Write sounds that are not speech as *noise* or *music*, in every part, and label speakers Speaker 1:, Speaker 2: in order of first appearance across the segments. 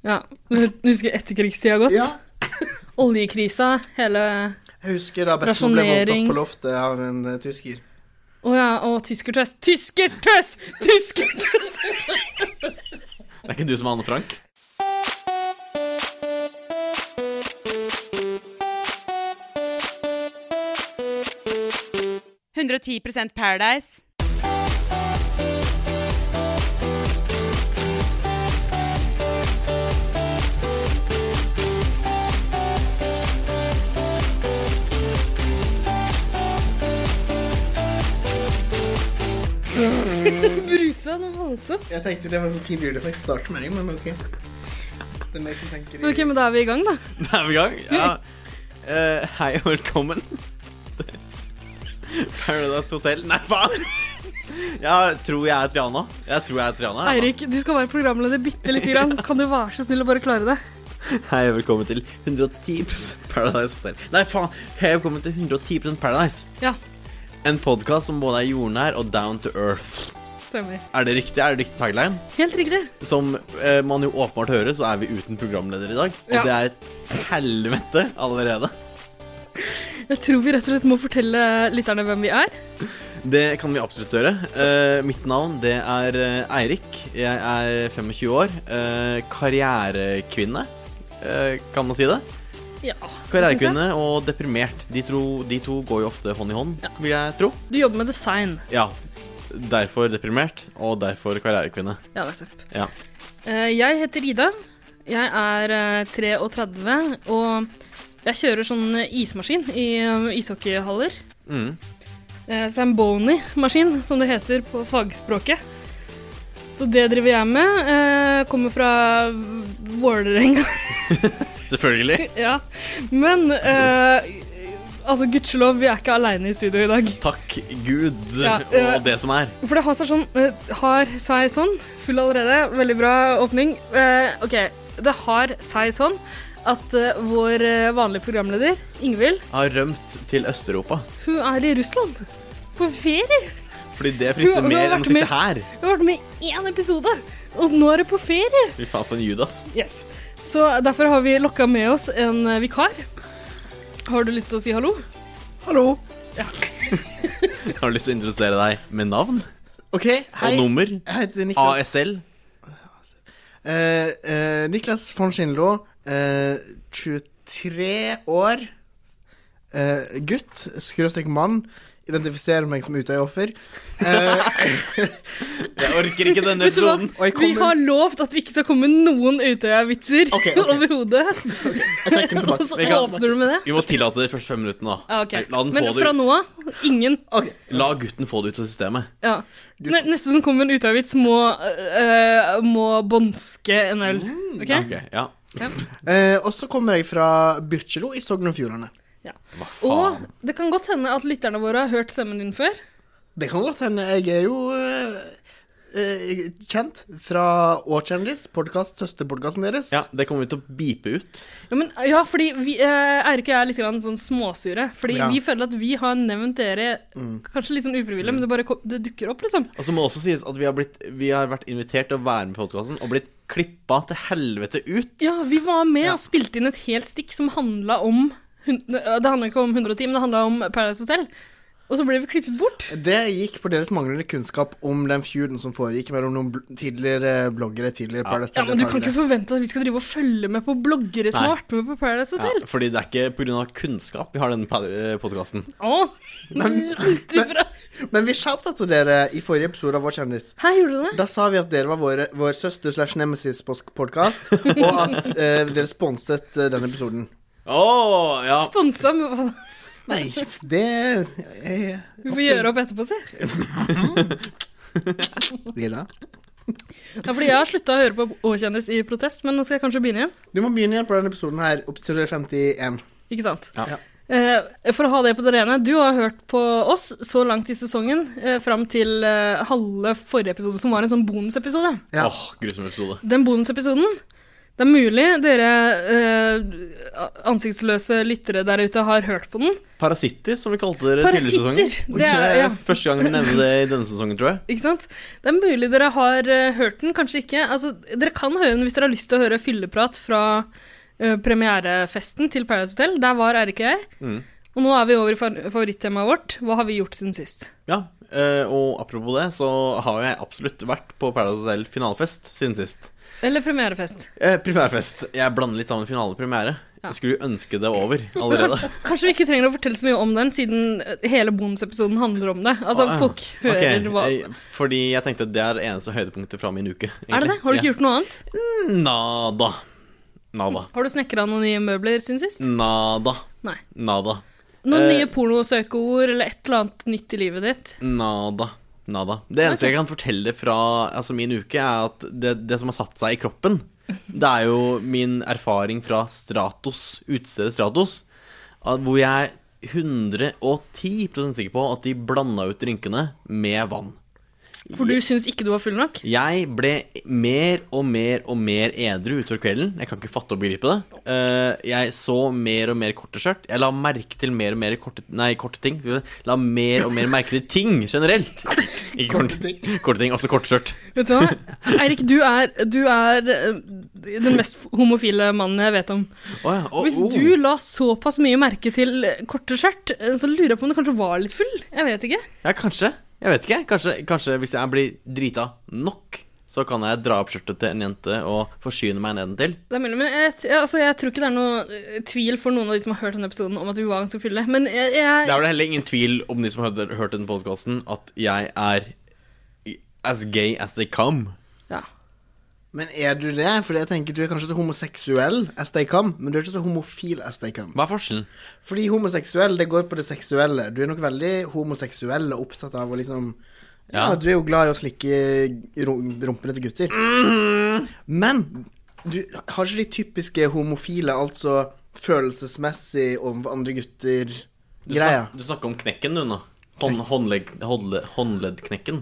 Speaker 1: Ja. *laughs* Du husker etterkrigstida godt?
Speaker 2: Ja.
Speaker 1: Oljekrisa, hele
Speaker 2: Jeg husker da Betson ble
Speaker 1: Rasjonering.
Speaker 2: voldtatt på loftet av en eh, tysker.
Speaker 1: Å ja, og tyskertøss. Tyskertøss! *laughs* Tyskertøss!
Speaker 3: Det er ikke du som er Anne Frank? *laughs*
Speaker 4: Paradise.
Speaker 1: Brusa noe voldsomt.
Speaker 2: Jeg tenkte det var sånn tidlig julefekt å starte med, men ok. Det er meg som tenker i-
Speaker 1: Ok, men da er vi i gang, da.
Speaker 3: Da er vi i gang. Ja. Eh, hei og velkommen. Paradise Hotel Nei, faen! Jeg tror jeg er Triana. Jeg tror jeg er Triana. jeg, da.
Speaker 1: Eirik, du skal være programleder bitte lite grann. Kan du være så snill å bare klare det?
Speaker 3: Hei og velkommen til 110 Paradise Hotel. Nei, faen! Hei og velkommen til 110 Paradise.
Speaker 1: Ja,
Speaker 3: En podkast som både er jordnær og down to earth.
Speaker 1: stemmer.
Speaker 3: Er det riktig? Er det riktig tagline?
Speaker 1: Helt riktig.
Speaker 3: Som eh, man jo åpenbart hører, så er vi uten programleder i dag. Og
Speaker 1: Ja.
Speaker 3: det er et helvete allerede.
Speaker 1: Jeg tror vi rett og slett må fortelle lytterne hvem vi er.
Speaker 3: Det kan vi absolutt gjøre. Eh, mitt navn det er eh, Eirik. Jeg er 25 år. Eh, karrierekvinne, eh, kan man si det?
Speaker 1: Ja, det syns jeg.
Speaker 3: Karrierekvinne og deprimert. De to, de to går jo ofte hånd i hånd, vil jeg tro.
Speaker 1: Du jobber med design.
Speaker 3: Ja. Derfor deprimert, og derfor karrierekvinne.
Speaker 1: Ja, nettopp.
Speaker 3: Ja.
Speaker 1: Eh, Jeg heter Ida. Jeg er eh, 33, og jeg kjører sånn ismaskin i eh, ishockeyhaller.
Speaker 3: Mm.
Speaker 1: eh, Zamboni-maskin, som det heter på fagspråket. Så det driver jeg med. Eh, kommer fra Vålerenga. *laughs*
Speaker 3: Selvfølgelig.
Speaker 1: ja. Men eh, altså, gudskjelov, vi er ikke aleine i studio i dag.
Speaker 3: Takk Gud
Speaker 1: Ja, eh,
Speaker 3: og det som er.
Speaker 1: For det har seg sånn eh, Har seg sånn. Full allerede. Veldig bra åpning. Eh, OK. Det har seg sånn at eh, vår eh, vanlige programleder, Ingvild,
Speaker 3: Har rømt til Øst-Europa.
Speaker 1: hun er i Russland. På ferie.
Speaker 3: Fordi det frister
Speaker 1: Du- du har
Speaker 3: mer
Speaker 1: vært
Speaker 3: enn å sitte
Speaker 1: med-
Speaker 3: her.
Speaker 1: Hun har vært med i én episode, og nå er hun på ferie.
Speaker 3: Fy faen, for en Judas.
Speaker 1: Yes. Så derfor har vi lokka med oss en eh, vikar. Har du lyst til å si hallo?
Speaker 2: Hallo!
Speaker 3: Jeg har lyst til å introdusere deg med navn
Speaker 2: Ok, hei.
Speaker 3: og nummer.
Speaker 2: Jeg heter Niklas.
Speaker 3: ASL.
Speaker 2: Eh, eh, Niklas von Schindlo, eh, 23 år, eh, gutt, skråstrek mann, identifiserer meg som Utøya-offer. Eh,
Speaker 3: Jeg orker ikke denne
Speaker 1: Vet du hva?
Speaker 3: episoden.
Speaker 2: og jeg
Speaker 1: Vi
Speaker 2: kommer-
Speaker 1: har lovt at vi ikke skal komme noen Utøya-vitser
Speaker 2: Ok,
Speaker 1: *laughs*
Speaker 2: ok.
Speaker 1: overhodet.
Speaker 2: Jeg trekker den
Speaker 1: Og
Speaker 2: tilbake.
Speaker 1: så
Speaker 3: Vi kan-
Speaker 1: åpner du med det.
Speaker 3: Vi må tillate det de første fem minuttene, da.
Speaker 1: Ja, Ah, ok.
Speaker 3: La, den
Speaker 1: Men
Speaker 3: få det
Speaker 1: fra
Speaker 3: ut.
Speaker 1: nå av, ingen.
Speaker 2: Ok,
Speaker 3: La gutten få det ut av systemet.
Speaker 1: Ja. Ne- Neste som kommer med en Utøya-vits, må, eh, må bånske en øl. Ok?
Speaker 3: Mm, Ja, ok, ja.
Speaker 2: Eh, og så kommer jeg fra Byrkjelo i Sogn og Fjordane.
Speaker 3: Hva
Speaker 1: Og
Speaker 3: faen?
Speaker 1: det kan godt hende at lytterne våre har hørt stemmen din før.
Speaker 2: Det kan godt hende. Jeg er jo eh, eh, kjent fra Åkjendis, podkast, søsterpodkasten deres.
Speaker 3: Ja, det kommer vi til å bipe ut.
Speaker 1: Ja, men, ja fordi vi, eh, Eirik og jeg er litt grann sånn småsure. Fordi
Speaker 2: Ja.
Speaker 1: vi føler at vi har nevnt dere kanskje litt sånn ufrivillig, men det bare kom, det dukker opp, liksom.
Speaker 3: Og så må det også sies at vi har, blitt, vi har vært invitert til å være med i podkasten og blitt klippa til helvete ut.
Speaker 1: Ja, vi var med
Speaker 2: Ja.
Speaker 1: og spilte inn et helt stikk som handla om hun- Det handla ikke om 110, men det handla om Paradise Hotel. Og så ble vi klippet bort.
Speaker 2: Det gikk på deres manglende kunnskap om den feuden som foregikk mellom noen bl tidligere bloggere. tidligere Paradise
Speaker 1: Ja, men Du kan ikke
Speaker 2: Hotel-deltakere.
Speaker 1: forvente at vi skal drive og følge med på bloggere som
Speaker 3: Nei.
Speaker 1: har vært med på Paradise
Speaker 3: Ja,
Speaker 1: Hotel.
Speaker 3: fordi det er ikke pga. kunnskap vi har denne eh, podkasten.
Speaker 1: Å, langt ifra.
Speaker 2: Men vi shoutouta dere i forrige episode av Vår kjendis.
Speaker 1: Her gjorde du det.
Speaker 2: Da sa vi at dere var våre, vår søster slash nemesis-podkast, og at eh, dere sponset eh, den episoden.
Speaker 3: Å, ja.
Speaker 1: Sponsa med hva da?
Speaker 2: Nei, det eh,
Speaker 1: Vi får gjøre opp etterpå, si.
Speaker 2: Lilla.
Speaker 1: Ja, fordi jeg har slutta å høre på Å-kjendis i protest, men nå skal jeg kanskje begynne igjen.
Speaker 2: Du må begynne igjen på denne episoden her, opp til 51.
Speaker 1: Ikke sant?
Speaker 3: Ja.
Speaker 2: Ja.
Speaker 1: Eh, for å ha det på det rene, du har hørt på oss så langt i sesongen, eh, fram til eh, halve forrige episode, som var en sånn bonusepisode.
Speaker 2: Ja.
Speaker 3: Åh, grusom episode.
Speaker 1: Den bonusepisoden, Det er mulig dere eh, ansiktsløse lyttere der ute har hørt på den.
Speaker 3: Parasitter, som vi kalte dere tidligere i
Speaker 1: Parasitter!
Speaker 3: sesongen.
Speaker 1: Det er, ja,
Speaker 3: Første gang vi nevner det i denne sesongen, tror jeg.
Speaker 1: ikke sant? Det er mulig dere har eh, hørt den, kanskje ikke. Altså, dere kan høre den hvis dere har lyst til å høre fylleprat fra eh, premierefesten til Paradise Hotel. Der var Eirik og jeg.
Speaker 3: Mm.
Speaker 1: Og nå er vi over i fa- favorittemaet vårt. Hva har vi gjort siden sist?
Speaker 3: Ja, eh, og apropos det, så har jeg absolutt vært på Paradise Hotel finalefest siden sist.
Speaker 1: Eller premierefest.
Speaker 3: Eh, primærfest. Jeg blander litt sammen finale og premiere.
Speaker 1: Ja.
Speaker 3: Jeg skulle jo ønske det var over
Speaker 1: *laughs*
Speaker 3: allerede.
Speaker 1: Kanskje vi ikke trenger å fortelle så mye om den, siden eh, hele bonusepisoden handler om det. Altså,
Speaker 3: Ah, ja.
Speaker 1: folk hører
Speaker 3: Ok,
Speaker 1: hva
Speaker 3: eh, Fordi jeg tenkte det er det eneste høydepunktet fra min uke.
Speaker 1: Er det det? Har du ikke gjort noe annet?
Speaker 3: gjort Nada. Nada.
Speaker 1: Har du snekra noen nye møbler siden sist?
Speaker 3: Nada.
Speaker 1: Nei.
Speaker 3: Nada.
Speaker 1: Noen
Speaker 3: Mm. Eh,
Speaker 1: nye pornosøkeord eller et eller annet nytt i livet ditt?
Speaker 3: Nada. Nada. Det eneste jeg kan fortelle fra altså min uke, er at det, det som har satt seg i kroppen, det er jo min erfaring fra Stratos, utestedet Stratos, at- hvor jeg er 110 sikker på at de blanda ut drinkene med vann.
Speaker 1: For du syns ikke du var full nok?
Speaker 3: Jeg ble mer og mer og mer edru utover kvelden. Jeg kan ikke fatte og begripe det. Eh, jeg så mer og mer korte skjørt. Jeg la merke til mer og mer korte, nei, korte ting. Skal vi si. La mer og mer merke til ting generelt. *laughs* Ikke korte ting. Korte ting, også korte skjørt.
Speaker 1: Vet du hva?
Speaker 3: *laughs*
Speaker 1: Eirik, du er, du er eh, den mest homofile mannen jeg vet om.
Speaker 3: Å ja. å,
Speaker 1: Hvis
Speaker 3: oh.
Speaker 1: du la såpass mye merke til eh, korte skjørt, eh, så lurer jeg på om du kanskje var litt full? Jeg vet ikke.
Speaker 3: Ja, kanskje. Jeg vet ikke. Kanskje, kanskje hvis jeg blir drita nok, så kan jeg dra opp skjørtet til en jente og forsyne meg nedentil.
Speaker 1: Det er mulig, men jeg, t- altså, jeg tror ikke det er noe eh, tvil for noen av de som har hørt denne episoden om at vi var ganske fulle. Men jeg,
Speaker 3: Det
Speaker 1: jeg,
Speaker 3: er vel heller ingen tvil om de som har hørt den podkasten, at jeg er as gay as they come.
Speaker 1: ja.
Speaker 2: Men er du det? Fordi jeg tenker du er kanskje så homoseksuell as they come, men du er ikke så homofil as they come.
Speaker 3: Hva er forskjellen?
Speaker 2: Fordi homoseksuell, det går på det seksuelle. Du er nok veldig homoseksuell og opptatt av å liksom Ja,
Speaker 3: Ja.
Speaker 2: du er jo glad i å slikke rum- rumpene til gutter.
Speaker 3: Mhm.
Speaker 2: Men du har ikke de typiske homofile, altså følelsesmessig overfor andre
Speaker 3: Du, snak,
Speaker 2: gutter-greia.
Speaker 3: du snakker om knekken, du nå. Hånd, håndlegg, håndle, håndleddknekken.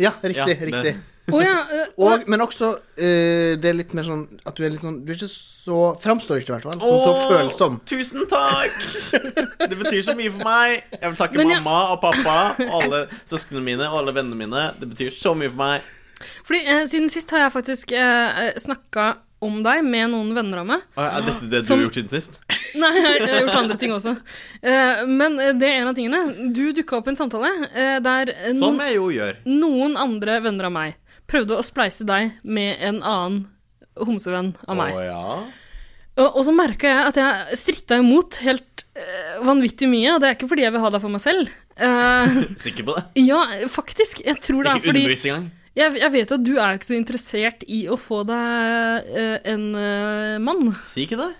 Speaker 2: Ja, riktig.
Speaker 3: Ja, det-
Speaker 2: riktig.
Speaker 1: Å ja,
Speaker 3: *laughs*
Speaker 1: eh,
Speaker 2: Og, men også eh, det er litt mer sånn at du er litt sånn Du er ikke så Framstår ikke, i hvert fall, som så
Speaker 3: Åh,
Speaker 2: følsom.
Speaker 3: Tusen takk! Det betyr så mye for meg. Jeg vil takke
Speaker 1: Men jeg-
Speaker 3: mamma og pappa og alle søsknene mine og alle vennene mine. Det betyr så mye for meg.
Speaker 1: Fordi eh, siden sist har jeg faktisk eh, snakka om deg med noen venner av meg.
Speaker 3: Å, Er dette det du
Speaker 1: Som-
Speaker 3: har gjort siden sist?
Speaker 1: Nei, jeg har gjort andre ting også. Eh, men eh, det er en av tingene. Du dukka opp i en samtale eh, der eh,
Speaker 3: Som
Speaker 1: noen,
Speaker 3: jeg jo gjør.
Speaker 1: noen andre venner av meg prøvde å spleise deg med en annen homsevenn av meg.
Speaker 3: Å ja.
Speaker 1: Og, og så merka jeg at jeg stritta imot helt eh, vanvittig mye, og det er ikke fordi jeg vil ha deg for meg selv. Eh, *laughs*
Speaker 3: Sikker på det?
Speaker 1: ja, faktisk. Jeg tror det er
Speaker 3: Ikke
Speaker 1: fordi
Speaker 3: underbevisst engang.
Speaker 1: jeg, jeg vet jo at du er jo ikke så interessert i å få deg eh, en eh, mann.
Speaker 3: Si ikke det.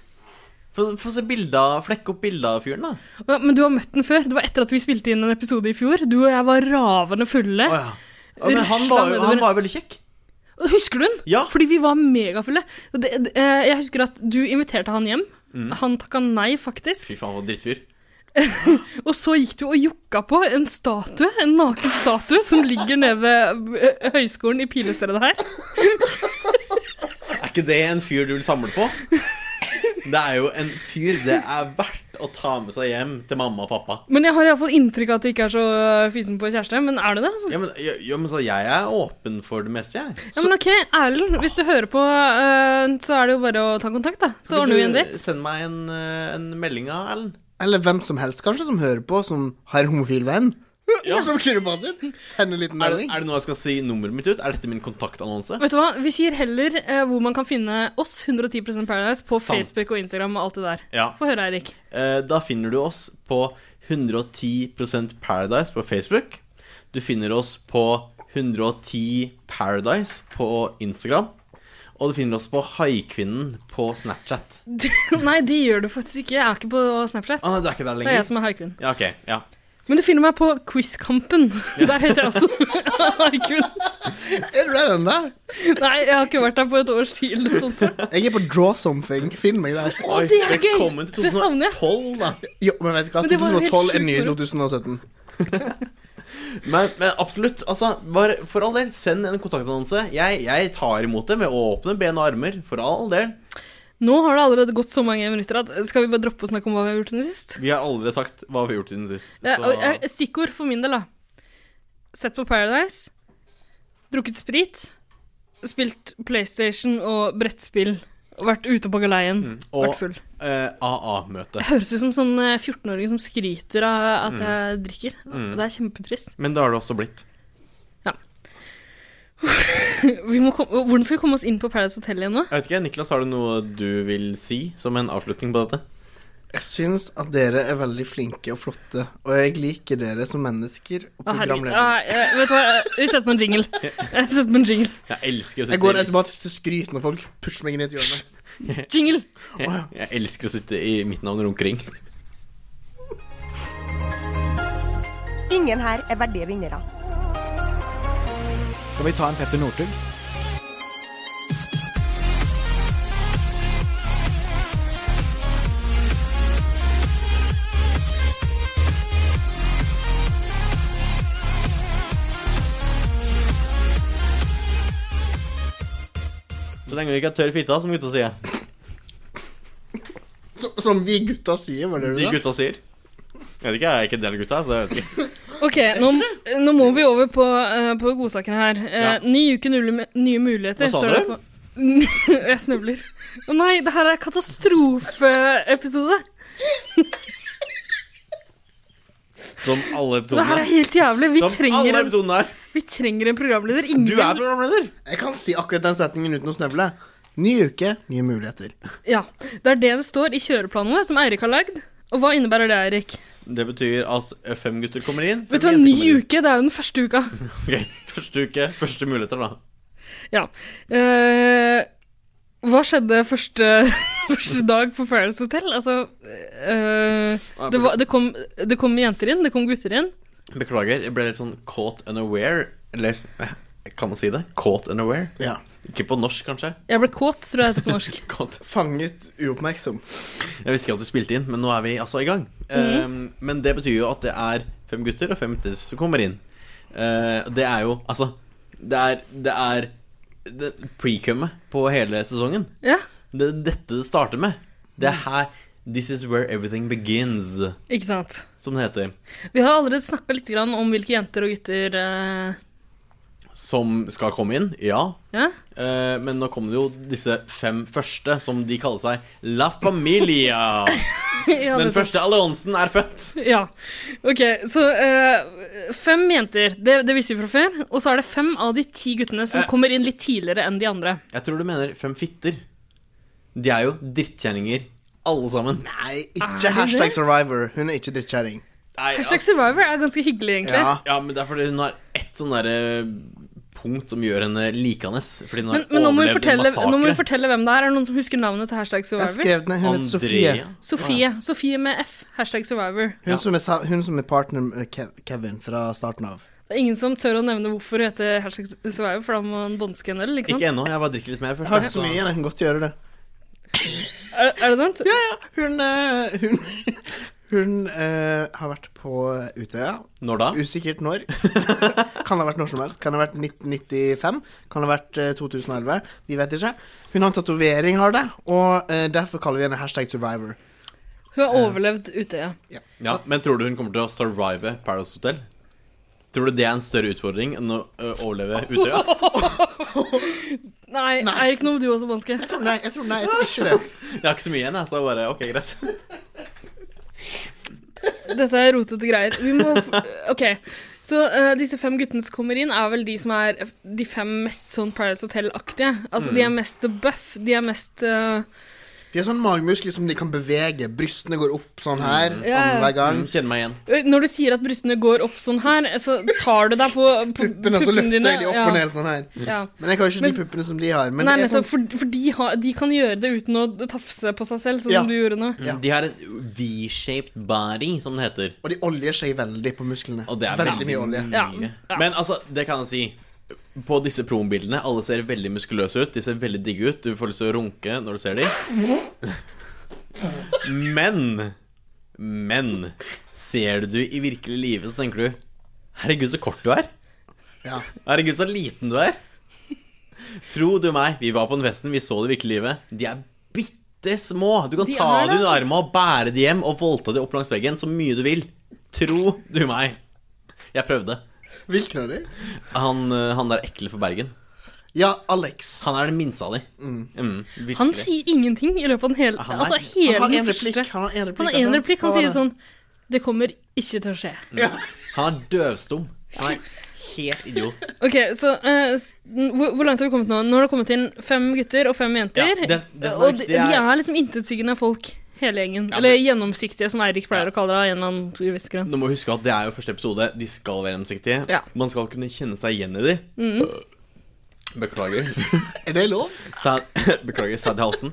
Speaker 3: Få få se bilde av Flekk opp bilde av fyren, da.
Speaker 1: Ja, Men du har møtt den før. Det var etter at vi spilte inn en episode i fjor. Du og jeg var ravende fulle.
Speaker 3: Å, ja. Ja, men han var, jo- han var jo veldig kjekk.
Speaker 1: Og Husker du den?
Speaker 3: Ja.
Speaker 1: Fordi vi var megafulle. Og Det, det, eh, jeg husker at du inviterte han hjem. Han takka nei, faktisk.
Speaker 3: Mm. Fy faen, for en drittfyr.
Speaker 1: Og så gikk du og jokka på en statue, en naken statue, som ligger nede ved eh, høyskolen i Pilestedet her.
Speaker 3: Er ikke det en fyr du vil samle på? Det er jo en fyr det er verdt å ta med seg hjem til mamma og pappa.
Speaker 1: Men jeg har iallfall inntrykk av at du ikke er så eh, fysen på kjæreste. Men er du det? Altså?
Speaker 3: Ja, men, ja, ja, men så Jeg er åpen for det meste, jeg.
Speaker 1: Ja, men ok, Erlend, hvis du hører på, eh, så er det jo bare å ta kontakt, da. Så ordner vi en date.
Speaker 3: Send meg en, eh, en melding av Erlend.
Speaker 2: Eller hvem som helst, kanskje, som hører på, som har en homofil venn.
Speaker 3: Ja.
Speaker 2: *laughs* Som kunne bare sin. Send en liten
Speaker 3: Er, det-
Speaker 2: melding.
Speaker 3: er det noe jeg skal si nummeret mitt ut? Er dette min kontaktannonse?
Speaker 1: *laughs* Vet du hva, Vi sier heller eh, hvor man kan finne oss 110 Paradise på
Speaker 3: Sant.
Speaker 1: Facebook og Instagram og alt det der.
Speaker 3: Ja.
Speaker 1: Få høre, Eirik. *laughs*
Speaker 3: Eh, Da finner du oss på 110 Paradise på Facebook. Du finner oss på 110 Paradise på Instagram. Og du finner oss på Haikvinnen på Snapchat.
Speaker 1: Nei, det gjør du faktisk ikke. Jeg er ikke på Snapchat.
Speaker 3: Ah, nei, du er ikke der
Speaker 1: Det er jeg
Speaker 3: lenger?
Speaker 1: som er haikun.
Speaker 3: Ja, ok, ja
Speaker 1: Men du finner meg på Quizkampen. *laughs* Der heter jeg også
Speaker 3: *laughs*
Speaker 1: *laughs* haikun.
Speaker 2: Er du der ennå?
Speaker 1: Nei, jeg har ikke vært der på et års tid eller noe sånt.
Speaker 2: Jeg er på Draw Something. Finn meg der.
Speaker 3: Oi,
Speaker 1: det er gøy!
Speaker 3: Velkommen til
Speaker 1: Det savner jeg.
Speaker 3: 2012, da.
Speaker 2: Jo, men vet du hva,
Speaker 1: Men det var helt
Speaker 2: 2012 er
Speaker 1: sjukt
Speaker 2: nye
Speaker 1: for-
Speaker 2: 2017.
Speaker 3: Men, men absolutt. Altså, bare for all del, send en kontaktannonse. Jeg, jeg tar imot det med åpne ben og armer. For all del.
Speaker 1: Nå har det allerede gått så mange minutter at skal vi bare droppe å snakke om hva vi har gjort siden sist?
Speaker 3: Vi har aldri sagt hva vi har gjort siden sist.
Speaker 1: Ja,
Speaker 3: så-
Speaker 1: og, eh, stikkord for min del, da. Sett på Paradise. Drukket sprit. Spilt PlayStation og brettspill. Vært ute på galeien.
Speaker 3: Mm. og-
Speaker 1: Vært full.
Speaker 3: eh, AA-møte.
Speaker 1: Jeg høres ut som sånn eh, 14-åring som skryter av at
Speaker 3: Mm.
Speaker 1: jeg drikker. Det er kjempetrist. *laughs*
Speaker 3: Men det har det også blitt.
Speaker 1: Vi må kom Hvordan skal vi komme oss inn på Paradise Hotel igjen nå?
Speaker 3: Jeg vet ikke, Niklas, har du noe du vil si som en avslutning på dette?
Speaker 2: Jeg syns at dere er veldig flinke og flotte, og jeg liker dere som mennesker og
Speaker 1: Å, herregud.
Speaker 2: programledere.
Speaker 1: Ah, eh, vet du hva, Eh, vi setter på en
Speaker 3: *laughs*
Speaker 1: jingle. Jeg setter på en jingle.
Speaker 3: Jeg elsker å
Speaker 2: Jeg går
Speaker 3: sitte, i,
Speaker 2: automatisk til skryt når folk pusher meg inn i et hjørne.
Speaker 1: Jingle!
Speaker 3: jeg, jeg elsker å sitte i midten av en rundkring.
Speaker 5: Ingen her er verdige vinnere.
Speaker 6: Skal vi ta en Petter Northug?
Speaker 3: Så lenge du ikke har tørr fitta, som gutta sier.
Speaker 2: Så, som vi gutta sier, var det
Speaker 3: De
Speaker 2: det du sa?
Speaker 3: gutta sier. Jeg vet ikke, jeg er ikke del av gutta, så jeg vet ikke.
Speaker 1: Ok, nå, nå må vi over på, eh, på godsaken her. Eh,
Speaker 3: Ja.
Speaker 1: Ny uke, nulle, nye muligheter.
Speaker 3: Hva sa
Speaker 1: står
Speaker 3: du?
Speaker 1: det på- *laughs* Jeg snubler. Å nei, det her er katastrofeepisode.
Speaker 3: Som alle
Speaker 1: Det her er
Speaker 3: episodene.
Speaker 1: helt jævlig. Vi
Speaker 3: Som alle
Speaker 1: trenger, en,
Speaker 3: episodene her.
Speaker 1: vi trenger en programleder. Ingen,
Speaker 3: Du er programleder.
Speaker 2: Jeg kan si akkurat den setningen uten å snøvle. Ny uke, nye muligheter.
Speaker 1: ja, Det er det det står i kjøreplanen vår, som Eirik har lagd. Og hva innebærer det, Eirik?
Speaker 3: Det betyr at FM-gutter kommer inn.
Speaker 1: Vet du hva, Ny uke, det er jo den første uka.
Speaker 3: *laughs* Ok, Første uke, første muligheter, da.
Speaker 1: Ja. Eh, hva skjedde første, *laughs* første dag på Paradise Hotel? Altså eh, det, var, det, kom, det kom jenter inn, det kom gutter inn.
Speaker 3: Beklager, jeg ble litt sånn caught unaware. Eller eh, kan man si det? Caught unaware?
Speaker 2: Ja.
Speaker 3: Ikke på norsk, kanskje?
Speaker 1: Jeg ble kåt, tror jeg det heter på
Speaker 3: *laughs*
Speaker 1: norsk.
Speaker 3: Caught.
Speaker 2: Fanget uoppmerksom.
Speaker 3: Jeg visste ikke at du spilte inn, men nå er vi altså i gang.
Speaker 1: Mhm.
Speaker 3: Eh, men det betyr jo at det er fem gutter og fem jenter som kommer inn. Eh, det er jo Altså, det er Det er det- pre-cummet på hele sesongen.
Speaker 1: Ja,
Speaker 3: Det er dette det starter med. Det
Speaker 1: Mm.
Speaker 3: er her This is where everything begins,
Speaker 1: ikke sant.
Speaker 3: som det heter.
Speaker 1: Vi har allerede snakka litt grann om hvilke jenter og gutter eh,
Speaker 3: Som skal komme inn, ja.
Speaker 1: Ja, *laughs*
Speaker 3: Eh, men nå kommer det jo disse fem første, som de kaller seg La Familia.
Speaker 1: *laughs* ja
Speaker 3: Den
Speaker 1: det-
Speaker 3: første alliansen er født.
Speaker 1: Ja. Ok, så eh, fem jenter, det, det visste vi fra før. Og så er det fem av de ti guttene som
Speaker 3: Eh.
Speaker 1: kommer inn litt tidligere enn de andre.
Speaker 3: Jeg tror du mener fem fitter. De er jo drittkjerringer, alle sammen.
Speaker 2: Nei,
Speaker 1: Er
Speaker 2: ikke
Speaker 1: det
Speaker 2: hashtag
Speaker 1: det?
Speaker 2: survivor. Hun er ikke drittkjerring.
Speaker 3: Nei,
Speaker 1: Hashtag
Speaker 3: altså,
Speaker 1: Survivor er ganske hyggelig, egentlig.
Speaker 2: Ja.
Speaker 3: ja, men det er fordi hun har ett sånn derre punkt som gjør henne likende. Fordi hun har
Speaker 1: Men, men nå, må vi
Speaker 3: overlevd en
Speaker 1: fortelle, nå må vi
Speaker 3: massakre.
Speaker 1: fortelle hvem det er. Er det noen som husker navnet til hashtag
Speaker 2: Jeg
Speaker 1: Survivor?
Speaker 2: skrev den. Hun heter Sofie.
Speaker 3: Andrea.
Speaker 1: Sofie. Sofie med F. Hashtag Survivor.
Speaker 2: Hun, som er, sa- hun som er partner med Kev- Kevin fra starten av.
Speaker 1: Det er ingen som tør å nevne hvorfor hun heter hashtag Survivor, for da må han bånske en øl, ikke sant?
Speaker 3: Ikke ennå. Jeg bare drikker litt mer
Speaker 2: Jeg
Speaker 3: først.
Speaker 2: har ikke
Speaker 3: så-
Speaker 2: så mye igjen, jeg kan godt gjøre det.
Speaker 1: Er, er det sant?
Speaker 2: Ja, ja. Hun eh, *laughs* Hun, hun eh, har vært på Utøya.
Speaker 3: Når da?
Speaker 2: Usikkert når. kan ha vært når som helst. Kan ha vært 1995. Kan ha vært eh, 2011. Vi vet ikke. Hun har en tatovering, har det, og eh, derfor kaller vi henne hashtag survivor.
Speaker 1: Hun har overlevd Utøya.
Speaker 3: Ja, Men tror du hun kommer til å survive Paradise Hotel? Tror du det er en større utfordring enn å ø, overleve Utøya?
Speaker 1: Nei, Eirik, nå må du også banske.
Speaker 2: Jeg tror, nei, jeg tror, nei, jeg tror ikke det.
Speaker 3: Jeg har ikke så mye igjen, jeg, så jeg bare OK, greit.
Speaker 1: Dette er rotete greier. Vi må f- *laughs* OK. Så eh, disse fem guttene som kommer inn, er vel de som er de fem mest sånn Paradise Hotel-aktige. Altså,
Speaker 3: Mm.
Speaker 1: de er mest buff. De er mest eh,
Speaker 2: De har sånne magemuskler som de kan bevege. Brystene går opp sånn her
Speaker 1: Ja, ja.
Speaker 2: hver gang.
Speaker 3: Mm, Kjenner meg igjen.
Speaker 1: Når du sier at brystene går opp sånn her, så tar du deg på, på
Speaker 2: Puppene, så løfter jeg de opp
Speaker 1: ja,
Speaker 2: og ned sånn her.
Speaker 1: Ja.
Speaker 2: Men jeg har ikke
Speaker 1: Men-
Speaker 2: de puppene som de har. Men
Speaker 1: Nei,
Speaker 2: det er
Speaker 1: nettopp,
Speaker 2: sånn,
Speaker 1: for, for de, har, de kan gjøre det uten å tafse på seg selv, sånn
Speaker 2: Ja. Mm.
Speaker 1: som du gjorde nå.
Speaker 2: Ja.
Speaker 3: De har en V-shaped body, som det heter.
Speaker 2: og de oljer seg veldig på musklene.
Speaker 3: Og det er Mm.
Speaker 2: veldig mye olje.
Speaker 1: Ja. Ja.
Speaker 3: Men altså, det kan jeg si. På disse prombildene, alle ser veldig muskuløse ut. De ser veldig digge ut. Du får lyst til å runke når du ser dem. Men Men ser du i virkelig livet, så tenker du Herregud, så kort du er.
Speaker 2: Ja.
Speaker 3: Herregud, så liten du er. Tro du meg, vi var på den festen, vi så det i virkelig livet. De er bitte små. Du kan
Speaker 1: De
Speaker 3: ta
Speaker 1: er
Speaker 3: dem
Speaker 1: det,
Speaker 3: under
Speaker 1: altså.
Speaker 3: armene og bære dem hjem og voldta dem opp langs veggen så mye du vil. Tro du meg. Jeg prøvde.
Speaker 2: Hvilken av de?
Speaker 3: Han, eh, han der ekle fra Bergen.
Speaker 2: Ja, Alex.
Speaker 3: Han er den minste av de. Mm, virkelig.
Speaker 1: Han sier ingenting i løpet av den hele
Speaker 3: Han er-
Speaker 1: Altså
Speaker 2: Han
Speaker 1: hele
Speaker 2: har
Speaker 1: den
Speaker 2: en replikk.
Speaker 1: første.
Speaker 2: Han har en replikk.
Speaker 1: Han har én
Speaker 2: altså.
Speaker 1: replikk. Han
Speaker 2: Hva var
Speaker 1: sier
Speaker 2: det?
Speaker 1: sånn Det kommer ikke til å skje.
Speaker 3: han er døvstum. Han er helt idiot.
Speaker 1: Ok, så eh, s- hvor, hvor langt har vi kommet nå? Nå har det kommet inn fem gutter og fem jenter.
Speaker 3: Ja, det- det som er
Speaker 1: og de,
Speaker 3: viktig er-
Speaker 1: de er liksom intetsigende folk, hele gjengen.
Speaker 3: Ja,
Speaker 1: Eller
Speaker 3: men-
Speaker 1: gjennomsiktige, som Eirik pleier å kalle det. av en eller annen visst grunn.
Speaker 3: Du må huske at det er jo første episode. De skal være gjennomsiktige.
Speaker 1: Ja. Mm.
Speaker 3: Man skal kunne kjenne seg igjen i de. Beklager.
Speaker 1: sånn-
Speaker 2: Er det lov?
Speaker 3: Sad, *laughs* beklager, sad i halsen.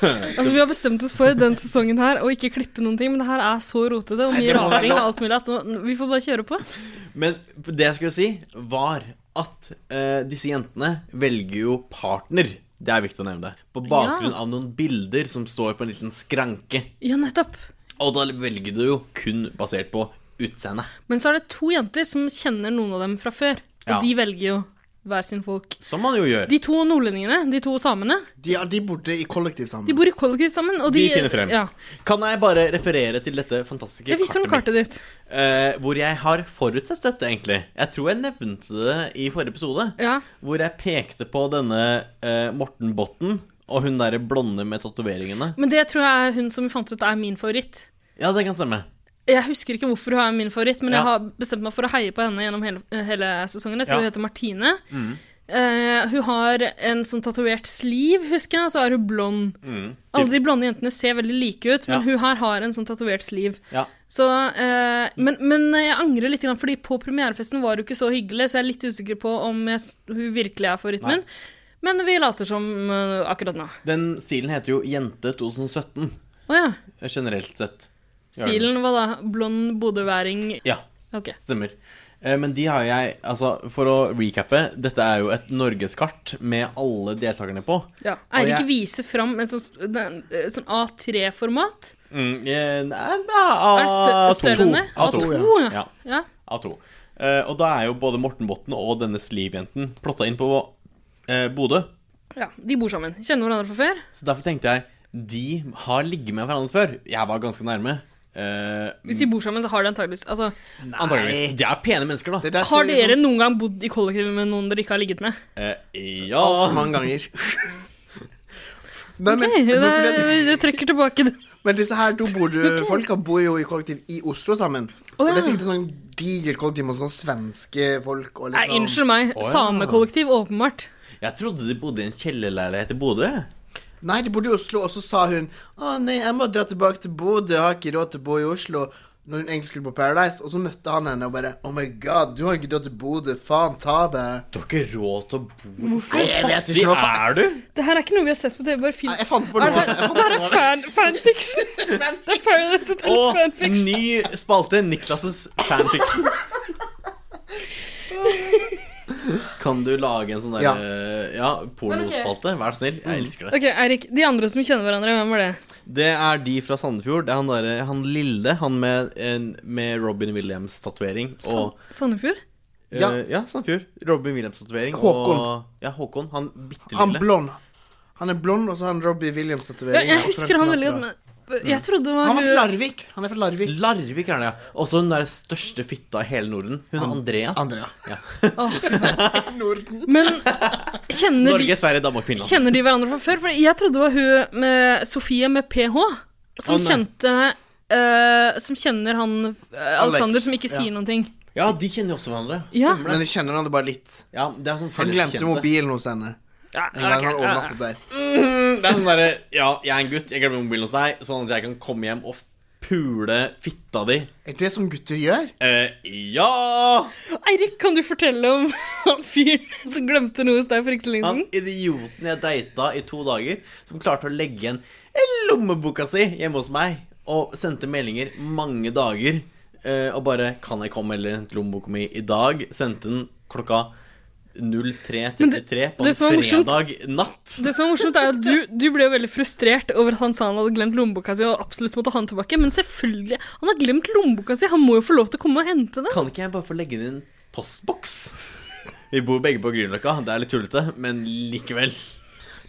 Speaker 1: Altså, Vi har bestemt oss for den sesongen her å ikke klippe noen ting, men det her er så rotete og mye
Speaker 3: det må være
Speaker 1: raring og alt mulig at nå- vi får bare kjøre på.
Speaker 3: Men det jeg skulle si, var at eh, disse jentene velger jo partner. Det er viktig å nevne det. På bakgrunn av noen bilder som står på en liten skranke.
Speaker 1: Ja, nettopp.
Speaker 3: Og da velger du jo kun basert på utseende.
Speaker 1: Men så er det to jenter som kjenner noen av dem fra før, og
Speaker 3: Ja.
Speaker 1: de velger jo hver sin folk.
Speaker 3: Som man jo gjør.
Speaker 1: De to nordlendingene, de to samene,
Speaker 2: De, ja, de bodde i kollektiv sammen.
Speaker 1: de bor i kollektiv sammen, og de
Speaker 3: De finner frem.
Speaker 1: Ja.
Speaker 3: Kan jeg bare referere til dette fantastiske
Speaker 1: Jeg viser dem
Speaker 3: kartet
Speaker 1: kartet
Speaker 3: mitt?
Speaker 1: ditt.
Speaker 3: Eh, hvor jeg har forutsett dette, egentlig. Jeg tror jeg nevnte det i forrige episode.
Speaker 1: Ja.
Speaker 3: Hvor jeg pekte på denne eh, Morten Botten og hun derre blonde med tatoveringene.
Speaker 1: Men det tror jeg er hun som vi fant ut er min favoritt.
Speaker 3: Ja, det kan stemme.
Speaker 1: Jeg husker ikke hvorfor hun er min favoritt, men
Speaker 3: Ja.
Speaker 1: jeg har bestemt meg for å heie på henne gjennom hele, eh, hele sesongen. Jeg tror
Speaker 3: Ja.
Speaker 1: hun
Speaker 3: Mm.
Speaker 1: heter Martine. Eh, hun har en sånn tatovert sliv, husker jeg, og så er hun blond. Alle de blonde jentene ser veldig like ut, men
Speaker 3: Mm. Ja.
Speaker 1: hun her har en sånn tatovert sliv.
Speaker 3: Ja.
Speaker 1: Så, eh, men, men jeg angrer litt, grann, fordi på premierefesten var hun ikke så hyggelig, så jeg er litt usikker på om jeg, s- hun virkelig er favoritten min. Men vi later som eh, akkurat nå.
Speaker 3: Den stilen heter jo Jente 2017,
Speaker 1: Å ja.
Speaker 3: eh, generelt sett. Gjør den.
Speaker 1: Stilen var da blond bodøværing.
Speaker 3: Ja,
Speaker 1: Ok.
Speaker 3: stemmer. Eh, Men de har jeg Altså, for å recappe, dette er jo et norgeskart med alle deltakerne på.
Speaker 1: Ja.
Speaker 3: Og
Speaker 1: Eirik
Speaker 3: jeg-
Speaker 1: viser fram en sånn, st- den- eh, sånn A3-format.
Speaker 3: Mm, eh, nei,
Speaker 1: Er det
Speaker 3: A2.
Speaker 1: stø- større enn det?
Speaker 3: A2.
Speaker 2: A2,
Speaker 1: ja.
Speaker 3: Ja.
Speaker 1: Ja.
Speaker 3: A2. Eh, og da er jo både Morten Botten og denne Sliv-jenten plotta inn på eh, Bodø.
Speaker 1: ja. De bor sammen. Kjenner hverandre fra før.
Speaker 3: Så derfor tenkte jeg de har ligget med hverandre før. Jeg var ganske nærme. Eh,
Speaker 1: Hvis de bor sammen, så har de antageligvis altså,
Speaker 3: antageligvis. De er pene mennesker, da.
Speaker 2: Det sånn- der
Speaker 1: Har
Speaker 2: tror liksom- jeg
Speaker 1: dere noen gang bodd i kollektiv med noen dere ikke har ligget med?
Speaker 3: Eh,
Speaker 2: sånn altfor
Speaker 3: ja.
Speaker 2: mange ganger. Nei, men,
Speaker 1: Ok, det,
Speaker 2: men fordi
Speaker 1: jeg
Speaker 2: at-
Speaker 1: trekker tilbake det.
Speaker 2: men disse her to
Speaker 1: *laughs*
Speaker 2: bor, folka bor jo i kollektiv i Oslo sammen. Og det er sikkert en sånn diger kollektiv med sånne svenske folk og
Speaker 1: Nei,
Speaker 2: liksom
Speaker 1: unnskyld meg.
Speaker 3: Å, ja.
Speaker 1: Samekollektiv, åpenbart.
Speaker 3: Jeg trodde de bodde i en kjellerleilighet i Bodø. jeg.
Speaker 2: Nei, de bodde i Oslo, og så sa hun Å nei, jeg må dra tilbake til Bodø, jeg har ikke råd til å bo i Oslo. Når hun egentlig skulle på Paradise, og så møtte han henne og bare Oh my god, du har ikke råd til Bodø, faen, ta det.
Speaker 3: Du har ikke råd til å bo
Speaker 2: Nei, jeg vet
Speaker 3: Fattig
Speaker 2: ikke hva faen
Speaker 3: er du?
Speaker 1: Det her er ikke noe vi har sett på TV. bare film.
Speaker 2: Nei, Jeg fant
Speaker 1: Er
Speaker 2: på
Speaker 1: det,
Speaker 2: noe.
Speaker 1: her, det her er fan, fanfiction. Det er Paradise Hotel
Speaker 3: Og
Speaker 1: fanfiction.
Speaker 3: ny spalte, Niklas' fanfiction. Kan du lage en sånn der
Speaker 2: Ja. Mm.
Speaker 3: eh, ja, pornospalte? Vær så snill. Jeg elsker det.
Speaker 1: Ok, Eirik. De andre som kjenner hverandre, hvem var det?
Speaker 3: Det er de fra Sandefjord. Det er han, derre- han lille, han med, en, med Robin Williams-tatovering. Og
Speaker 1: Sandefjord?
Speaker 3: eh,
Speaker 2: Ja.
Speaker 3: ja, Sandefjord. Robin Williams-tatovering.
Speaker 2: Håkon.
Speaker 3: Og, ja, Håkon. Han bitte
Speaker 2: Han
Speaker 3: lille.
Speaker 2: blond. Han er blond, og så har han Robbie
Speaker 1: Jeg,
Speaker 2: Williams-tatovering.
Speaker 1: jeg husker han veldig godt. men
Speaker 3: Mm.
Speaker 1: Jeg trodde det var
Speaker 2: Han var fra
Speaker 1: hun-
Speaker 2: Larvik. Han er fra Larvik.
Speaker 3: Larvik er det, ja. Også hun der største fitta i hele Norden. Hun er Andrea.
Speaker 2: Andrea.
Speaker 1: *laughs* Åh, fy faen. Men kjenner de,
Speaker 3: Norge, Sverige, Danmark, Finland.
Speaker 1: kjenner de hverandre fra før? For jeg trodde det var hun med Sofie med ph, som
Speaker 3: Å, nei.
Speaker 1: kjente eh, Som kjenner han eh, Alexander, som ikke
Speaker 2: ja.
Speaker 1: sier noen ting.
Speaker 3: Ja, de kjenner jo også hverandre.
Speaker 1: Ja.
Speaker 2: Men jeg kjenner han det bare litt.
Speaker 3: Ja, det er sånn
Speaker 2: Han
Speaker 3: felles
Speaker 2: glemte
Speaker 3: bekjente.
Speaker 2: mobilen hos henne.
Speaker 1: Ja,
Speaker 2: En gang
Speaker 1: ok,
Speaker 2: han
Speaker 1: ja,
Speaker 2: overnattet der.
Speaker 3: Det er sånn derre Ja, jeg er en gutt, jeg glemmer mobilen hos deg, sånn at jeg kan komme hjem og f- pule fitta di.
Speaker 2: Er det som gutter gjør?
Speaker 3: Eh, ja!
Speaker 1: ja. Eirik, kan du fortelle om *laughs* han fyren som glemte noe hos deg for ikke så lenge
Speaker 3: Han
Speaker 1: siden?
Speaker 3: idioten jeg data i to dager, som klarte å legge igjen lommeboka si hjemme hos meg, og sendte meldinger mange dager, eh, og bare 'Kan jeg komme eller hente lommeboka mi i dag?' Sendte den klokka
Speaker 1: Men det-
Speaker 3: 03.33 på
Speaker 1: det
Speaker 3: en
Speaker 1: som er morsomt-
Speaker 3: fredag natt.
Speaker 1: Det som er morsomt, er at du, du ble jo veldig frustrert over at han sa han hadde glemt lommeboka si, og absolutt måtte ha den tilbake, men selvfølgelig, han har glemt lommeboka si, han må jo få lov til å komme og hente den.
Speaker 3: Kan ikke jeg bare få legge den i en postboks? Vi bor begge på Grünerløkka, det er litt tullete, men likevel.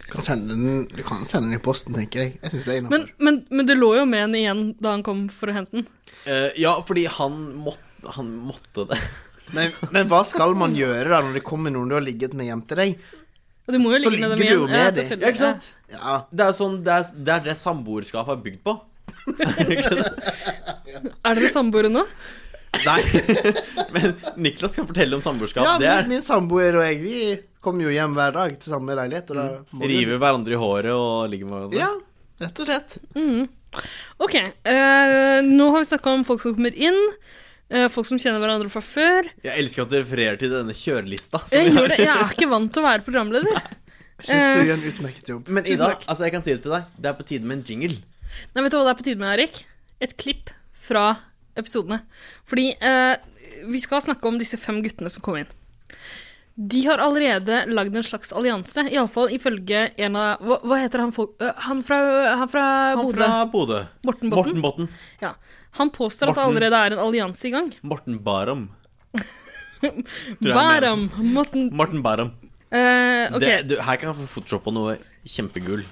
Speaker 2: Du kan sende den, du kan sende den i posten, tenker jeg. Jeg synes det er
Speaker 1: Men,
Speaker 2: innenfor.
Speaker 1: men, men det lå jo med henne igjen da han kom for å hente den.
Speaker 3: Eh, ja, fordi han måtte Han måtte det.
Speaker 2: Men, men hva skal man gjøre da når det kommer noen du har ligget med hjem til deg?
Speaker 1: Og du må jo
Speaker 2: Så
Speaker 1: ligge med dem
Speaker 2: ligger du jo
Speaker 1: igjen.
Speaker 2: med de.
Speaker 1: selvfølgelig.
Speaker 3: Ja, ikke sant?
Speaker 2: Ja,
Speaker 3: Det er, sånn, det, er, det er det samboerskapet er bygd på.
Speaker 1: Ja. Er dere samboere nå?
Speaker 3: Nei, *laughs* men Niklas kan fortelle om samboerskap.
Speaker 2: ja
Speaker 3: det
Speaker 2: min,
Speaker 3: er
Speaker 2: min samboer og jeg, vi kommer jo hjem hver dag til samme leilighet. Og da må vi-
Speaker 3: rive hverandre i håret og ligge med hverandre.
Speaker 2: Ja, rett og slett.
Speaker 1: Ok, eh, nå har vi snakka om folk som kommer inn, eh, folk som kjenner hverandre fra
Speaker 2: *laughs*
Speaker 1: før.
Speaker 3: Jeg elsker at du refererer til denne kjørelista. som
Speaker 1: Jeg
Speaker 3: vi har.
Speaker 1: gjør det, jeg er ikke vant til å være programleder.
Speaker 2: Jeg synes du gjør en utmerket jobb.
Speaker 3: *laughs* Men
Speaker 1: Tusen
Speaker 3: Ida,
Speaker 1: takk.
Speaker 3: altså jeg kan si det til deg. Det er på tide med en jingle.
Speaker 1: Nei, vet du hva det er på tide med, Erik? Et klipp fra episodene. Fordi eh, vi skal snakke om disse fem guttene som kom inn. De har allerede lagd en slags allianse, iallfall ifølge en av Hva, hva heter han folk... øh, han fra, han fra
Speaker 3: Han
Speaker 1: Bodø?
Speaker 3: fra Bodø.
Speaker 1: Morten Botten?
Speaker 3: Morten Botten.
Speaker 1: Ja. Han påstår at det
Speaker 3: Morten.
Speaker 1: allerede er en allianse i gang.
Speaker 3: Morten Barum. Tror jeg han mener.
Speaker 1: Baram! Morten
Speaker 3: Morten Barum.
Speaker 1: Eh, Ok,
Speaker 3: Det, du, her kan jeg få photoshoppa noe kjempegull.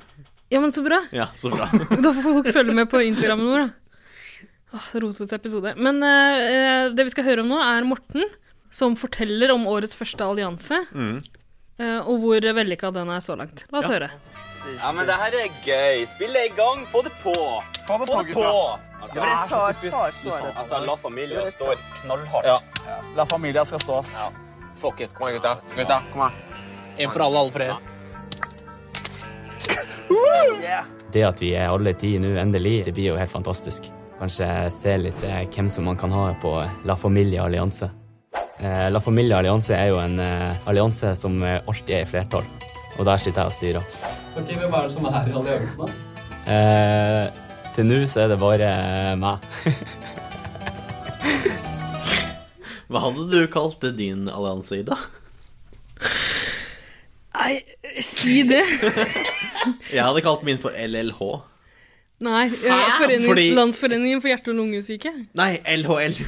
Speaker 1: ja, men så bra.
Speaker 3: Ja, så
Speaker 1: *laughs*
Speaker 3: bra.
Speaker 1: Da får folk følge med på Instagrammen vår, da. Åh, rotete episode. Men eh, eh, det vi skal høre om nå, er Morten, som forteller om årets første allianse. eh, og hvor vellykka den er så langt. La oss
Speaker 3: Mm. Ja.
Speaker 1: høre.
Speaker 6: Ja, men det her er gøy. Spill det i gang. Få det på. Få det på, Altså,
Speaker 7: Det var det jeg sa, jeg sa, jeg
Speaker 6: du
Speaker 7: sa
Speaker 6: sa-
Speaker 7: det.
Speaker 6: altså, la familien stå knallhardt.
Speaker 7: La familia skal stå, ass.
Speaker 6: Fuck it. Kom igjen, gutta. Gutta, kom her.
Speaker 7: En for alle, alle for en.
Speaker 8: Det at vi er alle ti nå, endelig, det blir jo helt fantastisk. Kanskje se litt eh, hvem som man kan ha på La Familia Allianse. Eh, La Familia Allianse er jo en eh, allianse som eh, alltid er i flertall, og der sitter jeg og styrer.
Speaker 7: hvem er det som er i alliansen, da?
Speaker 8: Eh, til nå så er det bare eh, meg. *laughs*
Speaker 3: Hva hadde du kalt det din allianse, Ida?
Speaker 1: Nei, si det!
Speaker 3: Jeg hadde kalt min for LLH.
Speaker 1: Nei, eh, forening,
Speaker 3: Fordi-
Speaker 1: Landsforeningen for hjerte- og lungesyke.
Speaker 3: Nei, LHL.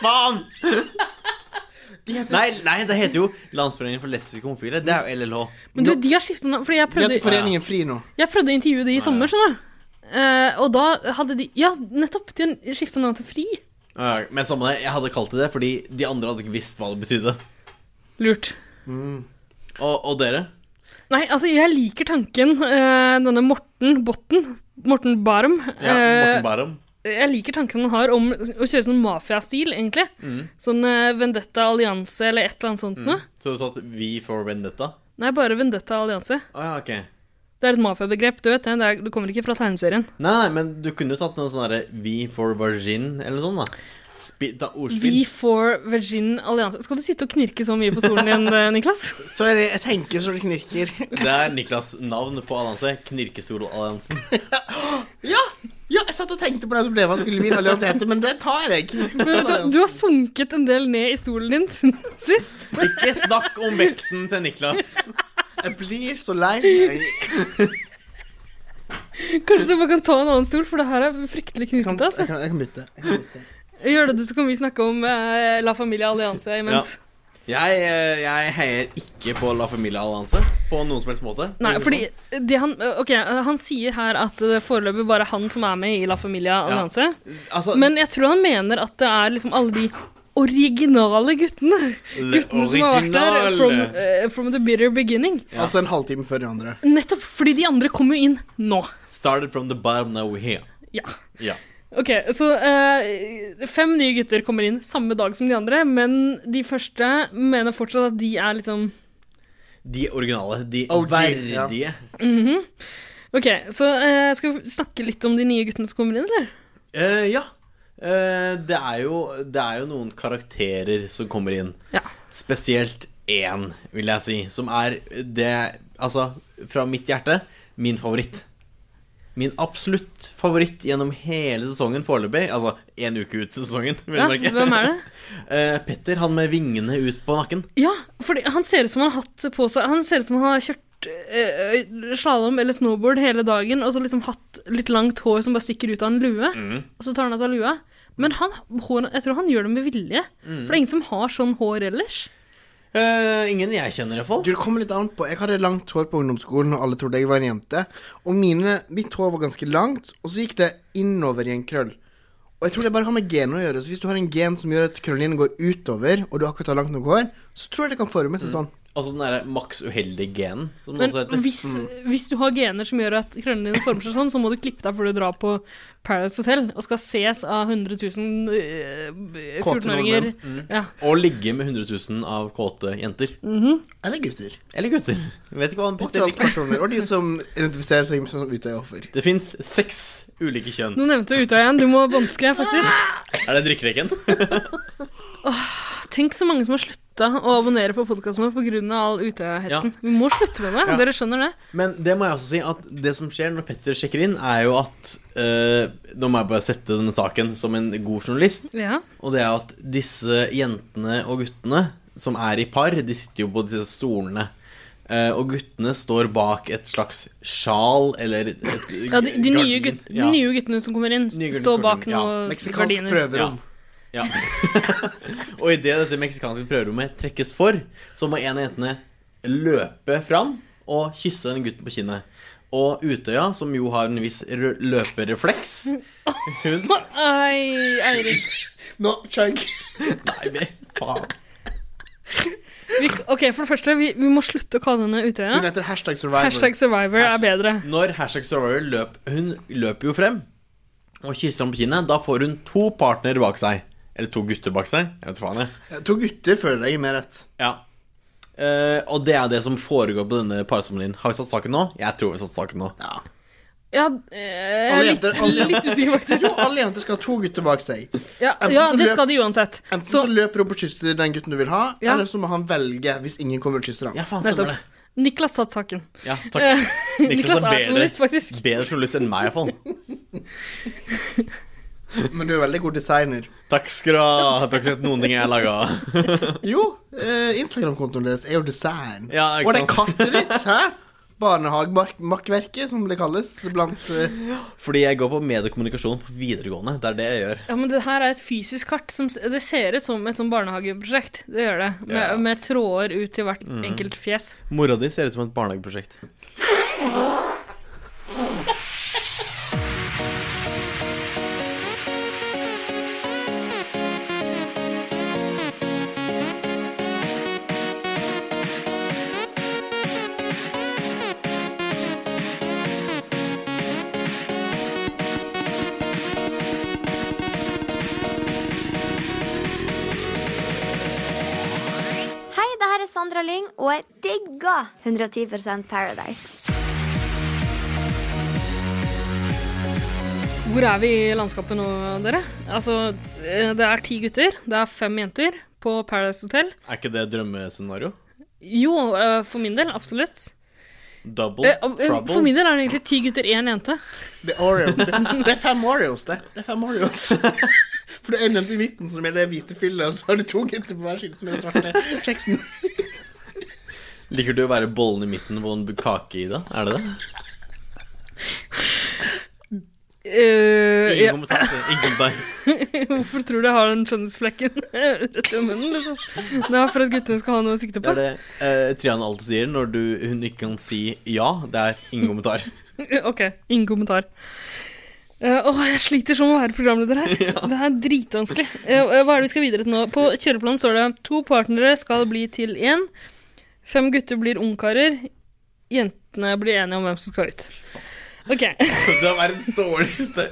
Speaker 3: Faen! *laughs* Nei, nei, det heter jo Landsforeningen for lesbiske og homofile. Det er jo LLH.
Speaker 1: Men du, de har skifta navn. Fordi jeg
Speaker 2: Vi heter
Speaker 1: prøvde,
Speaker 2: Foreningen Fri nå.
Speaker 1: jeg prøvde å intervjue de i sommer, skjønner du. Eh, og da hadde de Ja, nettopp! De har skifta navn til Fri.
Speaker 3: Ja, Men samme det, jeg hadde kalt det det fordi de andre hadde ikke visst hva det betydde.
Speaker 1: Lurt.
Speaker 3: Og, og dere?
Speaker 1: Nei, altså, jeg liker tanken. eh, denne Morten Botten. Morten Barum.
Speaker 3: Ja,
Speaker 1: eh,
Speaker 3: Morten Barum.
Speaker 1: jeg liker tanken han har om å kjøre sånn mafiastil, egentlig.
Speaker 3: Mm.
Speaker 1: Sånn eh, Vendetta Allianse eller et eller annet sånt noe.
Speaker 3: Så du tatt Vi for Vendetta?
Speaker 1: Nei, bare Vendetta Allianse.
Speaker 3: Å ja, ok.
Speaker 1: Det er et mafiabegrep, du vet det. Det, er, det kommer ikke fra tegneserien.
Speaker 3: Nei, nei, men du kunne jo tatt noe sånn derre Vi for Virgin eller noe sånt, da. Spi, ta ordspill.
Speaker 1: We for Virgin Allianse. Skal du sitte og knirke så mye på stolen
Speaker 3: *laughs*
Speaker 1: din, eh, Niklas?
Speaker 2: Så er det, jeg tenker så det knirker.
Speaker 3: Det er Niklas' navn på allianse. Knirkestolalliansen.
Speaker 2: Ja, ja jeg satt og tenkte på det som ble hva skulle min allianse hete, men det tar jeg.
Speaker 1: Men vet du, du har sunket en del ned i stolen din siden sist.
Speaker 3: Ikke snakk om vekten til Niklas.
Speaker 2: Jeg blir så lei meg.
Speaker 1: Kanskje du bare kan ta en annen stol, for det her er fryktelig
Speaker 2: Jeg kan,
Speaker 1: knirkete.
Speaker 2: jeg
Speaker 1: Altså.
Speaker 2: kan, jeg kan bytte. Jeg kan bytte.
Speaker 1: Gjør det du, så kan vi snakke om eh, La Familia Allianse imens.
Speaker 3: Jeg, eh, jeg heier ikke på La Familia Allianse på noen som helst måte.
Speaker 1: Nei, fordi
Speaker 2: sånn.
Speaker 1: det han, eh, ok, han sier her at det foreløpig bare er han som er med i La Familia Allianse.
Speaker 3: Altså,
Speaker 1: Men jeg tror han mener at det er liksom alle de originale guttene.
Speaker 3: le
Speaker 1: Guttene som har vært der
Speaker 3: originale.
Speaker 1: from, eh, from the bitter beginning.
Speaker 2: Altså en halvtime før de andre.
Speaker 1: Nettopp fordi de andre kom jo inn nå.
Speaker 3: Started from the bottom, now we're here.
Speaker 1: Ja.
Speaker 3: Ja.
Speaker 1: Ok, så eh, fem nye gutter kommer inn samme dag som de andre, men de første mener fortsatt at de er liksom
Speaker 3: De originale. De
Speaker 2: OG, ja.
Speaker 3: verdige.
Speaker 1: mhm. Ok, så eh, skal vi snakke litt om de nye guttene som kommer inn, eller?
Speaker 3: Eh, ja. Eh, det, er jo, det er jo noen karakterer som kommer inn.
Speaker 1: Ja.
Speaker 3: Spesielt én, vil jeg si, som er det Altså, fra mitt hjerte, min favoritt. min absolutt favoritt gjennom hele sesongen foreløpig. Altså én uke ut sesongen, vil
Speaker 1: Ja,
Speaker 3: jeg merke.
Speaker 1: hvem er det?
Speaker 3: Eh, Petter, han med vingene ut på nakken.
Speaker 1: Ja, for han ser ut som han har hatt på seg Han ser ut som han har kjørt slalåm eller snowboard hele dagen, og så liksom hatt litt langt hår som bare stikker ut av en lue,
Speaker 3: Mhm.
Speaker 1: og så tar han av seg lua. Men han, hår, jeg tror han gjør det med vilje, for
Speaker 3: Mhm.
Speaker 1: det er ingen som har sånn hår ellers.
Speaker 3: Eh, ingen jeg kjenner, iallfall.
Speaker 2: Du, det kommer litt an på. Jeg hadde langt hår på ungdomsskolen, og alle trodde jeg var en jente. Og mine, mitt hår var ganske langt, og så gikk det innover i en krøll. Og jeg tror det bare har med genet å gjøre. Så hvis du har en gen som gjør at krøllen din går utover, og du akkurat har langt nok hår, så tror jeg det kan forme seg sånn.
Speaker 3: Altså den derre maks uheldige genen, som det
Speaker 1: Men
Speaker 3: også heter. mm.
Speaker 1: hvis, hvis du har gener som gjør at krøllene dine former seg sånn, så må du klippe deg før du drar på Paradise Hotel og skal ses av 100 000 eh,
Speaker 2: Kåte
Speaker 1: 14-åringer. Ja.
Speaker 3: Å ligge med 100 000 av kåte jenter.
Speaker 2: Eller gutter.
Speaker 3: Eller gutter. Jeg vet ikke hva han
Speaker 2: Og
Speaker 3: Petter liker.
Speaker 2: transpersoner. Og de som identifiserer seg som Utøya-offer.
Speaker 3: Det fins seks ulike kjønn.
Speaker 1: Nå nevnte jeg Utøya igjen. Du må båndskrive, faktisk.
Speaker 3: Er det drikkerekken? *laughs*
Speaker 1: Tenk så mange som har slutta å abonnere på podkasten vår pga. all Utøya-hetsen. Vi må slutte med det. Dere skjønner det?
Speaker 3: Men det må jeg også si at det som skjer når Petter sjekker inn, er jo at eh, Nå må jeg bare sette denne saken som en god journalist.
Speaker 1: Ja.
Speaker 3: Og det er at disse jentene og guttene som er i par, de sitter jo på disse stolene. Eh, og guttene står bak et slags sjal eller et,
Speaker 1: Ja, de, de, nye
Speaker 3: gardin.
Speaker 1: gutt, de
Speaker 3: Ja.
Speaker 1: nye guttene som kommer inn,
Speaker 3: Nye guttene
Speaker 1: står bak
Speaker 3: kommer inn, ja.
Speaker 1: noen
Speaker 2: Meksikansk
Speaker 1: Mm. gardiner.
Speaker 2: prøverom.
Speaker 3: Ja. og idet dette meksikanske prøverommet trekkes for, så må en av jentene løpe fram og kysse den gutten på kinnet. Og Utøya, som jo har en viss rø- løperefleks
Speaker 1: *laughs*
Speaker 3: Hun
Speaker 1: Ai, Eirik.
Speaker 2: Nå, chunk.
Speaker 3: Nei, men faen.
Speaker 1: Vi, ok, for det første, vi, vi må slutte å kalle henne
Speaker 2: Hun
Speaker 1: Utøya.
Speaker 2: heter hashtag survivor.
Speaker 1: Hashtag survivor er bedre.
Speaker 3: Når hashtag survivor løp Hun løper jo frem og kysser ham på kinnet. Da får hun to partnere bak seg. Eller to gutter bak seg. Jeg vet faen, jeg.
Speaker 2: To gutter føler jeg er mer rett.
Speaker 3: Ja. Eh, og det er det som foregår på denne parsamlingen. Har vi satt saken nå? Jeg tror vi har satt saken nå.
Speaker 2: Ja.
Speaker 1: Ja, eh, jeg er
Speaker 2: Alle
Speaker 1: litt,
Speaker 2: jenter- alle-
Speaker 1: litt usikker, faktisk.
Speaker 2: Jo, alle jenter skal ha to gutter bak seg.
Speaker 1: Ja,
Speaker 2: Enten
Speaker 1: ja
Speaker 2: så
Speaker 1: det
Speaker 2: løp-
Speaker 1: skal de uansett.
Speaker 2: Enten så,
Speaker 1: Så
Speaker 2: løper hun på kysset den gutten du vil ha,
Speaker 1: Ja.
Speaker 2: eller så må han velge hvis ingen kommer og kysser ham.
Speaker 3: Ja, faen, stemmer det.
Speaker 1: Niklas satt saken.
Speaker 3: Ja,
Speaker 1: Eh,
Speaker 3: takk.
Speaker 1: Niklas er journalist, faktisk.
Speaker 3: bedre journalist enn meg, iallfall.
Speaker 2: Men du er veldig god designer.
Speaker 3: Takk skal du ha. Takk skal du ha noen ting jeg har laga.
Speaker 2: Jo, eh, Instagram-kontoen deres er jo design.
Speaker 3: Ja, ikke
Speaker 2: og det er
Speaker 3: sant?
Speaker 2: kartet ditt,
Speaker 3: *laughs*
Speaker 2: hæ? Barnehagemakkverket, som det kalles blant eh,
Speaker 3: Fordi jeg går på mediekommunikasjon på videregående. Det er det jeg gjør.
Speaker 1: Ja, men det her er et fysisk kart. Som, s- det ser ut som et sånn barnehageprosjekt. Det gjør det. Med,
Speaker 3: Ja.
Speaker 1: med tråder ut til hvert enkelt fjes.
Speaker 3: Mora di ser ut som et barnehageprosjekt.
Speaker 9: Hei, det her er Sandra Lyng, og jeg digger 110 Paradise.
Speaker 1: Hvor er vi i landskapet nå, dere? Altså, eh, det er ti gutter. Det er fem jenter på Paradise Hotel.
Speaker 3: Er ikke det drømmescenario?
Speaker 1: Jo, eh, for min del, absolutt.
Speaker 3: Double
Speaker 1: Eh, eh,
Speaker 3: trouble?
Speaker 1: For min del er det egentlig ti gutter, én jente.
Speaker 2: det, er Oreo. det det er fem Oreos, det. Det er fem Oreos. *laughs* For det er en jente i midten som er det hvite fyllet, og så har du to gutter på hver side som er den svarte kjeksen.
Speaker 3: Liker du å være bollen i midten på en kake, Ida? Er det det?
Speaker 1: Eh,
Speaker 3: Ingen
Speaker 1: ja,
Speaker 3: kommentar. Ingen kommentar.
Speaker 1: hvorfor tror du jeg har den *laughs* skjønnhetsflekken rett i munnen? liksom? Det er for at guttene skal ha noe å sikte
Speaker 3: Det
Speaker 1: på.
Speaker 3: er det eh, Triana alltid sier når du, hun ikke kan si ja. Det er ingen kommentar.
Speaker 1: Ok, ingen kommentar. Eh, åh, jeg sliter som å være programleder her. Det er dritvanskelig. Eh, eh, hva er det vi skal videre til nå? På kjøreplanen står det to partnere skal bli til én. Fem gutter blir ungkarer. Jentene blir enige om hvem som skal ut. Ok. *laughs* Jeg
Speaker 3: *laughs* Det er verdens dårligste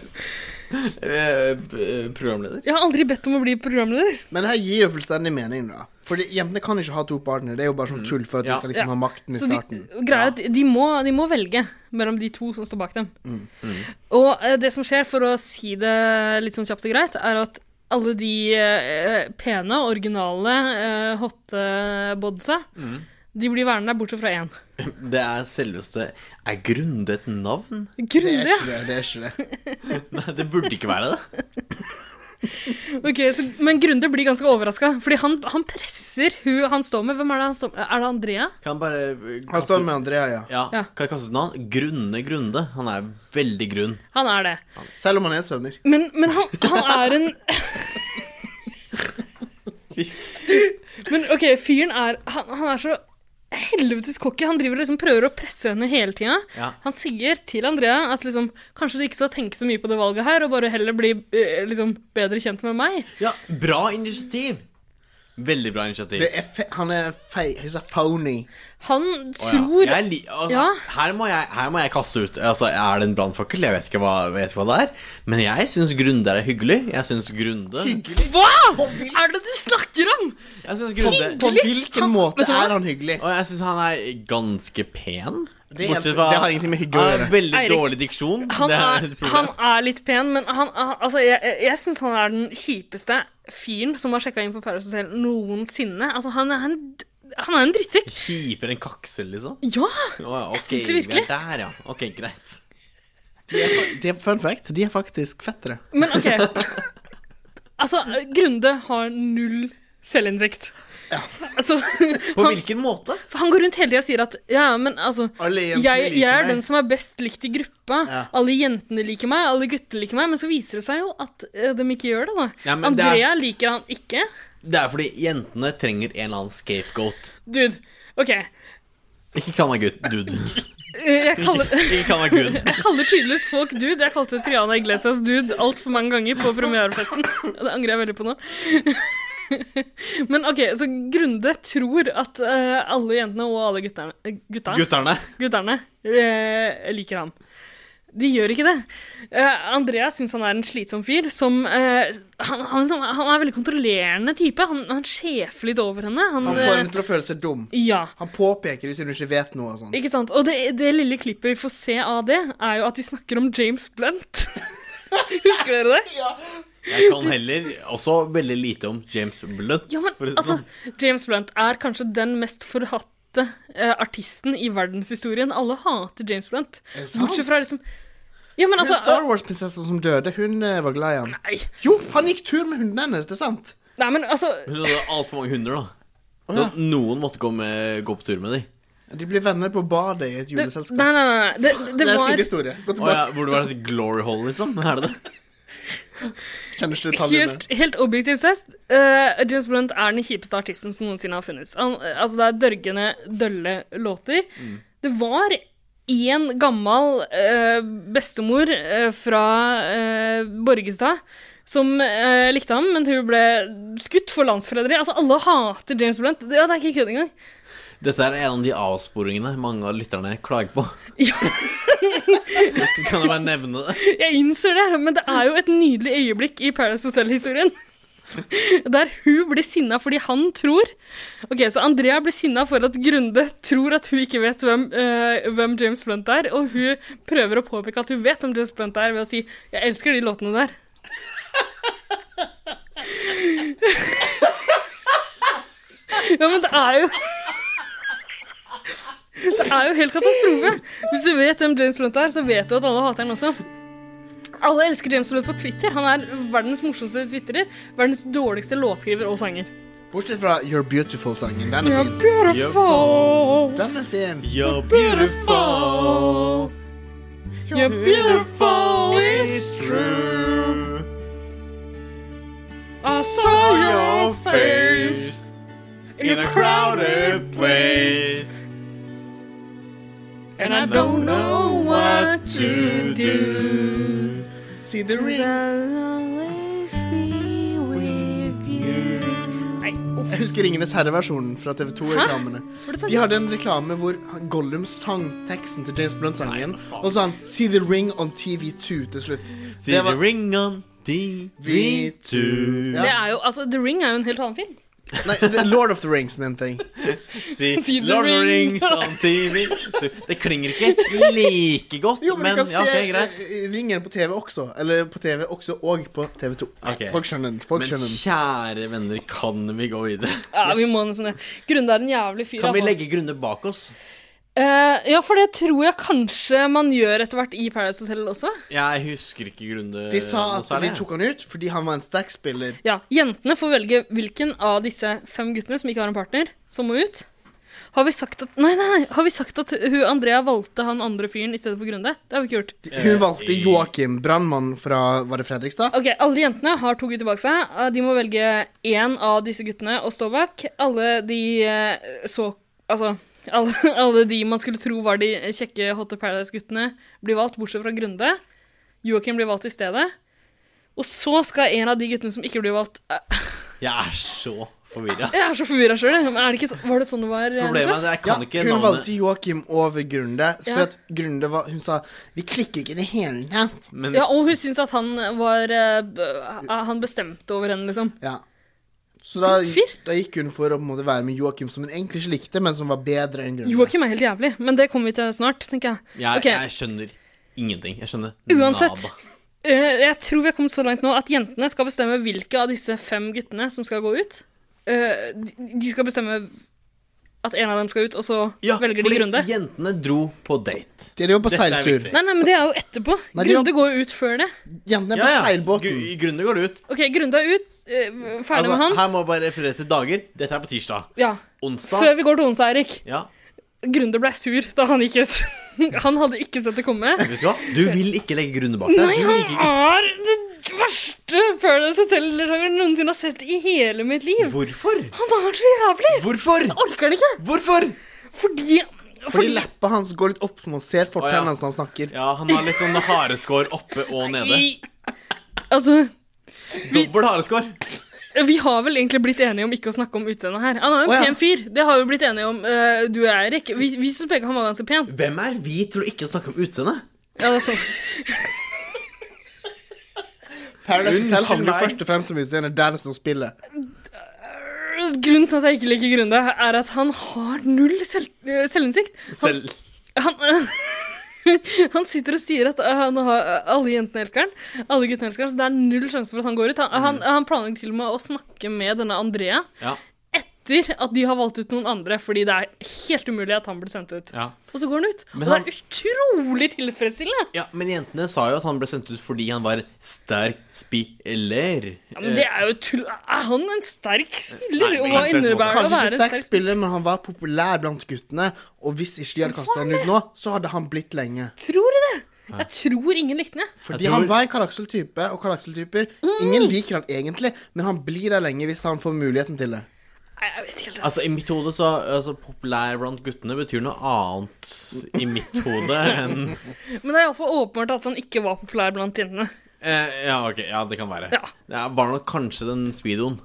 Speaker 3: eh, eh, programleder.
Speaker 1: har aldri bedt om å bli programleder.
Speaker 2: Men det her gir jo fullstendig mening, da. For jentene kan ikke ha to partnere. Det er jo bare sånn tull for at de
Speaker 3: Mm. Ja.
Speaker 2: skal liksom
Speaker 1: Ja.
Speaker 2: ha makten i
Speaker 1: Så de,
Speaker 2: starten.
Speaker 1: greia er at de, må, de må velge mellom de to som står bak dem.
Speaker 2: Mm,
Speaker 1: Og eh, det som skjer, for å si det litt sånn kjapt og greit, er at alle de eh,
Speaker 2: Mm.
Speaker 1: pene, originale, eh, hotte bodsa, de blir værende der bortsett fra én.
Speaker 3: Det er selveste Er Grunde et navn? *laughs*
Speaker 2: Det er
Speaker 1: Grunde,
Speaker 2: ikke det. det, er ikke det.
Speaker 3: Nei, det burde ikke være det.
Speaker 1: Ok, så, Men Grunde blir ganske overraska, fordi han, han presser hun han står med. Hvem er det han står med? Er det Andrea?
Speaker 3: Kan bare eh,
Speaker 2: Han
Speaker 3: kaste-
Speaker 2: står med Andrea, ja.
Speaker 3: Ja,
Speaker 1: Ja.
Speaker 3: kan jeg kaste ut navn? Grunne Grunde. Han er veldig grunn.
Speaker 1: Han er det.
Speaker 2: Selv om han er svømmer.
Speaker 1: Men, men han, han er en Men OK, fyren er Han, han er så helvetes cocky. Han driver og liksom prøver å presse henne hele tida.
Speaker 3: Ja.
Speaker 1: Han sier til Andrea at liksom, kanskje du ikke skal tenke så mye på det valget her, og bare heller bli eh, liksom, bedre kjent med meg.
Speaker 3: Ja, bra initiativ! Veldig bra initiativ.
Speaker 2: Det er fe han er fei... He's a phony.
Speaker 1: Han
Speaker 3: Å,
Speaker 1: tror
Speaker 3: ja. jeg, li altså,
Speaker 1: Ja.
Speaker 3: her, må jeg, her må jeg kaste ut altså, Er det en brannfakkel? Jeg vet ikke hva, vet ikke hva det er. Men jeg syns Grunde er hyggelig. Jeg syns Grunde
Speaker 1: Hva er det du snakker om?!
Speaker 3: Jeg synes Grunde
Speaker 2: På hvilken
Speaker 1: Han-
Speaker 2: måte
Speaker 1: vet du hva?
Speaker 2: er han hyggelig?
Speaker 3: Og jeg syns han er ganske pen.
Speaker 2: Det hjelper- det har ingenting med hygge å
Speaker 3: Han har
Speaker 2: gjøre.
Speaker 3: Veldig
Speaker 1: Eirik,
Speaker 3: dårlig diksjon.
Speaker 1: Han
Speaker 3: det
Speaker 1: er,
Speaker 3: er et problem.
Speaker 1: han er litt pen, men han, han- altså, jeg, jeg- jeg syns han er den kjipeste fyren som har sjekka inn på Paradise Hotel noensinne. Altså, han er en, han er en drittsekk.
Speaker 3: Kjipere enn kaksel, liksom.
Speaker 1: Ja!
Speaker 3: Å, ja, ok,
Speaker 1: synes det
Speaker 3: vi er
Speaker 1: virkelig.
Speaker 3: Der, ja. Ok, greit.
Speaker 2: De er, fa- de er, fun fact, de er faktisk fettere.
Speaker 1: Men OK. Altså, Grunde har null selvinnsikt. Altså,
Speaker 3: *laughs* På
Speaker 1: han,
Speaker 3: hvilken måte?
Speaker 1: for han går rundt hele tida og sier at Ja, men altså
Speaker 2: Alle
Speaker 1: jeg,
Speaker 2: jentene liker
Speaker 1: jeg er
Speaker 2: meg.
Speaker 1: den som er best likt i gruppa.
Speaker 2: Ja.
Speaker 1: Alle jentene liker meg, alle guttene liker meg. Men så viser det seg jo at eh, de ikke gjør det, da.
Speaker 3: Ja, men det er-
Speaker 1: Andrea liker han ikke.
Speaker 3: Det er fordi jentene trenger en eller annen scapegoat.
Speaker 1: Dude, OK.
Speaker 3: Ikke kall meg gutt, dude.
Speaker 1: Eh, Jeg kaller, *laughs*
Speaker 3: Ikke kall meg good.
Speaker 1: jeg kaller tydeligvis folk dude. Jeg kalte Triana Iglesias dude altfor mange ganger på premierefesten. *laughs* Det angrer jeg veldig på nå. *laughs* Men OK, så Grunde tror at eh, alle jentene og alle gutterne, gutta,
Speaker 3: Gutterne.
Speaker 1: gutterne eh, liker ham. De gjør ikke det. Eh, Andrea syns han er en slitsom fyr som eh, han, han, liksom, han er en veldig kontrollerende type. Han, han sjefer litt over henne. Han,
Speaker 2: Han får
Speaker 1: eh,
Speaker 2: henne til å føle seg dum.
Speaker 1: ja.
Speaker 2: Han påpeker hvis hun ikke vet noe og sånn.
Speaker 1: Ikke sant? Og det, det lille klippet vi får se av det, er jo at de snakker om James Blunt. *laughs* Husker dere det?
Speaker 3: Jeg kan heller også veldig lite om James Blunt.
Speaker 1: Ja,
Speaker 3: for å
Speaker 1: men
Speaker 3: si det
Speaker 1: altså,
Speaker 3: sånn.
Speaker 1: James Blunt er kanskje den mest forhatte eh, artisten i verdenshistorien. Alle hater James Blunt. Bortsett fra liksom Ja, men
Speaker 2: Hun
Speaker 1: altså
Speaker 2: Star Wars-prinsessen som døde, hun eh, var glad i han.
Speaker 1: Nei,
Speaker 2: Jo, han gikk tur med hunden hennes, det er sant.
Speaker 1: nei men altså
Speaker 3: Hun hadde altfor mange hunder, da.
Speaker 2: Å, ja.
Speaker 3: Så Noen måtte gå, med, gå på tur med dem.
Speaker 2: De blir venner på badet i et
Speaker 1: det,
Speaker 2: juleselskap.
Speaker 1: Nei, nei, nei. nei. Det, det
Speaker 2: Det er en
Speaker 1: var
Speaker 2: sindig historie. Gå
Speaker 3: Å, ja,
Speaker 2: tilbake.
Speaker 3: hvor det var et glory hole, liksom? Er det det?
Speaker 2: Kjenner ikke detaljene.
Speaker 1: Helt, helt objektivt sett, eh, James Blunt er den kjipeste artisten som noensinne har funnes. Han, eh, altså, det er dørgende, dølle låter. Det var én gammel eh, bestemor eh, fra eh, Borgestad som eh, likte ham, men hun ble skutt for landsforræderi. Altså, alle hater James Blunt. Ja, det er ikke kødd engang.
Speaker 3: Dette er en av de avsporingene mange av lytterne klager på.
Speaker 1: Ja.
Speaker 3: *laughs* kan jeg bare nevne det?
Speaker 1: Jeg innser det, men det er jo et nydelig øyeblikk i Paradise Hotel-historien. Der hun blir sinna fordi han tror Ok, Så Andrea blir sinna for at Grunde tror at hun ikke vet hvem, eh, hvem James Blunt er, og hun prøver å påpeke at hun vet om James Blunt er, ved å si 'Jeg elsker de låtene der'. *laughs* ja, men det er jo Det er jo helt katastrofe. Hvis du vet hvem James Blunt er, så vet du at alle hater han også. Alle elsker James Blunt på Twitter. Han er verdens morsomste twitterer. Verdens dårligste låtskriver og sanger.
Speaker 2: Bortsett fra You're Beautiful-sangen. Den er
Speaker 1: You're
Speaker 2: fin.
Speaker 1: beautiful.
Speaker 2: Den er fin.
Speaker 3: You're beautiful,
Speaker 1: You're beautiful is
Speaker 3: true.
Speaker 1: I saw your face in a crowded place. And I don't know what to do.
Speaker 2: See the ring.
Speaker 1: I'll always be with you. Nei, uff.
Speaker 2: Jeg husker Ringenes herre-versjonen fra TV2-reklamene.
Speaker 1: Var det sant?
Speaker 2: De hadde en reklame hvor han- Gollum sang teksten til James Blunt-sangen, og så sa han 'See the ring on TV2' til slutt.
Speaker 3: See
Speaker 2: Det var-
Speaker 3: the ring on TV2.
Speaker 1: Det er jo, altså, The Ring er jo en helt annen film.
Speaker 2: Nei, det er Lord of the Rings, min ting.
Speaker 3: See,
Speaker 1: See the
Speaker 3: Lord of the
Speaker 1: ring.
Speaker 3: Rings on TV. Du, det klinger ikke like godt,
Speaker 2: Jo, men,
Speaker 3: men,
Speaker 2: du kan
Speaker 3: ja,
Speaker 2: se
Speaker 3: ok, greit.
Speaker 2: eh, Ringen på TV også. Eller på TV også og på TV2.
Speaker 3: Ok.
Speaker 2: Folk skjønner den. Folk
Speaker 3: Men
Speaker 2: skjønner den.
Speaker 3: kjære venner, kan vi gå videre?
Speaker 1: Ja, vi må nesten det. Grunde er en jævlig fyr.
Speaker 3: Kan vi
Speaker 1: altså.
Speaker 3: legge grunner bak oss?
Speaker 1: Eh, ja, for det tror jeg kanskje man gjør etter hvert i Paradise Hotel også.
Speaker 3: Jeg husker ikke grunde
Speaker 2: De sa at
Speaker 3: noe særlig.
Speaker 2: de tok han ut fordi han var en sterk spiller.
Speaker 1: Ja, Jentene får velge hvilken av disse fem guttene som ikke har en partner, som må ut. Har vi sagt at Nei, nei, nei. Har vi sagt at hun Andrea valgte han andre fyren i stedet for Grunde? Det har vi ikke gjort.
Speaker 3: Eh,
Speaker 2: De- Hun valgte Joakim, brannmann fra Var det Fredrikstad?
Speaker 1: Ok, Alle jentene har to gutter bak seg. Eh, De må velge én av disse guttene å stå bak. Alle de eh, så Altså, *laughs* alle, alle de man skulle tro var de kjekke Hot of Paradise-guttene, blir valgt, bortsett fra Grunde. Joakim blir valgt i stedet. Og så skal en av de guttene som ikke blir valgt eh, *laughs*
Speaker 3: Jeg er så forvirra.
Speaker 1: Jeg er så forvirra sjøl, jeg. Men er det ikke så, var det sånn det var? eh,
Speaker 3: Problemet
Speaker 1: Niklas?
Speaker 3: er at jeg
Speaker 2: Ja,
Speaker 3: kan ikke
Speaker 2: hun
Speaker 3: navnet.
Speaker 2: valgte Joakim over Grunde. For
Speaker 1: Ja.
Speaker 2: at Grunde var Hun sa 'Vi klikker ikke i det hele tatt'.
Speaker 3: Men
Speaker 1: Ja, og hun syns at han var eh, b- Han bestemte over henne, liksom.
Speaker 2: Ja. Så da,
Speaker 1: Drittfyr.
Speaker 2: da gikk hun for å på en måte være med Joakim, som hun egentlig ikke likte, men som var bedre enn Grunde.
Speaker 1: Joakim er helt jævlig, men det kommer vi til snart, tenker jeg.
Speaker 3: jeg,
Speaker 1: Ok.
Speaker 3: jeg skjønner ingenting. Jeg skjønner
Speaker 1: Uansett.
Speaker 3: nada.
Speaker 1: eh, jeg tror vi har kommet så langt nå at jentene skal bestemme hvilke av disse fem guttene som skal gå ut. Eh, de de skal bestemme at en av dem skal ut, og så
Speaker 3: Ja,
Speaker 1: velger de
Speaker 3: fordi
Speaker 1: Grunde.
Speaker 3: jentene dro på date.
Speaker 2: De var på
Speaker 3: Dette er
Speaker 2: seiltur.
Speaker 3: viktig.
Speaker 1: Nei, nei, men det er jo etterpå.
Speaker 2: Nei, de-
Speaker 1: Grunde går jo ut før det.
Speaker 2: Jentene er på seilbåten.
Speaker 3: Gru- I grunnen går det ut.
Speaker 1: OK, Grunde er ut. eh, ferdig
Speaker 3: Altså,
Speaker 1: med han.
Speaker 3: Her må jeg bare referere til dager. Dette er på tirsdag.
Speaker 1: Ja.
Speaker 3: Onsdag.
Speaker 1: Før vi går til onsdag, Erik.
Speaker 3: Ja,
Speaker 1: Grunde ble sur da han gikk ut. *laughs* han hadde ikke sett det komme.
Speaker 3: vet du hva? Du vil ikke legge Grunde bak deg.
Speaker 1: Nei,
Speaker 3: Du liker ikke.
Speaker 1: han er det verste Paradise Hotel-deltakeren jeg noensinne har sett i hele mitt liv.
Speaker 3: Hvorfor?
Speaker 1: Han er så jævlig!
Speaker 3: Hvorfor?
Speaker 1: Orker han ikke? *laughs*
Speaker 3: Hvorfor?
Speaker 1: Fordi
Speaker 2: Fordi
Speaker 1: Fordi
Speaker 2: leppa hans går litt opp, så man ser
Speaker 3: Å,
Speaker 2: fortennene
Speaker 3: ja.
Speaker 2: hans når han snakker.
Speaker 3: Ja, han har litt sånn hareskår oppe og nede.
Speaker 1: i- Altså,
Speaker 3: Dobbel hareskår.
Speaker 1: vi har vel egentlig blitt enige om ikke å snakke om utseendet her. Han er jo en
Speaker 2: Å, ja.
Speaker 1: pen fyr. Det har vi blitt enige om, eh, du og jeg, Erik. Vi, vi syns begge han var ganske pen.
Speaker 3: Hvem er vi til å ikke snakke om utseende?
Speaker 1: Ja, det er sant.
Speaker 2: Paradise Hotel
Speaker 3: Unnskyld
Speaker 2: handler
Speaker 3: meg.
Speaker 2: først og fremst om utseendet. Det er det som spiller.
Speaker 1: Grunnen til at jeg ikke liker Grunde, er at han har null selv, eh, selvinnsikt. Han,
Speaker 3: Selv
Speaker 1: han, *laughs* han sitter og sier at eh, han har, alle jentene elsker han, alle guttene elsker han, så det er null sjanse for at han går ut. Han,
Speaker 2: Mm.
Speaker 1: han, han planlegger til og med å snakke med denne Andrea
Speaker 3: Ja.
Speaker 1: etter at de har valgt ut noen andre, fordi det er helt umulig at han blir sendt ut.
Speaker 3: Ja.
Speaker 1: Og så går han ut.
Speaker 3: Men
Speaker 1: og
Speaker 3: han-
Speaker 1: det er utrolig tilfredsstillende!
Speaker 3: ja, Men jentene sa jo at han ble sendt ut fordi han var en sterk spiller.
Speaker 1: Ja, men det er jo tull. Er han en sterk spiller?
Speaker 3: Nei, men
Speaker 1: og hva
Speaker 3: kanskje-
Speaker 1: innebærer det å
Speaker 2: Kanskje
Speaker 1: være
Speaker 2: ikke sterk
Speaker 1: sterk?
Speaker 2: spiller, men han var populær blant guttene. Og hvis ikke de hadde kasta han ut nå, så hadde han blitt lenge.
Speaker 1: Tror du det? Jeg tror ingen likte den, jeg.
Speaker 2: Fordi
Speaker 3: Jeg tror-
Speaker 2: han var en karakseltype, og karakseltyper Ingen liker han egentlig, men han blir der lenge hvis han får muligheten til det.
Speaker 1: Nei, jeg vet ikke helt.
Speaker 3: Altså, I mitt hode så altså, populær blant guttene betyr noe annet i mitt hode enn
Speaker 1: Men det er iallfall åpenbart at han ikke var populær blant jentene.
Speaker 3: *laughs* eh, Ja, ok, ja, det kan være.
Speaker 1: Ja.
Speaker 3: Det var nok kanskje den speedoen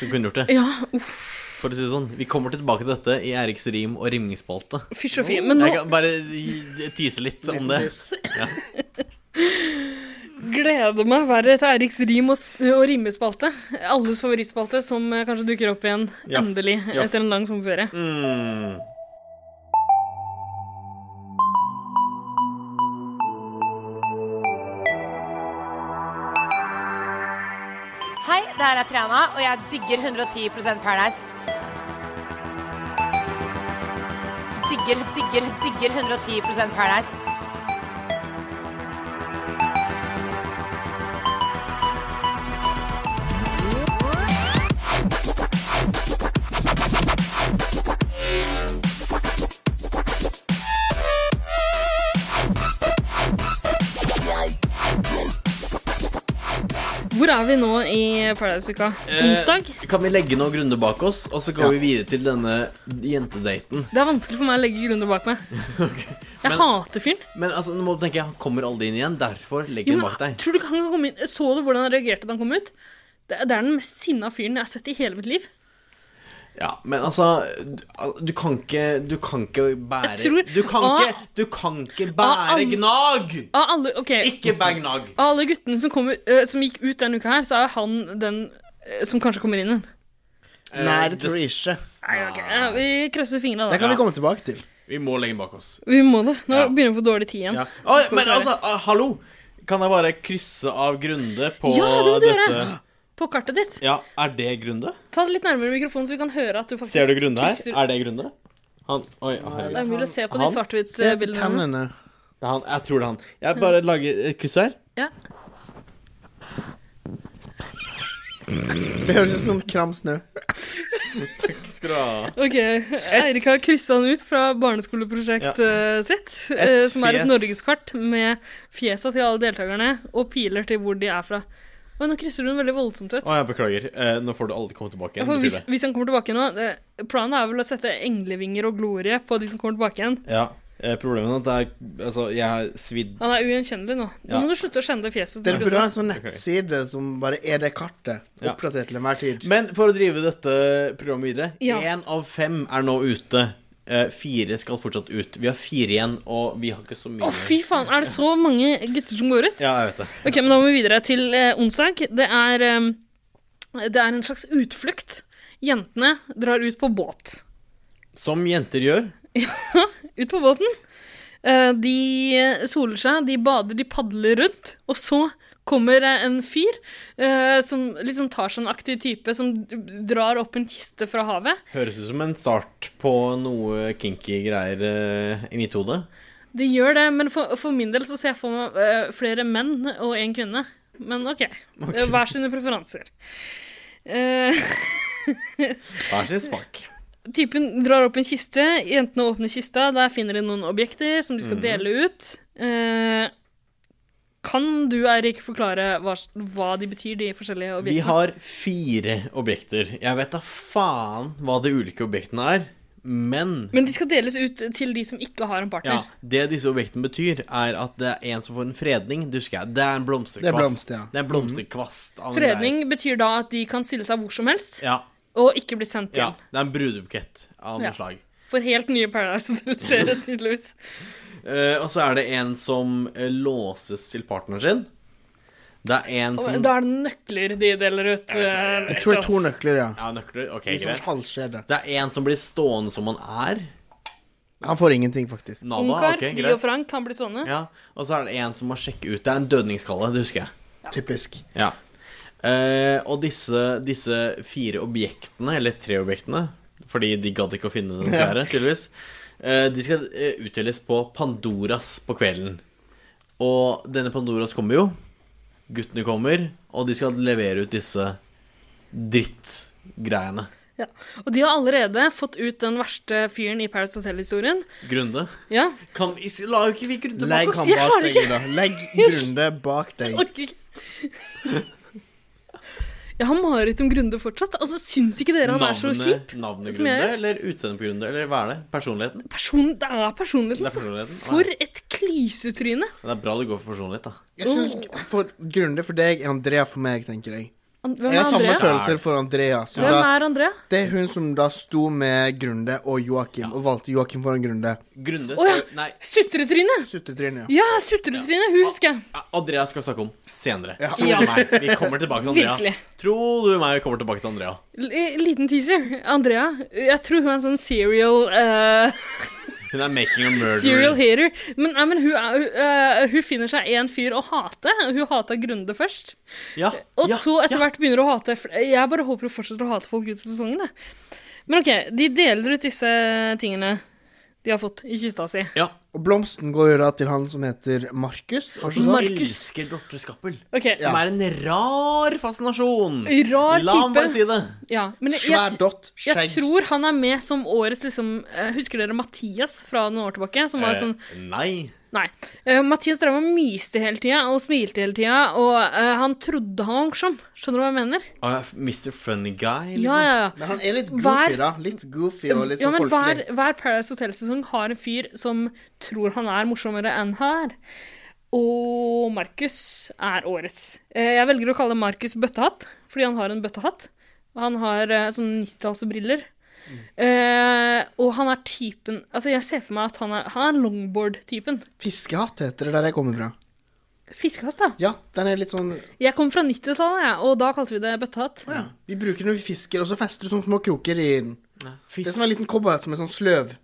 Speaker 3: som kunne gjort det.
Speaker 1: Ja,
Speaker 3: For å si det sånn, Vi kommer tilbake til dette i Eriks rim- og rimningsspalte.
Speaker 1: Fysj og fy. Men nå
Speaker 3: Jeg kan bare gi- tise litt om det.
Speaker 1: gleder meg verre til Eriks rim og, s- og rimespalte. Alles favorittspalte som eh, kanskje dukker opp igjen
Speaker 3: Ja.
Speaker 1: endelig
Speaker 3: Ja.
Speaker 1: etter en lang sommerferie.
Speaker 3: Mm.
Speaker 4: Hei, det her er Triana, og jeg digger 110 Paradise. Digger, digger, digger 110 Paradise.
Speaker 1: Hvor er vi nå i Paradise-uka? Onsdag?
Speaker 3: Eh, kan vi legge noe grunde bak oss, og så går vi videre til denne jentedaten.
Speaker 1: Det er vanskelig for meg å legge grunner bak
Speaker 3: *laughs*
Speaker 1: meg. Jeg
Speaker 3: men-
Speaker 1: hater fyren.
Speaker 3: Men altså, nå må du tenke, han kommer aldri inn igjen, derfor legger
Speaker 1: Jo,
Speaker 3: han
Speaker 1: men
Speaker 3: bak deg.
Speaker 1: Tror du ikke han kan komme inn? Så du hvordan han reagerte da han kom ut? Det er det er den mest sinna fyren jeg har sett i hele mitt liv.
Speaker 3: Ja, men altså Du, du kan ikke Du kan ikke bære
Speaker 1: Jeg tror-
Speaker 3: du, kan
Speaker 1: Ah.
Speaker 3: ikke, du kan ikke
Speaker 1: Ah,
Speaker 3: bære
Speaker 1: an-
Speaker 3: gnag!
Speaker 1: Av alle, ok,
Speaker 3: Ikke bære gnag.
Speaker 1: av alle guttene som, kommer, eh, som gikk ut denne uka her, så er jo han den eh, som kanskje kommer inn igjen.
Speaker 2: Nei,
Speaker 3: Eh,
Speaker 2: det tror jeg ikke.
Speaker 1: Nei, ok, eh, Vi krysser fingra
Speaker 2: Det
Speaker 1: da.
Speaker 2: kan vi komme tilbake til.
Speaker 3: Vi må legge den bak oss.
Speaker 1: Vi må det. Nå
Speaker 3: Ja.
Speaker 1: begynner vi å få dårlig tid igjen.
Speaker 3: Ja.
Speaker 1: Så
Speaker 3: Oi,
Speaker 1: skal vi
Speaker 3: men
Speaker 1: klare.
Speaker 3: altså, ah, hallo! Kan jeg bare krysse av Grunde på
Speaker 1: Ja, det må du
Speaker 3: dette?
Speaker 1: gjøre! På kartet ditt.
Speaker 3: Ja, Er det Grunde?
Speaker 1: Ta det litt nærmere mikrofonen, så vi kan høre at du faktisk
Speaker 3: Ser du Grunde her?
Speaker 1: krysser-
Speaker 3: Er det Grunde? Han Oi, å,
Speaker 1: Det
Speaker 3: herregud.
Speaker 1: er umulig å se på de
Speaker 3: Han?
Speaker 2: Se etter
Speaker 1: svart-hvitt-bildene.
Speaker 2: tennene.
Speaker 3: Det er han. Jeg tror det er han. Jeg bare lager et kryss her.
Speaker 1: Ja.
Speaker 2: Det høres ut som kramsnø.
Speaker 3: Takk skal du ha.
Speaker 1: Ok, Eirik har kryssa han ut fra barneskoleprosjektet eh, sitt, eh, som er et
Speaker 3: fjes.
Speaker 1: norgeskart med fjesa til alle deltakerne og piler til hvor de er fra. Og nå krysser du den veldig voldsomt ut.
Speaker 3: Å, jeg beklager. Eh, nå får du aldri komme
Speaker 1: Ja,
Speaker 3: tilbake igjen.
Speaker 1: for
Speaker 3: betyr
Speaker 1: hvis,
Speaker 3: det.
Speaker 1: hvis han kommer tilbake nå eh, Planen er vel å sette englevinger og glorie på de som kommer tilbake igjen.
Speaker 3: Ja. Eh, problemet er at det er Altså, jeg har svidd
Speaker 1: Han er ugjenkjennelig nå. Nå
Speaker 3: Ja.
Speaker 1: må du slutte å kjenne det fjeset.
Speaker 2: Dere
Speaker 1: til
Speaker 2: burde ha
Speaker 1: Rune.
Speaker 2: en sånn nettside som bare er det kartet.
Speaker 3: Ja.
Speaker 2: Oppdatert til enhver tid.
Speaker 3: Men for å drive dette programmet videre
Speaker 1: Ja.
Speaker 3: Én av fem er nå ute. Eh, fire skal fortsatt ut. Vi har fire igjen, og vi har ikke så mye
Speaker 1: Å, fy faen! Er det så mange gutter som går ut?
Speaker 3: Ja, jeg vet det.
Speaker 1: Ok, men Da må vi videre til eh, onsdag. Det er, eh, det er en slags utflukt. Jentene drar ut på båt.
Speaker 3: Som jenter gjør.
Speaker 1: ut på båten. Eh, De soler seg, de bader, de padler rundt. Og så kommer eh, en fyr eh, som liksom tar seg en aktiv type, som drar opp en kiste fra havet.
Speaker 3: Høres ut som en start på noe kinky greier eh, i mitt hode.
Speaker 1: Det gjør det, men for, for min del så ser jeg for meg eh, flere menn og én kvinne. Men OK. Eh, Hver sine preferanser. Eh,
Speaker 3: Hver sin smak.
Speaker 1: typen drar opp en kiste, jentene åpner kista, der finner de noen objekter som de
Speaker 3: Mhm.
Speaker 1: skal dele ut. Eh, kan du, Eirik, forklare hva, hva de betyr, de forskjellige
Speaker 3: Vi
Speaker 1: objektene?
Speaker 3: har fire objekter. Jeg vet da faen hva de ulike objektene er, men
Speaker 1: Men de skal deles ut til de som ikke har en partner.
Speaker 3: ja, Det disse objektene betyr, er at det er en som får en fredning. Det husker jeg. Det er en blomsterkvast.
Speaker 2: Det er blomst, ja.
Speaker 3: Det er en blomsterkvast av en
Speaker 1: Fredning betyr da at de kan stille seg hvor som helst,
Speaker 3: greie. Ja,
Speaker 1: og ikke bli sendt
Speaker 3: ja.
Speaker 1: hjem.
Speaker 3: Det er en brudebukett av noe
Speaker 1: Ja.
Speaker 3: slag.
Speaker 1: For helt nye
Speaker 3: *laughs*
Speaker 1: Paradise-deltakere, tydeligvis.
Speaker 3: Eh, og så er det en som eh, låses til partneren sin. Det er en som
Speaker 1: Og Da er det nøkler de deler ut. eh,
Speaker 2: Jeg tror det
Speaker 1: etter
Speaker 2: er to
Speaker 1: oss.
Speaker 2: nøkler, ja.
Speaker 3: Ja, nøkler. Ok,
Speaker 2: I sånn
Speaker 3: greit.
Speaker 2: halvskjede.
Speaker 3: Det er en som blir stående som han er.
Speaker 2: Han får ingenting, faktisk.
Speaker 3: Nada.
Speaker 1: Ungkar,
Speaker 3: ok,
Speaker 1: Fri og
Speaker 3: greit.
Speaker 1: Frank kan bli sånne.
Speaker 3: Ja, og så er det en som må sjekke ut. Det er en dødningskalle, det husker jeg.
Speaker 2: Typisk.
Speaker 3: Ja. Eh, og disse, disse fire objektene, eller tre objektene, fordi de gadd ikke å finne den fjerde, tydeligvis, eh, de skal eh, utdeles på Pandoras på kvelden. Og denne Pandoras kommer jo. Guttene kommer, og de skal levere ut disse drittgreiene.
Speaker 1: Ja. Og de har allerede fått ut den verste fyren i Paradise Hotel-historien.
Speaker 3: Grunde.
Speaker 1: Ja,
Speaker 3: Kan, is- la jo ikke vi grunde
Speaker 2: Legg
Speaker 3: bak oss?
Speaker 2: han
Speaker 1: Jeg har
Speaker 2: bak deg,
Speaker 1: ikke- *laughs*
Speaker 2: Ida. Legg Grunde bak deg.
Speaker 1: orker ikke. Jeg har mareritt om Grunde fortsatt. Altså, Syns ikke dere han er så
Speaker 3: Navnet,
Speaker 1: kjip?
Speaker 3: navnet
Speaker 1: som jeg
Speaker 3: Grunde,
Speaker 1: gjør.
Speaker 3: eller utseendet på Grunde, eller hva er det? Personligheten?
Speaker 1: Person, det er personligheten,
Speaker 3: Det er
Speaker 1: altså.
Speaker 3: personligheten.
Speaker 1: For et klysetryne.
Speaker 3: Det er bra du går for personlighet, da.
Speaker 2: Jeg synes for Grunde for deg er Andrea for meg, tenker jeg.
Speaker 1: An- Hvem
Speaker 2: Jeg
Speaker 1: er
Speaker 2: har samme
Speaker 1: Andrea?
Speaker 2: følelser for Andrea. Så
Speaker 1: Hvem
Speaker 2: da,
Speaker 1: er Andrea?
Speaker 2: det er hun som da sto med Grunde og Joakim, og valgte Joakim foran Grunde.
Speaker 3: Grunde
Speaker 1: Å
Speaker 3: skal
Speaker 1: ja!
Speaker 3: jo- Nei,
Speaker 1: Sutretryne!
Speaker 2: Suttetryne, ja.
Speaker 1: Ja, sutretryne! Hun husker jeg.
Speaker 3: Andrea skal vi snakke om senere.
Speaker 2: Ja.
Speaker 3: Tro
Speaker 1: Ja.
Speaker 3: meg, vi kommer tilbake til Andrea.
Speaker 1: Virkelig.
Speaker 3: Tro du meg, vi kommer tilbake til Andrea.
Speaker 1: L- Liten teaser. Andrea. Jeg tror hun er en sånn serial eh,
Speaker 3: Hun er making a
Speaker 1: Serial
Speaker 3: murderer.
Speaker 1: hater. Men, nei, men hun, er, hun, eh, hun finner seg en fyr å hate. Hun hata Grunde først.
Speaker 3: Ja,
Speaker 1: Og
Speaker 3: ja,
Speaker 1: så etter
Speaker 3: ja.
Speaker 1: hvert begynner hun å hate fl- Jeg bare håper hun fortsetter å hate folk ut sesongen. Jeg. Men OK, de deler ut disse tingene de har fått i kista si.
Speaker 3: Ja,
Speaker 2: Og blomsten går jo da til han som heter Markus. Altså, og
Speaker 3: som
Speaker 2: så-
Speaker 1: Markus.
Speaker 3: elsker Dorte Skappel.
Speaker 1: Ok,
Speaker 3: Som er en rar fascinasjon.
Speaker 1: Rar
Speaker 3: La ham bare
Speaker 1: type.
Speaker 3: si det.
Speaker 1: ja, men jeg,
Speaker 2: Svær
Speaker 1: jeg,
Speaker 2: dott,
Speaker 1: jeg
Speaker 2: skjegg.
Speaker 1: tror han er med som årets liksom eh, Husker dere Mathias fra noen år tilbake? Som var
Speaker 3: Eh,
Speaker 1: sånn
Speaker 3: Nei.
Speaker 1: Nei. Eh, Mathias drev og myste hele tida og smilte hele tida, og eh, han trodde han var morsom. Skjønner du hva jeg mener?
Speaker 3: Ah, Mr. Funny Guy, liksom.
Speaker 1: Ja, ja, ja.
Speaker 2: Men han er litt
Speaker 1: Hver-
Speaker 2: goofy, da. Litt goofy og litt
Speaker 1: ja,
Speaker 2: sånn
Speaker 1: men hver,
Speaker 2: folkelig.
Speaker 1: hver Paradise Hotel-sesong har en fyr som tror han er morsommere enn her. Og Markus er årets. Eh, Jeg velger å kalle Markus Bøttehatt, fordi han har en bøttehatt. Og Han har eh, sånne 90-tallsbriller.
Speaker 2: Mm.
Speaker 1: Eh, og han er typen Altså, jeg ser for meg at han er, han er longboard-typen.
Speaker 2: Fiskehatt heter det der jeg kommer fra.
Speaker 1: Fiskehatt, da.
Speaker 2: Ja, den er litt sånn
Speaker 1: Jeg kom fra 90-tallet, jeg, og da kalte vi det bøttehatt.
Speaker 2: ja. Vi bruker den når vi fisker, og så fester du sånne små kroker i den. Det
Speaker 3: Fis-
Speaker 2: er som en liten cowboyhatt som er sånn sløv,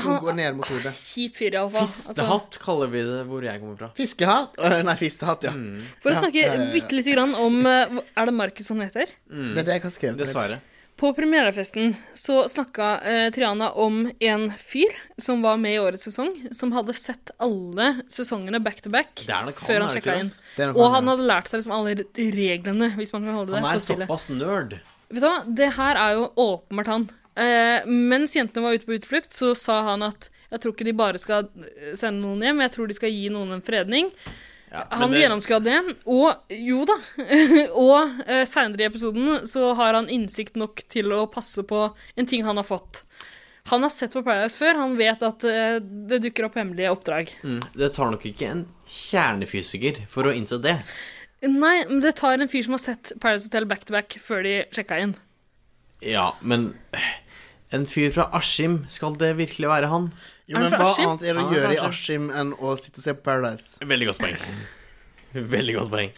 Speaker 2: som går ned mot hodet.
Speaker 1: Kjip fyr, iallfall. Altså,
Speaker 3: Fistehatt kaller vi det hvor jeg kommer fra.
Speaker 2: Fiskehatt? Mm, Å, Nei, fistehatt, ja.
Speaker 1: for å
Speaker 2: Ja,
Speaker 1: snakke
Speaker 2: ja, ja, ja.
Speaker 1: bitte lite grann om eh, hva- Er det Markus han heter?
Speaker 2: mm. Det er det jeg har skrevet.
Speaker 3: Dessverre.
Speaker 1: På premierefesten så snakka eh, Triana om en fyr som var med i årets sesong, som hadde sett alle sesongene back to back
Speaker 3: Det er nok han,
Speaker 1: før
Speaker 3: er
Speaker 1: han
Speaker 3: det
Speaker 1: sjekka
Speaker 3: ikke
Speaker 1: inn.
Speaker 3: det?
Speaker 2: Det er nok
Speaker 1: Og
Speaker 2: han,
Speaker 1: han hadde lært seg liksom alle reglene, hvis man kan holde det
Speaker 3: Han
Speaker 1: for
Speaker 3: er
Speaker 1: spillet.
Speaker 3: såpass nerd.
Speaker 1: Vet du hva, det her er jo åpenbart han. Eh, mens jentene var ute på utflukt, så sa han at jeg tror ikke de bare skal eh, sende noen hjem, jeg tror de skal gi noen en fredning.
Speaker 3: Ja, men
Speaker 1: Han
Speaker 3: det-
Speaker 1: gjennomskua det, og jo da. *laughs* og eh, seinere i episoden så har han innsikt nok til å passe på en ting han har fått. Han har sett på Paradise før, han vet at eh, det dukker opp hemmelige oppdrag.
Speaker 3: Mm, Det tar nok ikke en kjernefysiker for å innse det.
Speaker 1: Nei, men det tar en fyr som har sett Paradise Hotel back to back før de sjekka inn.
Speaker 3: Ja, men eh, en fyr fra Askim, skal det virkelig være han?
Speaker 2: Jo,
Speaker 1: Er han
Speaker 2: men
Speaker 1: fra
Speaker 2: hva
Speaker 1: Askim?
Speaker 2: annet er det å
Speaker 3: Han er
Speaker 2: gjøre i
Speaker 3: fra
Speaker 2: Askim enn å sitte og se på Paradise?
Speaker 3: Veldig godt poeng. *laughs* Veldig godt poeng.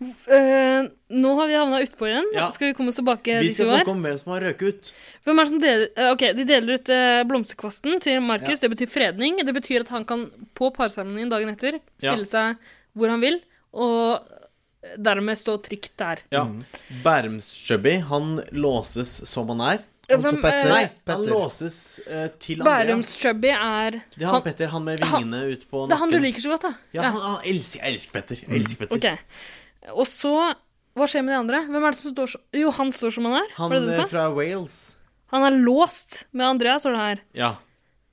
Speaker 1: Eh, nå har vi havna utpå igjen.
Speaker 3: Ja.
Speaker 1: Skal vi komme oss tilbake
Speaker 3: Vi
Speaker 1: dit
Speaker 3: skal
Speaker 1: vi var?
Speaker 3: snakke om hvem som har røket ut.
Speaker 1: Hvem er det som deler, eh, ok, De deler ut eh, blomsterkvasten til Markus. Det betyr fredning. Det betyr at han kan på parseremonien dagen etter
Speaker 3: Ja.
Speaker 1: stille seg hvor han vil, og dermed stå trygt der.
Speaker 3: Ja. Bærumsjubby, Mm. han låses som han er.
Speaker 1: Hvem,
Speaker 2: Petter.
Speaker 1: eh,
Speaker 3: Nei, han
Speaker 2: Petter.
Speaker 3: låses eh, til Andrea.
Speaker 1: Bærums Chubby er
Speaker 3: Det er han, Petter, han med vingene ut på nakken.
Speaker 1: Det er han du liker så godt, da.
Speaker 3: Ja, han, han elsker, jeg elsker Petter. Jeg elsker Petter.
Speaker 1: Ok. Og så Hva skjer med de andre? Hvem er det som står så Jo, han står som han er.
Speaker 3: Han
Speaker 1: var det det du
Speaker 3: eh,
Speaker 1: sa?
Speaker 3: fra Wales.
Speaker 1: Han er låst med Andrea, står det her.
Speaker 3: Ja.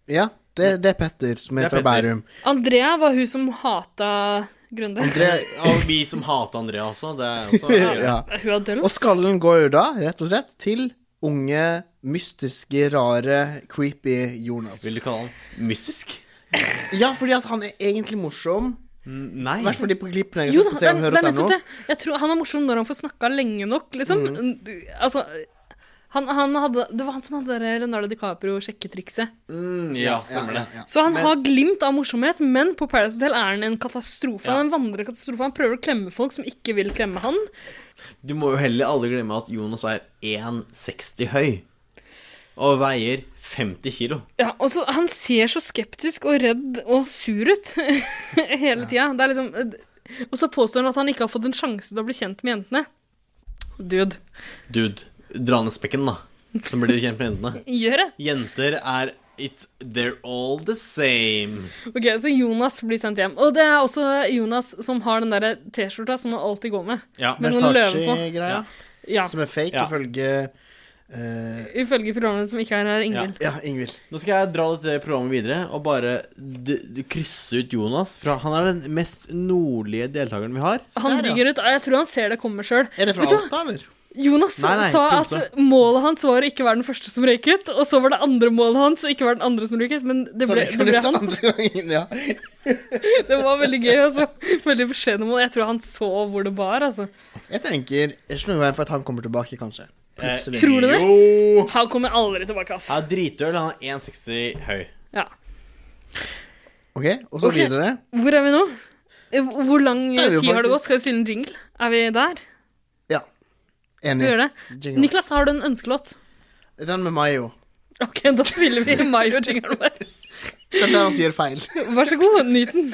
Speaker 2: Ja, det, det er Petter som
Speaker 3: Det
Speaker 2: er,
Speaker 3: er
Speaker 2: fra
Speaker 3: Petter.
Speaker 2: Bærum.
Speaker 1: Andrea var hun som hata Grunde.
Speaker 3: Eh, Og vi som hater Andrea også. Det er også
Speaker 1: *laughs*
Speaker 2: Ja.
Speaker 1: Hun har dølt.
Speaker 2: Og skallen går jo da, rett og slett, til unge, mystiske, rare, creepy Jonas.
Speaker 3: Vil du kalle han mystisk?
Speaker 2: Ja, fordi at han er egentlig morsom.
Speaker 3: N- Nei.
Speaker 2: I hvert fall de på klippene jeg
Speaker 1: Jo
Speaker 2: har
Speaker 1: da,
Speaker 2: sett
Speaker 1: det, er-
Speaker 2: på Se og
Speaker 1: det er
Speaker 2: Hør
Speaker 1: nettopp
Speaker 2: nå. Mm.
Speaker 1: det. Jeg tror han er morsom når han får snakka lenge nok, liksom. Du- Altså han, han hadde, det var han som hadde det Leonardo DiCaprio-sjekketrikset.
Speaker 3: Mm, ja, stemmer det.
Speaker 1: Så han har glimt av morsomhet, men på Paradise Hotel er han en katastrofe. Han er en vandrende katastrofe. Han prøver å klemme folk som ikke vil klemme han.
Speaker 3: Du må jo heller aldri glemme at Jonas er 1,60 høy. Og veier 50 kilo.
Speaker 1: Ja, og så Han ser så skeptisk og redd og sur ut *laughs* hele tida. Det er liksom Og så påstår han at han ikke har fått en sjanse til å bli kjent med jentene. Dude,
Speaker 3: Dude, dra ned spekken, da. Så blir du kjent med jentene.
Speaker 1: gjør det!
Speaker 3: Jenter er It's They're all the same.
Speaker 1: Ok, Så Jonas blir sendt hjem. Og det er også Jonas som har den der T-skjorta som han alltid går med.
Speaker 3: Ja,
Speaker 1: Med noen løver på.
Speaker 2: Versace-greia,
Speaker 1: Ja,
Speaker 2: som er fake
Speaker 3: Ja.
Speaker 2: ifølge eh,
Speaker 1: Ifølge programmet som ikke er her, Ingvild.
Speaker 2: Ja, Ingvild.
Speaker 3: Nå skal jeg dra dette programmet videre og bare d d krysse ut Jonas. Fra, han er den mest nordlige deltakeren vi har.
Speaker 1: Han
Speaker 2: Der, ja.
Speaker 1: ligger ut, og jeg tror han ser det komme sjøl.
Speaker 2: Er det fra Alta, eller?
Speaker 1: Jonas
Speaker 3: Nei, nei,
Speaker 1: sa
Speaker 3: Tromsø.
Speaker 1: at målet hans var å ikke være den første som røyk ut, og så var det andre målet hans å ikke være den andre som røyk ut, men det ble,
Speaker 2: Sorry, *laughs*
Speaker 1: det ble han.
Speaker 2: andre gangen, ja.
Speaker 1: Det var veldig gøy, altså. Veldig beskjedne mål. Jeg tror han så hvor det bar, altså.
Speaker 2: Jeg tenker Det er ikke noe i veien for at han kommer tilbake, kanskje. Plutselig.
Speaker 1: Eh, Tror du det?
Speaker 3: Jo!
Speaker 1: Han kommer aldri tilbake, ass.
Speaker 3: Han er dritøl. Han er 1,60 høy.
Speaker 1: Ja.
Speaker 2: Ok, og så
Speaker 1: Ok.
Speaker 2: videre.
Speaker 1: Hvor er vi nå? Eh, Hvor lang
Speaker 2: Da er vi jo
Speaker 1: tid har det
Speaker 2: faktisk-
Speaker 1: gått? Skal vi spille en jingle? Er vi der?
Speaker 2: Ja.
Speaker 1: Skal vi
Speaker 2: Enig.
Speaker 1: gjøre det?
Speaker 2: Jingle.
Speaker 1: Niklas, har du en ønskelåt?
Speaker 2: Den med Mayo.
Speaker 1: Ok, da spiller vi Mayo jingeren vår.
Speaker 2: Den der han sier
Speaker 1: *laughs*
Speaker 2: feil.
Speaker 1: Vær så god, nyt den.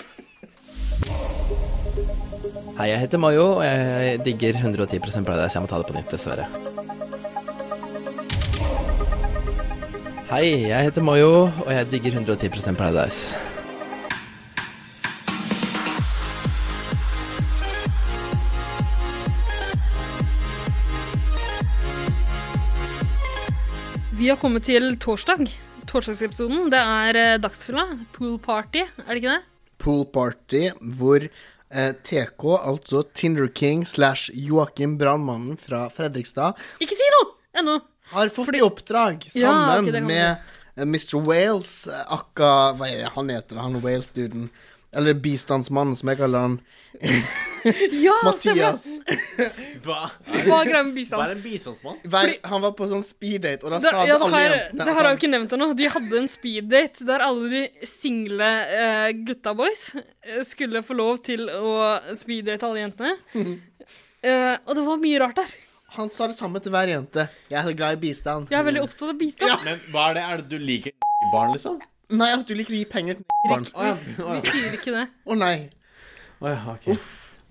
Speaker 10: Hei, jeg heter Mayo, og jeg digger 110 Paradise. Jeg må ta det på nytt, dessverre. Hei, jeg heter Mayo, og jeg digger 110 Paradise.
Speaker 1: Vi har kommet til torsdag. Torsdagsepisoden. Det er eh, dagsfylla. Pool party, er det ikke det?
Speaker 2: Pool party hvor eh, TK, altså Tinder King slash Joakim Brannmannen fra Fredrikstad,
Speaker 1: Ikke si noe ennå!
Speaker 2: har fått i oppdrag
Speaker 1: Ja, ok,
Speaker 2: sammen
Speaker 1: det kan du
Speaker 2: med eh, Mr. Wales, eh, akka Hva er det han heter, han Wales-duden? Eller bistandsmannen, som jeg kaller han.
Speaker 1: Ja,
Speaker 2: Mathias.
Speaker 1: stemmer
Speaker 3: Hva,
Speaker 1: det. Hva er greia med
Speaker 3: hva er
Speaker 1: bistand?
Speaker 3: en bistandsmann?
Speaker 2: Hver, han var på sånn speeddate, og da
Speaker 1: Det,
Speaker 2: sa
Speaker 1: ja, det,
Speaker 2: alle
Speaker 1: her,
Speaker 2: jentene
Speaker 1: det
Speaker 2: at
Speaker 1: her har
Speaker 2: han-
Speaker 1: vi ikke nevnt ennå. De hadde en speeddate der alle de single eh, gutta boys eh, skulle få lov til å speeddate alle jentene. Eh, og det var mye rart der.
Speaker 2: Han sa det samme til hver jente. Jeg er så glad i bistand.
Speaker 1: Jeg er veldig opptatt av bistand.
Speaker 3: Men hva er det? Er det du liker i barn, liksom?
Speaker 2: Nei, at du liker å gi penger til barn.
Speaker 3: Å ja. Å
Speaker 1: Vi
Speaker 3: ja.
Speaker 1: sier ikke det.
Speaker 2: Å nei.
Speaker 3: Å ja, ok.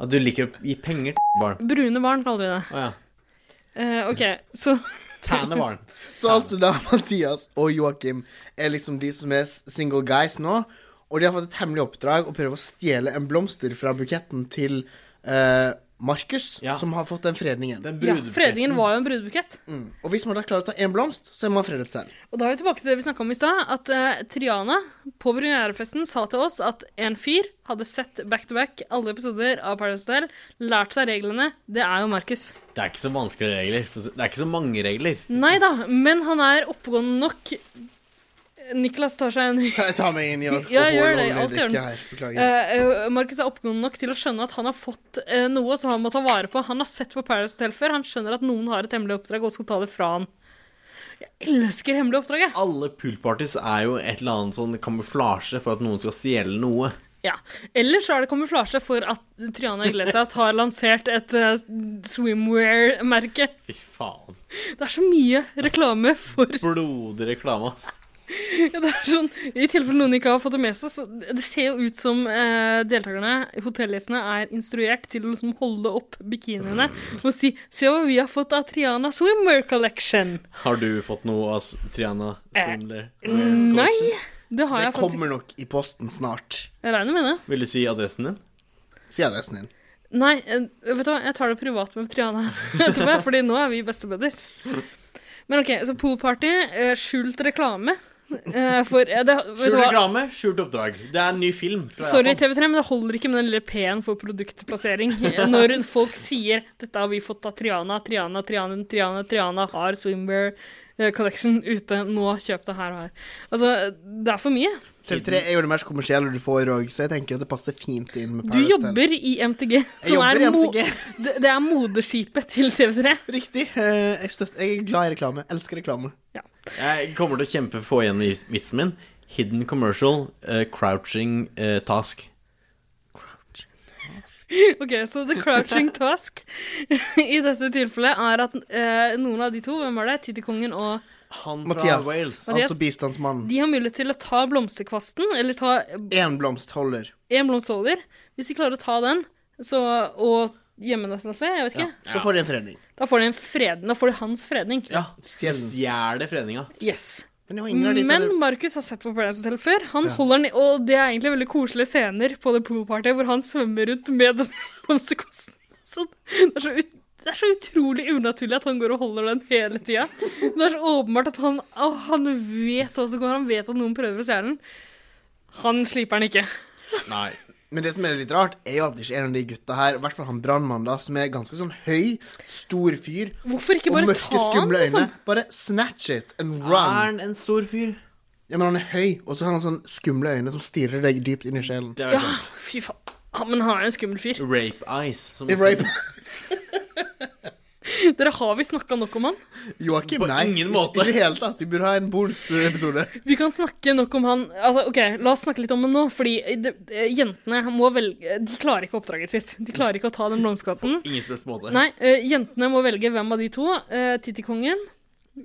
Speaker 3: At du liker å gi penger til barn.
Speaker 1: Brune barn kaller vi det.
Speaker 3: Å ja.
Speaker 1: Eh, ok, så *laughs*
Speaker 3: Tærne var den.
Speaker 2: Så altså da *laughs* Mathias og Joakim er liksom de som er s- single guys nå. Og de har fått et hemmelig oppdrag å prøve å stjele en blomster fra buketten til eh, Markus, som har fått den fredningen.
Speaker 1: Ja, fredningen var jo en brudebukett.
Speaker 2: Mm. Og hvis man da klarer å ta én blomst, så er man fredet *laughs* selv.
Speaker 1: Og da er vi tilbake til det vi snakka om i stad. At eh, Triana på premierefesten sa til oss at en fyr hadde sett back to back alle episoder av Paradise Hotel, lært seg reglene. Det er jo Markus.
Speaker 3: Det er ikke så vanskelige regler. for å si- Det er ikke så mange regler.
Speaker 1: Nei da, men han er oppegående nok. Niklas tar seg en
Speaker 2: Jeg tar meg inn i alkohol
Speaker 1: Ja, gjør
Speaker 2: og
Speaker 1: det. Alt
Speaker 2: drikke
Speaker 1: gjør den.
Speaker 2: her. Beklager.
Speaker 1: Eh, eh, Markus er oppegående nok til å skjønne at han har fått eh, noe som han må ta vare på. Han har sett på Paradise Hotel før. Han skjønner at noen har et hemmelig oppdrag og skal ta det fra han. Jeg elsker hemmelig oppdrag, jeg.
Speaker 3: Alle poolparties er jo et eller annet sånn kamuflasje for at noen skal stjele noe.
Speaker 1: Ja. Eller så er det kamuflasje for at Triana Iglesias har lansert et eh, swimwear-merke.
Speaker 3: Fy faen.
Speaker 1: Det er så mye reklame for *laughs*
Speaker 3: Blodig reklame, ass.
Speaker 1: ja, det er sånn, I tilfelle noen ikke har fått det med seg, så det ser jo ut som eh, deltakerne, hotellgjestene, er instruert til å liksom holde opp bikiniene og si 'Se hva vi har fått av Triana Swimwear Collection'.
Speaker 3: Har du fått noe av Triana eh, Swimler?
Speaker 1: Eh, Nei, det har
Speaker 2: Det
Speaker 1: jeg faktisk
Speaker 2: kommer nok i posten snart.
Speaker 1: Jeg regner med det.
Speaker 3: Vil du si adressen din?
Speaker 2: Si adressen din.
Speaker 1: Nei, eh, vet du hva, jeg tar det privat med Triana *laughs* etterpå, jeg, fordi nå er vi beste buddies. Men OK, så poolparty, eh, skjult reklame eh, for eh, det, vet du
Speaker 3: Skjult
Speaker 1: hva?
Speaker 3: reklame, skjult oppdrag. Det er en ny film. Fra
Speaker 1: Sorry,
Speaker 3: Japan.
Speaker 1: TV3, men det holder ikke med den lille P-en for produktplassering. *laughs* Når folk sier 'dette har vi fått av Triana', Triana, Triana, Triana, Triana har swimwear eh, collection ute, nå kjøp det her og her. Altså, det er for mye.
Speaker 2: TV3 er jo det mest kommersielle du får òg, så jeg tenker at det passer fint inn med
Speaker 1: Du
Speaker 2: Paradise Hotel.
Speaker 1: jobber i MTG, som
Speaker 2: jobber
Speaker 1: er
Speaker 2: i
Speaker 1: mo
Speaker 2: MTG.
Speaker 1: det det er moderskipet til TV3.
Speaker 2: Riktig. Eh, Jeg, støtter, jeg er glad i reklame. Elsker reklame.
Speaker 3: Jeg kommer til å kjempe for å få igjen vis- vitsen min. Hidden commercial, eh, crouching eh, task.
Speaker 1: Ok, så the crouching task *laughs* i dette tilfellet er at eh, noen av de to, hvem var det? Tittikongen og
Speaker 3: Han fra
Speaker 2: Mathias,
Speaker 3: Wales.
Speaker 1: Mathias.
Speaker 2: altså bistandsmannen.
Speaker 1: De har mulighet til å ta blomsterkvasten, eller ta
Speaker 2: Én blomst holder.
Speaker 1: én blomsterholder. Hvis de klarer å ta den, så, og gjemme den et eller annet sted, jeg vet ikke,
Speaker 2: Så får de en fredning.
Speaker 1: da får de en fredning. Da får de hans fredning.
Speaker 3: Ja, Stjeler fredninga.
Speaker 1: Yes.
Speaker 2: Men, det var ingen av disse-
Speaker 1: Men Markus har sett på Paradise Hotel før. Han
Speaker 2: Ja.
Speaker 1: holder den i, Og det er egentlig veldig koselige scener på det poolpartyet hvor han svømmer rundt med den *laughs* blomsterkosten. Så det, er så ut, det er så utrolig unaturlig at han går og holder den hele tida. Det er så åpenbart at han, å, han vet hva som går, han vet at noen prøver å stjele den. Han sliper den ikke.
Speaker 3: Nei.
Speaker 2: men det som er litt rart, er jo at det ikke er en av de gutta her, i hvert fall han brannmannen, da, som er ganske sånn høy, stor fyr,
Speaker 1: Hvorfor ikke
Speaker 2: og
Speaker 1: bare
Speaker 2: mørke,
Speaker 1: ta han,
Speaker 2: skumle øyne.
Speaker 1: liksom?
Speaker 2: Bare snatch it and
Speaker 3: Er
Speaker 2: run.
Speaker 3: han en stor fyr?
Speaker 2: Ja, Men han er høy, og så har han sånn skumle øyne som stirrer deg dypt inn i sjelen.
Speaker 3: Det er
Speaker 1: Ja,
Speaker 3: vel sant.
Speaker 1: fy faen. Ja, men han er jo en skummel fyr.
Speaker 3: Rape eyes. Som
Speaker 2: Rape.
Speaker 1: Dere har vi snakka nok om han.
Speaker 2: Joakim,
Speaker 3: På
Speaker 2: nei.
Speaker 3: ingen
Speaker 2: ikke-
Speaker 3: måte.
Speaker 2: Ikke i det hele tatt. Vi burde ha en bonusepisode.
Speaker 1: Vi kan snakke nok om han altså, Ok, La oss snakke litt om det nå. Fordi de, eh, jentene må velge De klarer ikke oppdraget sitt. De klarer ikke å ta den blomsterkatten.
Speaker 3: Ingen som helst måte.
Speaker 1: Nei, eh, jentene må velge hvem av de to. Uh, Tittikongen,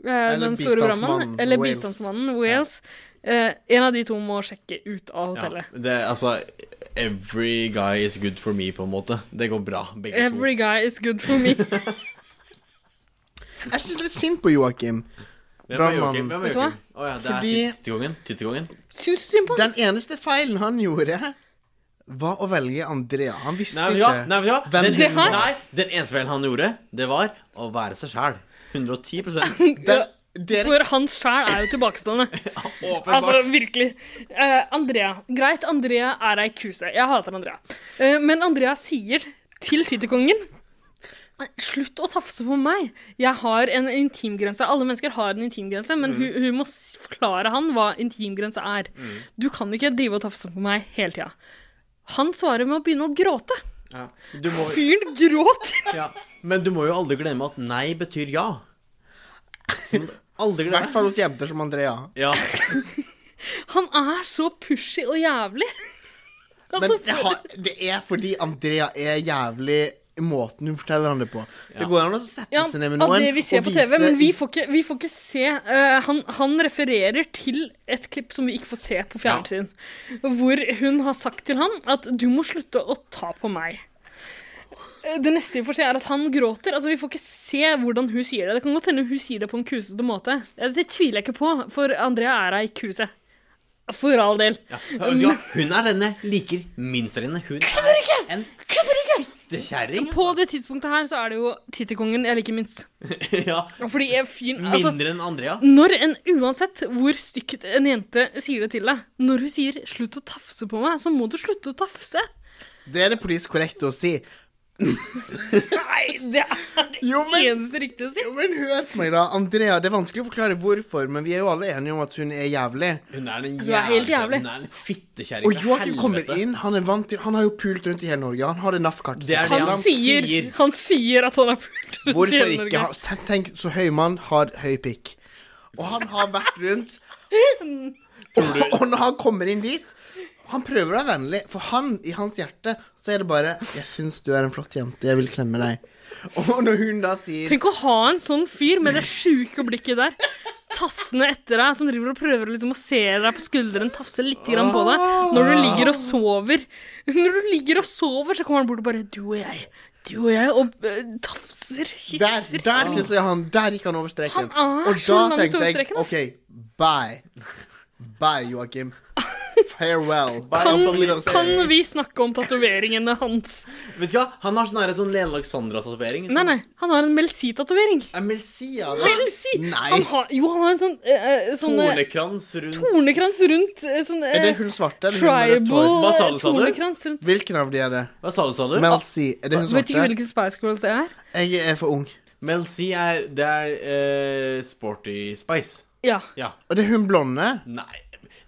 Speaker 1: eh,
Speaker 2: Eller
Speaker 1: den store
Speaker 2: bistandsmannen,
Speaker 1: brannmannen, eller
Speaker 2: Wales.
Speaker 1: bistandsmannen Wales. Eh, en av de to må sjekke ut av
Speaker 3: Ja,
Speaker 1: hotellet.
Speaker 3: det er altså Every guy is good for me, på en måte. Det går bra, begge
Speaker 1: Every guy is good for
Speaker 2: *laughs*
Speaker 1: me.
Speaker 2: Jeg syns litt synd på Joakim.
Speaker 3: to. Hvem er
Speaker 2: Brannmannen.
Speaker 3: Joakim? Hvem er
Speaker 1: Vet du
Speaker 3: Joakim? Å ja, det er
Speaker 2: Fordi-
Speaker 3: titt- tittkongen. Tittkongen.
Speaker 1: Syns du synd på han?
Speaker 2: Den eneste feilen han gjorde, var å velge Andrea. Han visste
Speaker 3: Nei, men ja,
Speaker 2: ikke
Speaker 3: nei, men ja.
Speaker 2: hvem
Speaker 3: Den,
Speaker 1: Det her-
Speaker 3: nei, den eneste feilen han gjorde, det var å være seg sjæl. 110
Speaker 1: *laughs* Ja,
Speaker 2: Den,
Speaker 1: For han sjæl er jo tilbakestående.
Speaker 3: Åpenbart.
Speaker 1: Altså, virkelig. Eh, Andrea. Greit, Andrea er ei kuse. Jeg hater Andrea. Eh, men Andrea sier til Tittekongen Slutt å tafse på meg. Jeg har en intimgrense. Alle mennesker har en intimgrense, men hun, hun må s- forklare han hva intimgrense er. Du kan ikke drive og tafse på meg hele tida. Han svarer med å begynne å gråte.
Speaker 3: ja. du må,
Speaker 1: Fyren gråt!
Speaker 3: ja. Men du må jo aldri glemme at nei betyr ja. Du må Aldri
Speaker 2: I
Speaker 3: glemme
Speaker 2: hvert fall hos jenter som Andrea.
Speaker 3: Ja.
Speaker 1: Han er så pushy og jævlig. Altså,
Speaker 2: Men det, har, det er fordi Andrea er jævlig i måten hun forteller han det på. Det går an å sette
Speaker 1: Ja,
Speaker 2: seg ned med
Speaker 1: av
Speaker 2: noen
Speaker 1: det vi ser på TV, men vi får ikke, vi får ikke se eh, han, han refererer til et klipp som vi ikke får se på fjernsyn, hvor hun har sagt til han at 'du må slutte å ta på meg'. eh, det neste vi får se, er at han gråter. Altså, Vi får ikke se hvordan hun sier det. Det kan godt hende hun sier det på en kusete måte. Eh, Det tviler jeg ikke på, for Andrea er ei kuse. For all del.
Speaker 3: Ja, hun er denne liker minst av dine. Hun er en fittekjerring.
Speaker 1: På det tidspunktet her så er det jo Tittekongen jeg liker minst.
Speaker 3: Ja.
Speaker 1: Fordi jeg fyren altså,
Speaker 3: Mindre enn Andrea.
Speaker 1: Når en, uansett hvor stygt en jente sier det til deg, når hun sier 'slutt å tafse på meg', så må du slutte å tafse.
Speaker 2: Det er det politisk korrekte å si.
Speaker 1: Nei, det er *laughs* det eneste riktige å si.
Speaker 2: Hør på meg da, Andrea, det er vanskelig å forklare hvorfor, men vi er jo alle enige om at hun er jævlig.
Speaker 3: Hun er en
Speaker 1: Du er helt jævlig.
Speaker 3: Hun er en fittekjerring.
Speaker 2: Og
Speaker 3: fra
Speaker 2: Joakim kommer
Speaker 3: helvete.
Speaker 2: inn, han er vant til Han har jo pult rundt i hele Norge, han har det NAF-kartet
Speaker 3: Det er det
Speaker 1: Han, sier, han sier at han er pult. rundt i
Speaker 2: Hvorfor
Speaker 1: hele
Speaker 2: ikke?
Speaker 1: Norge.
Speaker 2: Han, se- tenk, så høy mann har høy pikk. Og han har vært
Speaker 1: *laughs*
Speaker 2: rundt og, og når han kommer inn dit Han prøver å være vennlig, for han, i hans hjerte, så er det bare 'Jeg syns du er en flott jente, jeg vil klemme deg'. Og når hun da sier
Speaker 1: Tenk å ha en sånn fyr med det sjuke blikket der. Tassende etter deg, som driver og prøver liksom å se deg på skulderen, tafse litt grann på deg. Når du ligger og sover, *laughs* Når du ligger og sover, så kommer han bort og bare 'Du og jeg, du og jeg', og eh, tafser,
Speaker 2: Der,
Speaker 1: kysser.
Speaker 2: der synes jeg han Der gikk han over streken.
Speaker 1: Han er
Speaker 2: Og
Speaker 1: så
Speaker 2: da
Speaker 1: langt
Speaker 2: tenkte
Speaker 1: over
Speaker 2: jeg
Speaker 1: streken, ass.
Speaker 2: OK, bye. Bye, Joakim. Farewell.
Speaker 1: Kan,
Speaker 2: Wiedersehen.
Speaker 1: kan vi snakke om tatoveringene hans?
Speaker 3: Vet du hva? Han har sånn her sånn Lene Alexandra-tatovering. sånn
Speaker 1: Nei, nei, han har en Melsi-tatovering.
Speaker 3: Melsia,
Speaker 1: Melsi!
Speaker 3: Nei.
Speaker 1: Han har, jo, han har en sånn eh, eh, sånn, eh,
Speaker 3: Tornekrans rundt
Speaker 1: Tornekrans rundt eh, sånn
Speaker 2: Er det
Speaker 1: eh,
Speaker 2: hun svarte? eller hun med rødt hår?
Speaker 1: tribal eh,
Speaker 3: Basale, sa du?
Speaker 1: tornekrans rundt
Speaker 2: Hvilken av de er det?
Speaker 3: Hva sa du, sa du?
Speaker 2: Mel C. Er det hun
Speaker 1: Vet ikke
Speaker 2: svarte?
Speaker 1: hvilken Spice Girls det er?
Speaker 2: Jeg er for ung.
Speaker 3: Mel C er Det er eh, Sporty Spice.
Speaker 1: Ja.
Speaker 3: Ja.
Speaker 2: Og det er hun blonde?
Speaker 3: Nei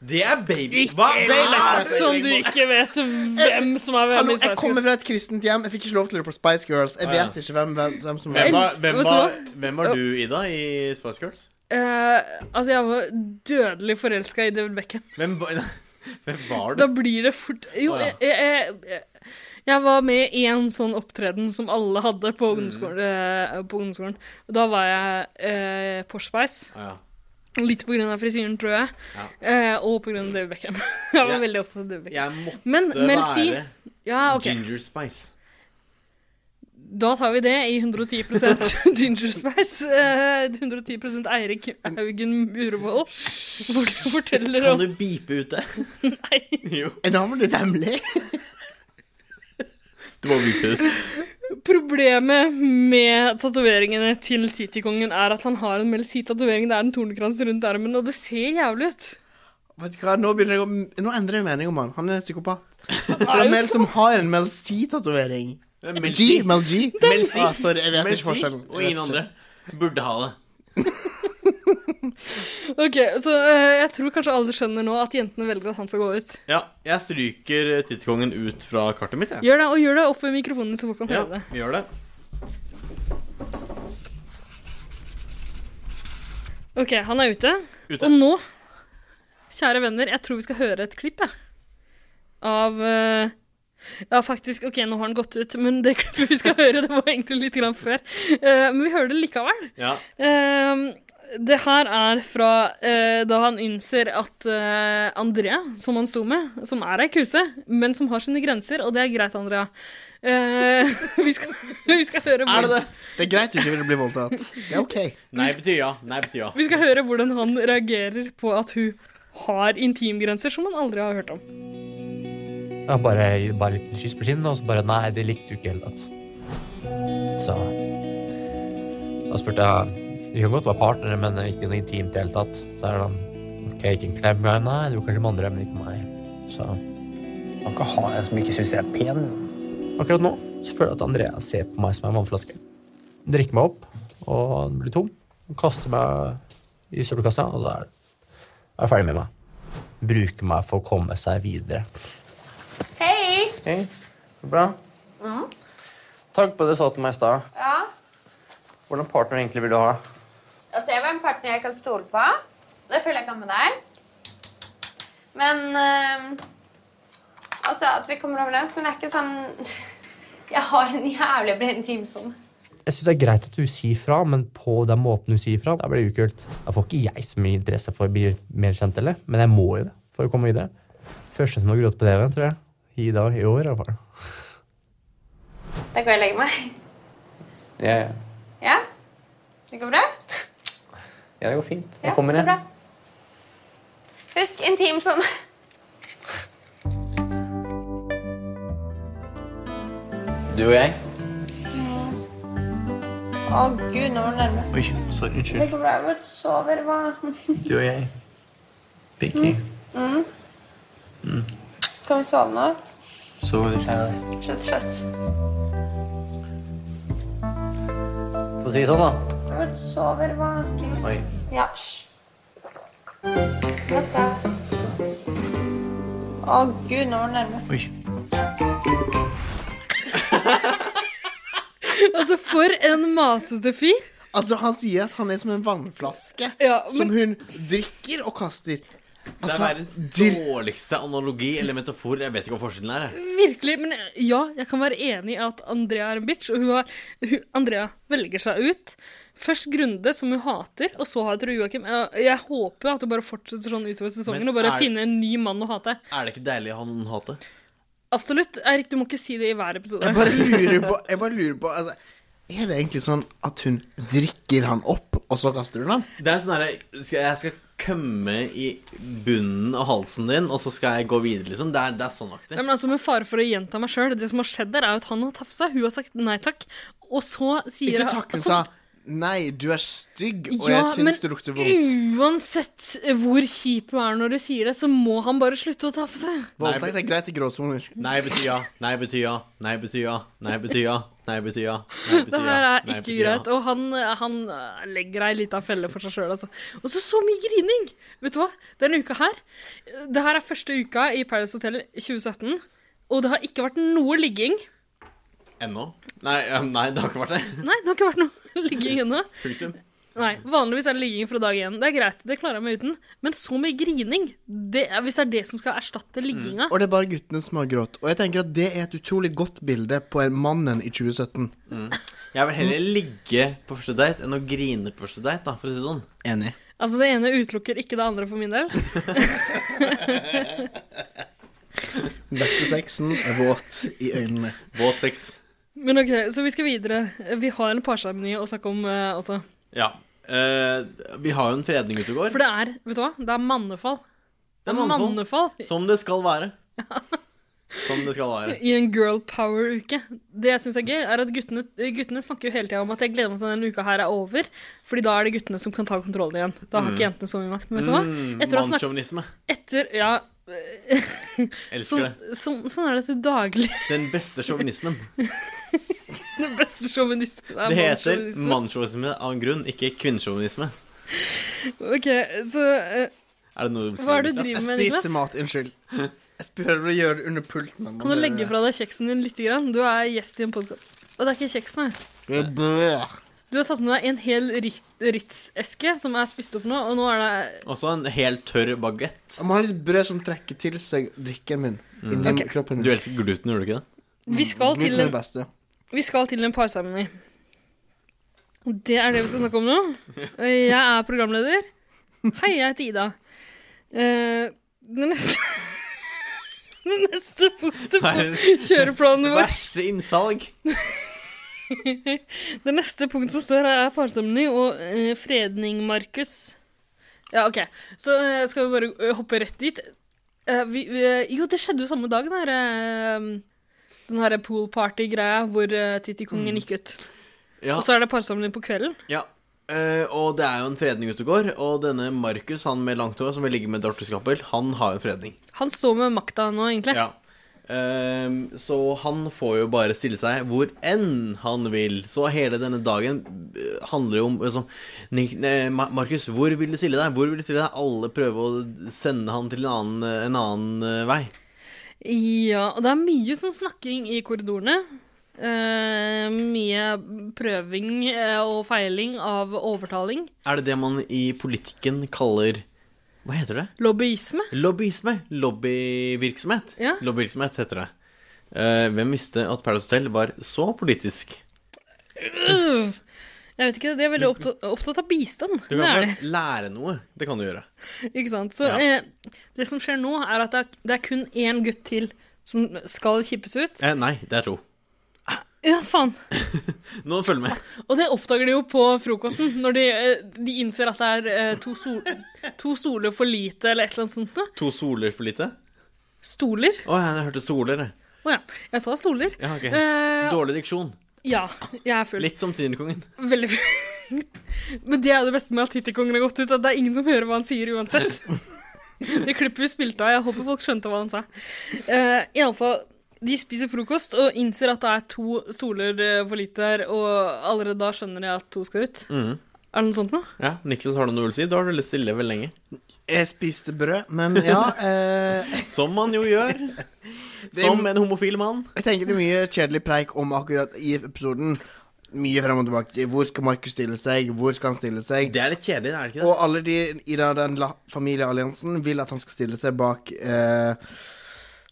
Speaker 3: Det er baby. Hva? Baby
Speaker 2: Ah,
Speaker 3: Spice.
Speaker 1: Som du ikke vet hvem som er hvem
Speaker 2: Hallo,
Speaker 1: i
Speaker 2: jeg
Speaker 1: Spice
Speaker 2: kommer
Speaker 1: Girls.
Speaker 2: fra et kristent hjem. Jeg fikk ikke lov til å høre på Spice Girls. Jeg
Speaker 3: Ah, ja.
Speaker 2: vet ikke hvem, hvem, hvem som
Speaker 3: Hvem
Speaker 2: er
Speaker 3: var,
Speaker 1: Elsk-
Speaker 3: hvem,
Speaker 1: vet du
Speaker 3: var,
Speaker 1: hva?
Speaker 3: hvem var du, Ida, i Spice Girls?
Speaker 1: Eh, altså, jeg var dødelig forelska i David Beckham.
Speaker 3: Hvem, var- *laughs* hvem var
Speaker 1: Så
Speaker 3: du?
Speaker 1: da blir det fort Jo,
Speaker 3: Å, ja.
Speaker 1: jeg, jeg, jeg, jeg var med i en sånn opptreden som alle hadde på
Speaker 3: Mm.
Speaker 1: ungdomsskolen. eh, på ungdomsskolen. Og Da var jeg eh, Porspeis.
Speaker 3: Ah, ja.
Speaker 1: Litt på grunn av frisyren, tror jeg. Eh, og på grunn av David Beckham. *laughs* jeg var
Speaker 3: Ja.
Speaker 1: veldig opptatt av David Beckham.
Speaker 3: Jeg måtte
Speaker 1: Men Mel C
Speaker 3: være
Speaker 1: ja, ok.
Speaker 3: Ginger Spice.
Speaker 1: Da tar vi det i 110
Speaker 3: *laughs*
Speaker 1: Ginger Spice. eh, 110 Eirik Haugen Urevold. Hvor du forteller
Speaker 3: Kan
Speaker 1: om
Speaker 3: du beepe ut det? *laughs*
Speaker 1: Nei.
Speaker 3: Jo.
Speaker 2: Er navnet ditt hemmelig?
Speaker 3: Du må beepe det ut.
Speaker 1: Problemet med tatoveringene til Titikongen er at han har en Melsi-tatovering. Det er en tornekrans rundt armen, og det ser jævlig ut.
Speaker 2: *laughs* Vet du hva, Nå, begynner jeg å, nå endrer jeg mening om han. Han er en psykopat. Det
Speaker 1: Er
Speaker 2: er
Speaker 1: jo
Speaker 2: Mel som har en Mel C-tatovering.
Speaker 3: Mel
Speaker 2: G.
Speaker 3: C.
Speaker 2: Mel G.
Speaker 3: Mel C.
Speaker 2: Ah, sorry, jeg vet
Speaker 3: Mel
Speaker 2: ikke
Speaker 3: C
Speaker 2: forskjellen.
Speaker 3: og ingen andre burde ha det.
Speaker 1: Ok, Så eh, jeg tror kanskje alle skjønner nå at jentene velger at han skal gå ut.
Speaker 3: Ja, jeg stryker eh, Tittkongen ut fra kartet mitt, jeg.
Speaker 1: Gjør det, og gjør det opp ved mikrofonen, så folk kan
Speaker 3: Ja,
Speaker 1: høre det.
Speaker 3: vi gjør det.
Speaker 1: Ok, han er ute.
Speaker 3: Ute.
Speaker 1: Og nå, kjære venner, jeg tror vi skal høre et klipp, jeg. Av eh, Ja, faktisk, ok, nå har han gått ut, men det *laughs* klippet vi skal høre, det var egentlig litt grann før. Eh, men vi hører det likevel.
Speaker 3: Ja.
Speaker 1: Eh, det her er fra eh, da han innser at eh, Andrea, som han sto med, som er ei kuse, men som har sine grenser, og det er greit, Andrea. Eh, *laughs* vi, skal, vi skal høre
Speaker 3: Er det det?
Speaker 2: Det er greit du ikke vil bli voldtatt. Det er OK.
Speaker 3: Nei betyr ja. Nei betyr ja.
Speaker 1: Vi skal høre hvordan han reagerer på at hun har intimgrenser som han aldri har hørt om. *laughs*
Speaker 11: Ja, bare, bare litt kyss på kinnet, og så bare Nei, det likte du ikke i det hele tatt. Så da spurte jeg Vi kan godt være partnere, men ikke noe intimt i det hele tatt. Så er det sånn OK, ikke en klem? Ja, nei, du kanskje med andre, men ikke med meg. Så Man kan ha en som ikke syns jeg er pen. Akkurat nå så føler jeg at Andrea ser på meg som en vannflaske. Hun drikker meg opp, og den blir tom. Hun kaster meg i søppelkassa, og da er er hun ferdig med meg. Bruker meg for å komme seg videre.
Speaker 12: Hei!
Speaker 11: Hei. Bra. Takk på det du sa til meg i stad.
Speaker 12: Ja.
Speaker 11: Hvordan partner egentlig vil du ha?
Speaker 12: Altså, jeg var en partner jeg kan stole på. Det føler jeg kan med deg. Men eh, Altså, at vi kommer overens, men det er ikke sånn *laughs* Jeg har en jævlig bred intimsone.
Speaker 11: Jeg synes Det er greit at du sier fra, men på den måten du sier fra, da blir det ukult. Da får ikke jeg så mye interesse for å bli mer kjent, eller? men jeg må jo det for å komme videre. Første som har grått på TV, tror jeg. I dag, i år, i hvert fall.
Speaker 12: Da går jeg og legger meg.
Speaker 11: Ja, ja.
Speaker 12: Ja? Det går bra?
Speaker 11: ja, det går fint.
Speaker 12: Ja,
Speaker 11: Jeg
Speaker 12: så
Speaker 11: kommer, jeg.
Speaker 12: bra. Husk intim sånn.
Speaker 11: Du og jeg.
Speaker 12: Å gud, nå var det nærme.
Speaker 11: Oi, sorry.
Speaker 12: Det går bra. Jeg sover. Hva?
Speaker 11: Du og jeg. Pinky.
Speaker 12: Mm. Kan vi sove nå?
Speaker 11: Så For
Speaker 12: Slutt, slutt.
Speaker 11: å si det sånn, da.
Speaker 12: Jeg sover. Hva?
Speaker 11: Oi.
Speaker 12: Ja, hysj. Slutt, da. Å gud, nå var det nærme.
Speaker 11: Oi.
Speaker 1: Altså, for en masete fyr.
Speaker 2: Altså, han sier at han er som en vannflaske som hun drikker og kaster. Altså,
Speaker 3: det er verdens dårligste analogi eller metafor. Jeg vet ikke hva forskjellen er. jeg.
Speaker 1: Virkelig. Men ja, jeg kan være enig i at Andrea er en bitch. Og hun har, hun, Andrea velger seg ut. Først Grunde, som hun hater, og så hater hun Joakim. Jeg, jeg håper at hun bare fortsetter sånn utover sesongen
Speaker 3: Men
Speaker 1: og bare
Speaker 3: er-
Speaker 1: finner en ny mann å hate.
Speaker 3: Er det ikke deilig å ha noen hate?
Speaker 1: Absolutt. Eirik, du må ikke si det i hver episode.
Speaker 2: Jeg bare lurer på, jeg bare lurer på altså, Er det egentlig sånn at hun drikker han opp, og så kaster hun han?
Speaker 3: Det er sånn derre skal- Jeg skal kømme i bunnen av halsen din, og så skal jeg gå videre, liksom. Det er, det er sånn aktig.
Speaker 1: Nei, men altså Med fare for å gjenta meg sjøl, det som har skjedd der, er jo at han har tafsa. Hun har sagt nei takk. Og så sier
Speaker 2: Ikke takk, hun
Speaker 1: så-
Speaker 2: sa Nei, du er stygg, og
Speaker 1: Ja,
Speaker 2: jeg
Speaker 1: men
Speaker 2: syns du lukter vondt.
Speaker 1: Uansett hvor kjip hun er når du sier det, så må han bare slutte å tafse.
Speaker 2: Voldtekt er greit i gråsoner.
Speaker 3: Nei betyr ja. Nei betyr ja. Nei betyr ja. Nei betyr ja. Nei betyr ja. Nei betyr
Speaker 1: Det her
Speaker 3: ja.
Speaker 1: er
Speaker 3: Nei
Speaker 1: ikke
Speaker 3: betyr ja.
Speaker 1: greit. Og han, han eh, legger ei lita felle for seg sjøl, altså. Og så så mye grining! Vet du hva? Denne uka her Det her er første uka i Paradise Hotel 2017, og det har ikke vært noe ligging.
Speaker 3: Ennå? Nei, eh, nei, det har ikke vært det.
Speaker 1: Nei, det har ikke vært noe *laughs* ligging ennå.
Speaker 3: Punktum.
Speaker 1: Nei, Vanligvis er det ligging fra dag én. Det er greit, det klarer jeg meg uten. Men så mye grining! Det er, hvis det er det som skal erstatte ligginga
Speaker 3: Mm.
Speaker 2: Og det er bare guttene som har grått. Og jeg tenker at det er et utrolig godt bilde på en mannen i 2017.
Speaker 3: Mm. Jeg vil heller ligge på første date enn å grine på første date, da, for å si det sånn.
Speaker 2: Enig.
Speaker 1: Altså, det ene utelukker ikke det andre for min del.
Speaker 2: Beste sexen er våt i øynene.
Speaker 3: Våt sex.
Speaker 1: Men ok, så vi skal videre. Vi har en parseremoni å snakke om eh, også.
Speaker 3: Ja. Eh, vi har jo en fredning ute og går.
Speaker 1: For det er, vet du hva, det er mannefall.
Speaker 3: Det er mannefall.
Speaker 1: mannefall.
Speaker 3: Som det skal være. Som det skal være.
Speaker 1: I en girl power-uke. Det jeg syns er gøy, er at guttene, guttene snakker jo hele tida om at jeg gleder meg til denne uka her er over, Fordi da er det guttene som kan ta kontrollen igjen. Da har
Speaker 3: Mm.
Speaker 1: ikke jentene så mye makt. Men vet du hva?
Speaker 3: Mm,
Speaker 1: Etter å ha snakket
Speaker 3: Mannssjåvinisme.
Speaker 1: Etter Ja.
Speaker 3: Elsker
Speaker 1: Sånn,
Speaker 3: det.
Speaker 1: sånn, sånn er det til daglig. *laughs*
Speaker 3: Den beste sjåvinismen.
Speaker 1: Den beste sjåvinismen er
Speaker 3: Det heter
Speaker 1: mannssjåvinisme.
Speaker 3: mannssjåvinisme av en grunn, ikke kvinnesjåvinisme.
Speaker 1: Ok, så eh,
Speaker 3: Er det noe du
Speaker 1: Hva er det du driver med,
Speaker 2: Jeg
Speaker 1: Niklas?
Speaker 2: spiste mat, unnskyld. Jeg prøver å gjøre det under pulten. men
Speaker 1: Kan du
Speaker 2: det-
Speaker 1: legge fra deg kjeksen din litt? Grann? Du er gjest i en podkast. Og det er ikke kjeks, nei.
Speaker 2: Det er brød.
Speaker 1: Du har tatt med deg en hel Rit- Ritz-eske som er spist opp nå, og nå er det
Speaker 3: Også en helt tørr bagett.
Speaker 2: Jeg må ha litt brød som trekker til seg drikken min. Inni
Speaker 1: Ok.
Speaker 2: kroppen min.
Speaker 3: Du elsker gluten, gjør du ikke det?
Speaker 1: Vi skal
Speaker 2: Gluten
Speaker 1: til
Speaker 2: er det
Speaker 1: en,
Speaker 2: beste.
Speaker 1: vi skal til en parseremoni. Det er det vi skal snakke om nå. Jeg er programleder. Hei, jeg heter Ida. Eh, Det neste *laughs* Det neste punktet på kjøreplanen vår
Speaker 3: Verste innsalg.
Speaker 1: Det neste punktet som står her, er parstemning og eh, fredning, Markus. Ja, OK. Så eh, skal vi bare eh, hoppe rett dit. Eh, vi, vi, jo, det skjedde jo samme dag, den herre den her pool party-greia hvor uh, Tittikongen
Speaker 3: Mm.
Speaker 1: gikk ut.
Speaker 3: Ja.
Speaker 1: Og så er det parsamling på kvelden.
Speaker 3: Ja. eh, og det er jo en fredning ute og går. Og denne Markus, han med langt hår som vil ligge med Dorthe Skappel, han har jo en fredning.
Speaker 1: Han står med makta nå, egentlig.
Speaker 3: Ja. Ehm, så han får jo bare stille seg hvor enn han vil. Så hele denne dagen eh, handler jo om liksom, Nik- eh, Ma- Markus, hvor vil du stille deg? Hvor vil du stille deg? Alle prøver å sende han til en annen, en annen eh, vei.
Speaker 1: Ja, og det er mye sånn snakking i korridorene. Eh, mye prøving eh, og feiling av overtaling.
Speaker 3: Er det det man i politikken kaller Hva heter det?
Speaker 1: Lobbyisme.
Speaker 3: Lobbyisme. Lobbyvirksomhet.
Speaker 1: Ja.
Speaker 3: Lobbyvirksomhet heter det. Eh, hvem visste at Paradise Hotel var så politisk?
Speaker 1: Øh, Jeg vet ikke, det er veldig opptatt, opptatt av bistand.
Speaker 3: Du
Speaker 1: Det
Speaker 3: kan
Speaker 1: er
Speaker 3: i hvert fall lære noe. Det kan du gjøre.
Speaker 1: det. Ikke sant? Så
Speaker 3: Ja.
Speaker 1: eh, det som skjer nå, er at det er, det er kun én gutt til som skal kippes ut.
Speaker 3: Eh, nei, det er to.
Speaker 1: Ja, faen.
Speaker 3: Nå følg med.
Speaker 1: Og det oppdager de jo på frokosten, når de, eh, de innser at det er eh, to, sol, to soler for lite, eller et eller annet sånt. noe.
Speaker 3: To soler for lite?
Speaker 1: Stoler.
Speaker 3: Å ja, jeg hørte soler. jeg.
Speaker 1: Å ja, jeg sa stoler.
Speaker 3: Ja, ok.
Speaker 1: Eh,
Speaker 3: Dårlig diksjon.
Speaker 1: Ja, jeg er full.
Speaker 3: Litt som Tinerkongen.
Speaker 1: Veldig full. *laughs* Men det er jo det beste med at Tittikongen har gått ut, at det er ingen som hører hva han sier uansett. Det klippet vi spilte av, jeg håper folk skjønte hva han sa. Eh, i alle fall, de spiser frokost og innser at det er to stoler eh, for lite her, og allerede da skjønner de at to skal ut.
Speaker 3: Mhm.
Speaker 1: Er det noe sånt nå?
Speaker 3: Ja, Niklas, har du noe du vil si? Du har vært veldig stille veldig lenge.
Speaker 2: Jeg spiste brød, men
Speaker 3: *laughs*
Speaker 2: ja eh...
Speaker 3: Som man jo gjør.
Speaker 1: *laughs*
Speaker 3: Som en homofil mann.
Speaker 2: Jeg tenker det er mye kjedelig preik om akkurat i episoden. Mye frem og tilbake. Hvor skal Markus stille seg? Hvor skal han stille seg?
Speaker 3: Det er litt kjedelig, er det ikke det?
Speaker 2: Og alle de i da den la- familiealliansen vil at han skal stille seg bak eh,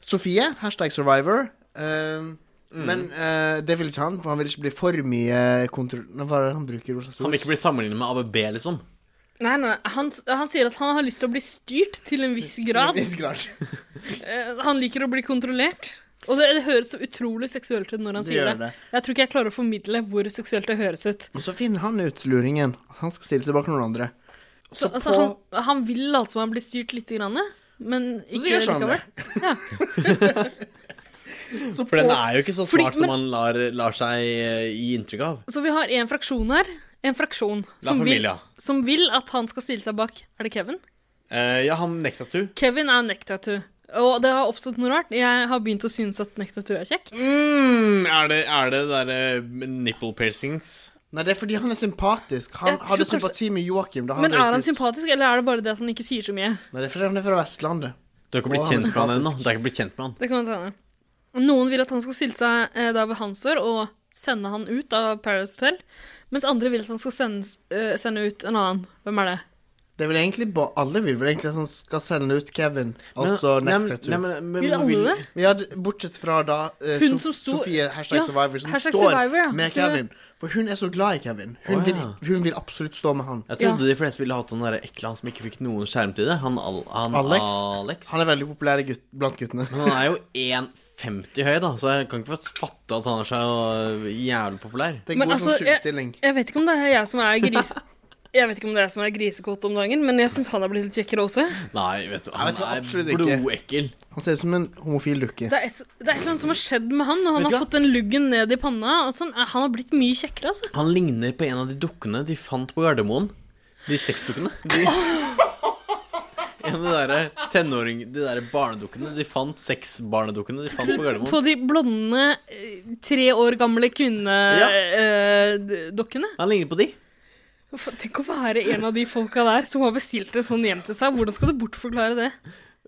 Speaker 2: Sofie, hashtag survivor. Eh,
Speaker 3: Mm.
Speaker 2: Men eh, det vil ikke han, for han vil ikke bli for mye kontroll... Hva er det han bruker?
Speaker 3: Han vil ikke bli sammenlignet med ABB, liksom.
Speaker 1: Nei, nei, han, han sier at han har lyst til å bli styrt til en viss grad.
Speaker 2: viss grad.
Speaker 1: Eh, han liker å bli kontrollert. Og det, det høres så utrolig seksuelt ut når han
Speaker 2: Det
Speaker 1: sier
Speaker 2: gjør
Speaker 1: det. Jeg tror ikke jeg klarer å formidle hvor seksuelt det høres ut.
Speaker 2: Og så finner han ut, luringen. Han skal stille seg bak noen andre.
Speaker 1: Så, altså, han, han vil late som han blir styrt lite grann, men ikke
Speaker 2: gjør han
Speaker 1: likevel.
Speaker 2: *laughs*
Speaker 3: For den er jo ikke så
Speaker 1: Fordi-
Speaker 3: smart som
Speaker 1: men-
Speaker 3: man lar, lar seg eh, gi inntrykk av.
Speaker 1: Så vi har en fraksjon her. En fraksjon
Speaker 3: La
Speaker 1: som vil,
Speaker 3: Familia.
Speaker 1: som vil at han skal stille seg bak. Er det Kevin?
Speaker 3: Eh, ja, han nekta du.
Speaker 1: Kevin er Nektatu. Og det har oppstått noe rart. Jeg har begynt å synes at Nektatu er kjekk.
Speaker 3: Mm, er det er det derre nipple piercings?
Speaker 2: Nei, det er fordi han er sympatisk. Han
Speaker 1: Jeg tror
Speaker 2: hadde
Speaker 1: kanskje-
Speaker 2: sympati med Joakim. Da han
Speaker 1: Men
Speaker 2: røyk
Speaker 1: er han
Speaker 2: ut.
Speaker 1: sympatisk, eller er det bare det at han ikke sier så mye?
Speaker 2: Nei, det er fordi han er fra Vestlandet.
Speaker 3: Du har ikke blitt
Speaker 2: Å, han er
Speaker 3: kjent med han ennå.
Speaker 2: sympatisk.
Speaker 3: Du har ikke blitt kjent med han.
Speaker 1: Det kan hende. Noen vil at han skal stille seg eh, der ved hans år og sende han ut av Paradise Hotel, mens andre vil at han skal sendes, eh, sende ut en annen. Hvem er det?
Speaker 2: Det er vel egentlig ba Alle vil vel egentlig at han skal sende ut Kevin. Altså
Speaker 3: nei, men-
Speaker 2: Nektatu.
Speaker 3: nei, men- men-
Speaker 1: Vil alle vil- det?
Speaker 2: Ja, d- bortsett fra da eh,
Speaker 1: Hun
Speaker 2: Sof-
Speaker 1: som sto-
Speaker 2: Sofie, hashtag
Speaker 1: ja,
Speaker 2: survivor, som
Speaker 1: hashtag
Speaker 2: står
Speaker 1: survivor, ja.
Speaker 2: med
Speaker 1: Det-
Speaker 2: Kevin. For hun er så glad i Kevin. Hun,
Speaker 3: Å,
Speaker 2: vil,
Speaker 3: ja.
Speaker 2: hun vil absolutt stå med han.
Speaker 3: Jeg trodde de fleste ville hatt han derre ekle han som ikke fikk noen skjermtid. Han, Al han
Speaker 2: Alex,
Speaker 3: Alex.
Speaker 2: Han er veldig populær i gutt, blant guttene.
Speaker 3: Men han er jo 1,50 høy, da, så jeg kan ikke fatte at han er så jævlig populær.
Speaker 1: Men
Speaker 2: sånn
Speaker 1: altså, Jeg, jeg vet ikke om det er jeg som er gris... Jeg vet ikke om det er jeg som er grisekåt om dagen, men jeg syns han har blitt litt kjekkere også.
Speaker 3: Nei, vet du, han er
Speaker 2: absolutt ikke.
Speaker 3: blodekkel.
Speaker 2: Han ser ut som en homofil dukke.
Speaker 1: Det er, et, det er et eller annet som har skjedd med han, og han
Speaker 3: Vet du
Speaker 1: har
Speaker 3: hva?
Speaker 1: fått den luggen ned i panna. Og sånn. Han har blitt mye kjekkere, altså.
Speaker 3: Han ligner på en av de dukkene de fant på Gardermoen. De sexdukkene.
Speaker 1: *laughs*
Speaker 3: De... En av de derre tenåring... De derre barnedukkene. De fant seks barnedukkene de fant på
Speaker 1: På
Speaker 3: Gardermoen.
Speaker 1: de blonde, eh, tre år gamle eh,
Speaker 3: Ja.
Speaker 1: kvinnedokkene.
Speaker 3: Han ligner på de.
Speaker 1: Tenk å være en av de folka der som har bestilt en sånn hjem til seg. Hvordan skal du bortforklare det?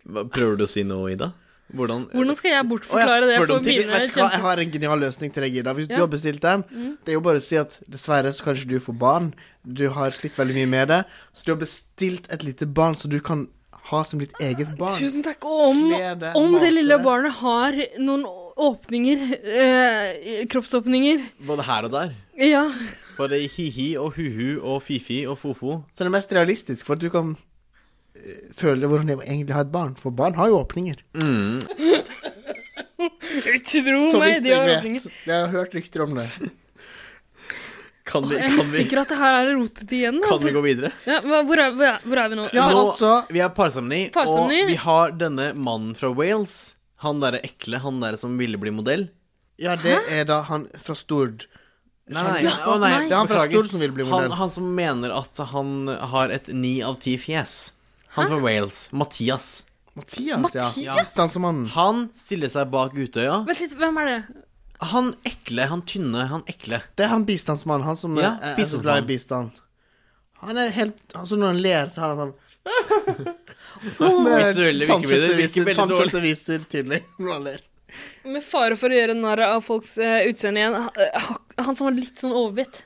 Speaker 3: Hva- Prøver du å si noe, Ida? Hvordan
Speaker 1: Hvordan skal jeg
Speaker 2: Å
Speaker 1: bortforklare
Speaker 2: ja, spør
Speaker 1: det
Speaker 2: du om
Speaker 1: for
Speaker 2: tips?
Speaker 1: mine
Speaker 2: Vet du hva, Jeg
Speaker 1: kjente
Speaker 2: har en genial løsning til deg, Ida. Hvis
Speaker 1: Ja.
Speaker 2: du har bestilt den,
Speaker 1: Mm.
Speaker 2: det er jo bare å si at dessverre så kan ikke du få barn. Du har slitt veldig mye med det. Så du har bestilt et lite barn som du kan ha som ditt eget barn.
Speaker 1: Ah, Tusen takk. Og om,
Speaker 2: Kle det,
Speaker 1: om det
Speaker 2: mate
Speaker 1: lille
Speaker 2: det.
Speaker 1: barnet har noen åpninger, eh, kroppsåpninger
Speaker 3: Både her og der.
Speaker 1: Ja.
Speaker 3: Både hi-hi og hu-hu og fifi og fo-fo.
Speaker 2: Så det er mest realistisk, for at du kan eh, føle hvordan det er å egentlig ha et barn. For barn har jo åpninger.
Speaker 1: Tro
Speaker 2: Så
Speaker 1: meg,
Speaker 2: vidt
Speaker 1: de har
Speaker 2: jeg vet.
Speaker 1: åpninger.
Speaker 2: Jeg har hørt rykter om det.
Speaker 3: Kan vi,
Speaker 1: Jeg er
Speaker 3: kan vi,
Speaker 1: usikker at det her er rotete igjen. altså.
Speaker 3: kan vi gå videre?
Speaker 1: Ja, hva- hvor, er, hvor, er, hvor er vi nå?
Speaker 3: Nå-
Speaker 1: altså-
Speaker 3: Vi er parseremoni, og
Speaker 1: Parseremoni.
Speaker 3: vi har denne mannen fra Wales. Han derre ekle, han derre som ville bli modell.
Speaker 2: Ja, det er da han fra Stord.
Speaker 3: Nei,
Speaker 2: Skjønner
Speaker 3: nei,
Speaker 2: du?
Speaker 3: å, nei,
Speaker 2: Det er han fra
Speaker 3: beklager.
Speaker 2: Stord som vil bli modell.
Speaker 3: Han, han som mener at han har et ni av ti fjes. Han fra Wales. Mathias.
Speaker 2: Mathias, ja.
Speaker 3: Mathias? Han stiller seg bak Utøya.
Speaker 1: Vent litt, hvem er det?
Speaker 3: Han ekle, han tynne, han ekle.
Speaker 2: Det er han bistandsmannen. Han som eh,
Speaker 3: Ja,
Speaker 2: er, er så glad i bistand. Han er helt altså Når han ler, så har han
Speaker 3: *laughs*
Speaker 2: sånn Med
Speaker 3: Visuelle virkemidler
Speaker 2: tannkjøttet
Speaker 3: virker
Speaker 2: viser-
Speaker 3: veldig dårlig.
Speaker 2: tannkjøttet viser tydelig når han ler.
Speaker 1: Med fare for å gjøre narr av folks eh, utseende igjen. ha- eh, ha- Han som var litt sånn overbitt.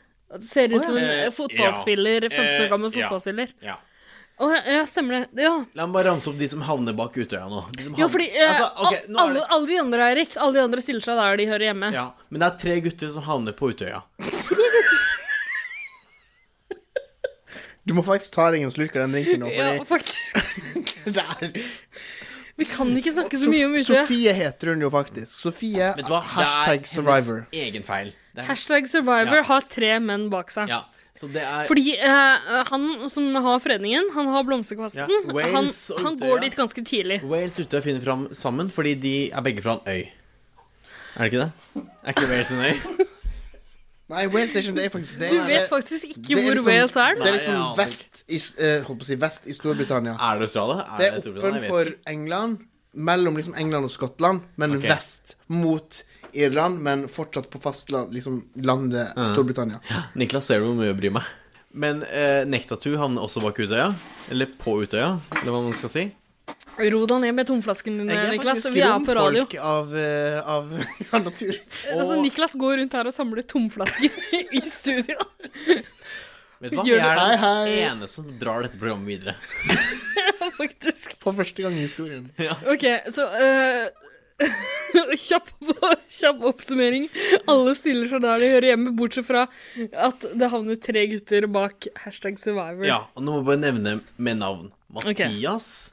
Speaker 1: Ser ut
Speaker 3: Å, ja.
Speaker 1: som en eh,
Speaker 3: Eh,
Speaker 1: fotballspiller.
Speaker 3: ja.
Speaker 1: 15 år gammel
Speaker 3: Eh, ja.
Speaker 1: fotballspiller.
Speaker 3: Ja.
Speaker 1: Å ja, ja, stemmer det. Ja.
Speaker 3: La meg bare ramse opp de som havner bak Utøya nå. De som
Speaker 1: Jo,
Speaker 3: havner-
Speaker 1: fordi eh,
Speaker 3: Altså, ok,
Speaker 1: al-
Speaker 3: nå er
Speaker 1: alle,
Speaker 3: det...
Speaker 1: alle de andre, Eirik, alle de andre stiller seg der de hører hjemme.
Speaker 3: Ja, men det er tre gutter som havner på Utøya.
Speaker 2: Du må faktisk ta deg en slurk av den drinken nå, *laughs*
Speaker 1: Ja,
Speaker 2: fordi
Speaker 1: faktisk.
Speaker 2: det er
Speaker 1: *laughs* Vi kan ikke snakke så mye om Utøya.
Speaker 2: Sofie heter hun jo faktisk. Sofie,
Speaker 3: Vet du hva?
Speaker 2: hashtag
Speaker 3: det er
Speaker 2: survivor.
Speaker 3: hennes egen feil. Det er-
Speaker 1: Hashtag survivor
Speaker 3: Ja.
Speaker 1: har tre menn bak seg.
Speaker 3: Ja, så det er
Speaker 1: Fordi eh, han som har fredningen, han har blomsterkvasten.
Speaker 3: Ja, Wales og
Speaker 1: han, han
Speaker 3: Utøya.
Speaker 1: går dit ganske tidlig.
Speaker 3: Wales Utøya finner fram sammen fordi de er begge fra en øy. Er det ikke det? Er ikke Wales en øy?
Speaker 2: *laughs* Nei, Wales er ikke det. er faktisk det.
Speaker 1: Du
Speaker 2: er-
Speaker 1: vet faktisk ikke
Speaker 2: det
Speaker 3: liksom-
Speaker 1: hvor Wales er, du.
Speaker 2: Det
Speaker 1: Nei,
Speaker 2: er
Speaker 1: jeg
Speaker 2: liksom
Speaker 1: aner
Speaker 2: vest i, s- eh, holdt på å si, vest i Storbritannia.
Speaker 3: Er det Australia?
Speaker 2: Det
Speaker 3: Er det
Speaker 2: er
Speaker 3: Storbritannia? Jeg vet
Speaker 2: oppenfor England, mellom liksom England og Skottland, men
Speaker 3: Ok.
Speaker 2: vest mot Irland, men fortsatt på fastland, liksom landet
Speaker 3: Ja.
Speaker 2: Storbritannia.
Speaker 3: Niklas ser du hvor mye jeg bryr meg. Men eh, Nektatu havner også bak Utøya. Eller på Utøya, eller hva man skal si.
Speaker 1: Ro deg ned med tomflasken din,
Speaker 2: Jeg er
Speaker 1: Niklas.
Speaker 2: faktisk
Speaker 1: Vi er på radio.
Speaker 2: romfolk av, eh, av, *laughs* av natur.
Speaker 1: Altså, Niklas går rundt her og samler tomflasker *laughs* i studio.
Speaker 3: Vet du hva?
Speaker 1: Gjør
Speaker 3: Jeg er
Speaker 1: det.
Speaker 3: den
Speaker 1: Hei, hei.
Speaker 3: eneste som drar dette programmet videre.
Speaker 1: Faktisk.
Speaker 2: For første gang i historien.
Speaker 1: Ok, så eh, *laughs* kjapp, kjapp oppsummering. Alle stiller seg der de hører hjemme, bortsett fra at det havner tre gutter bak hashtag survivor.
Speaker 3: Ja, og nå må jeg bare nevne med navn. Mathias.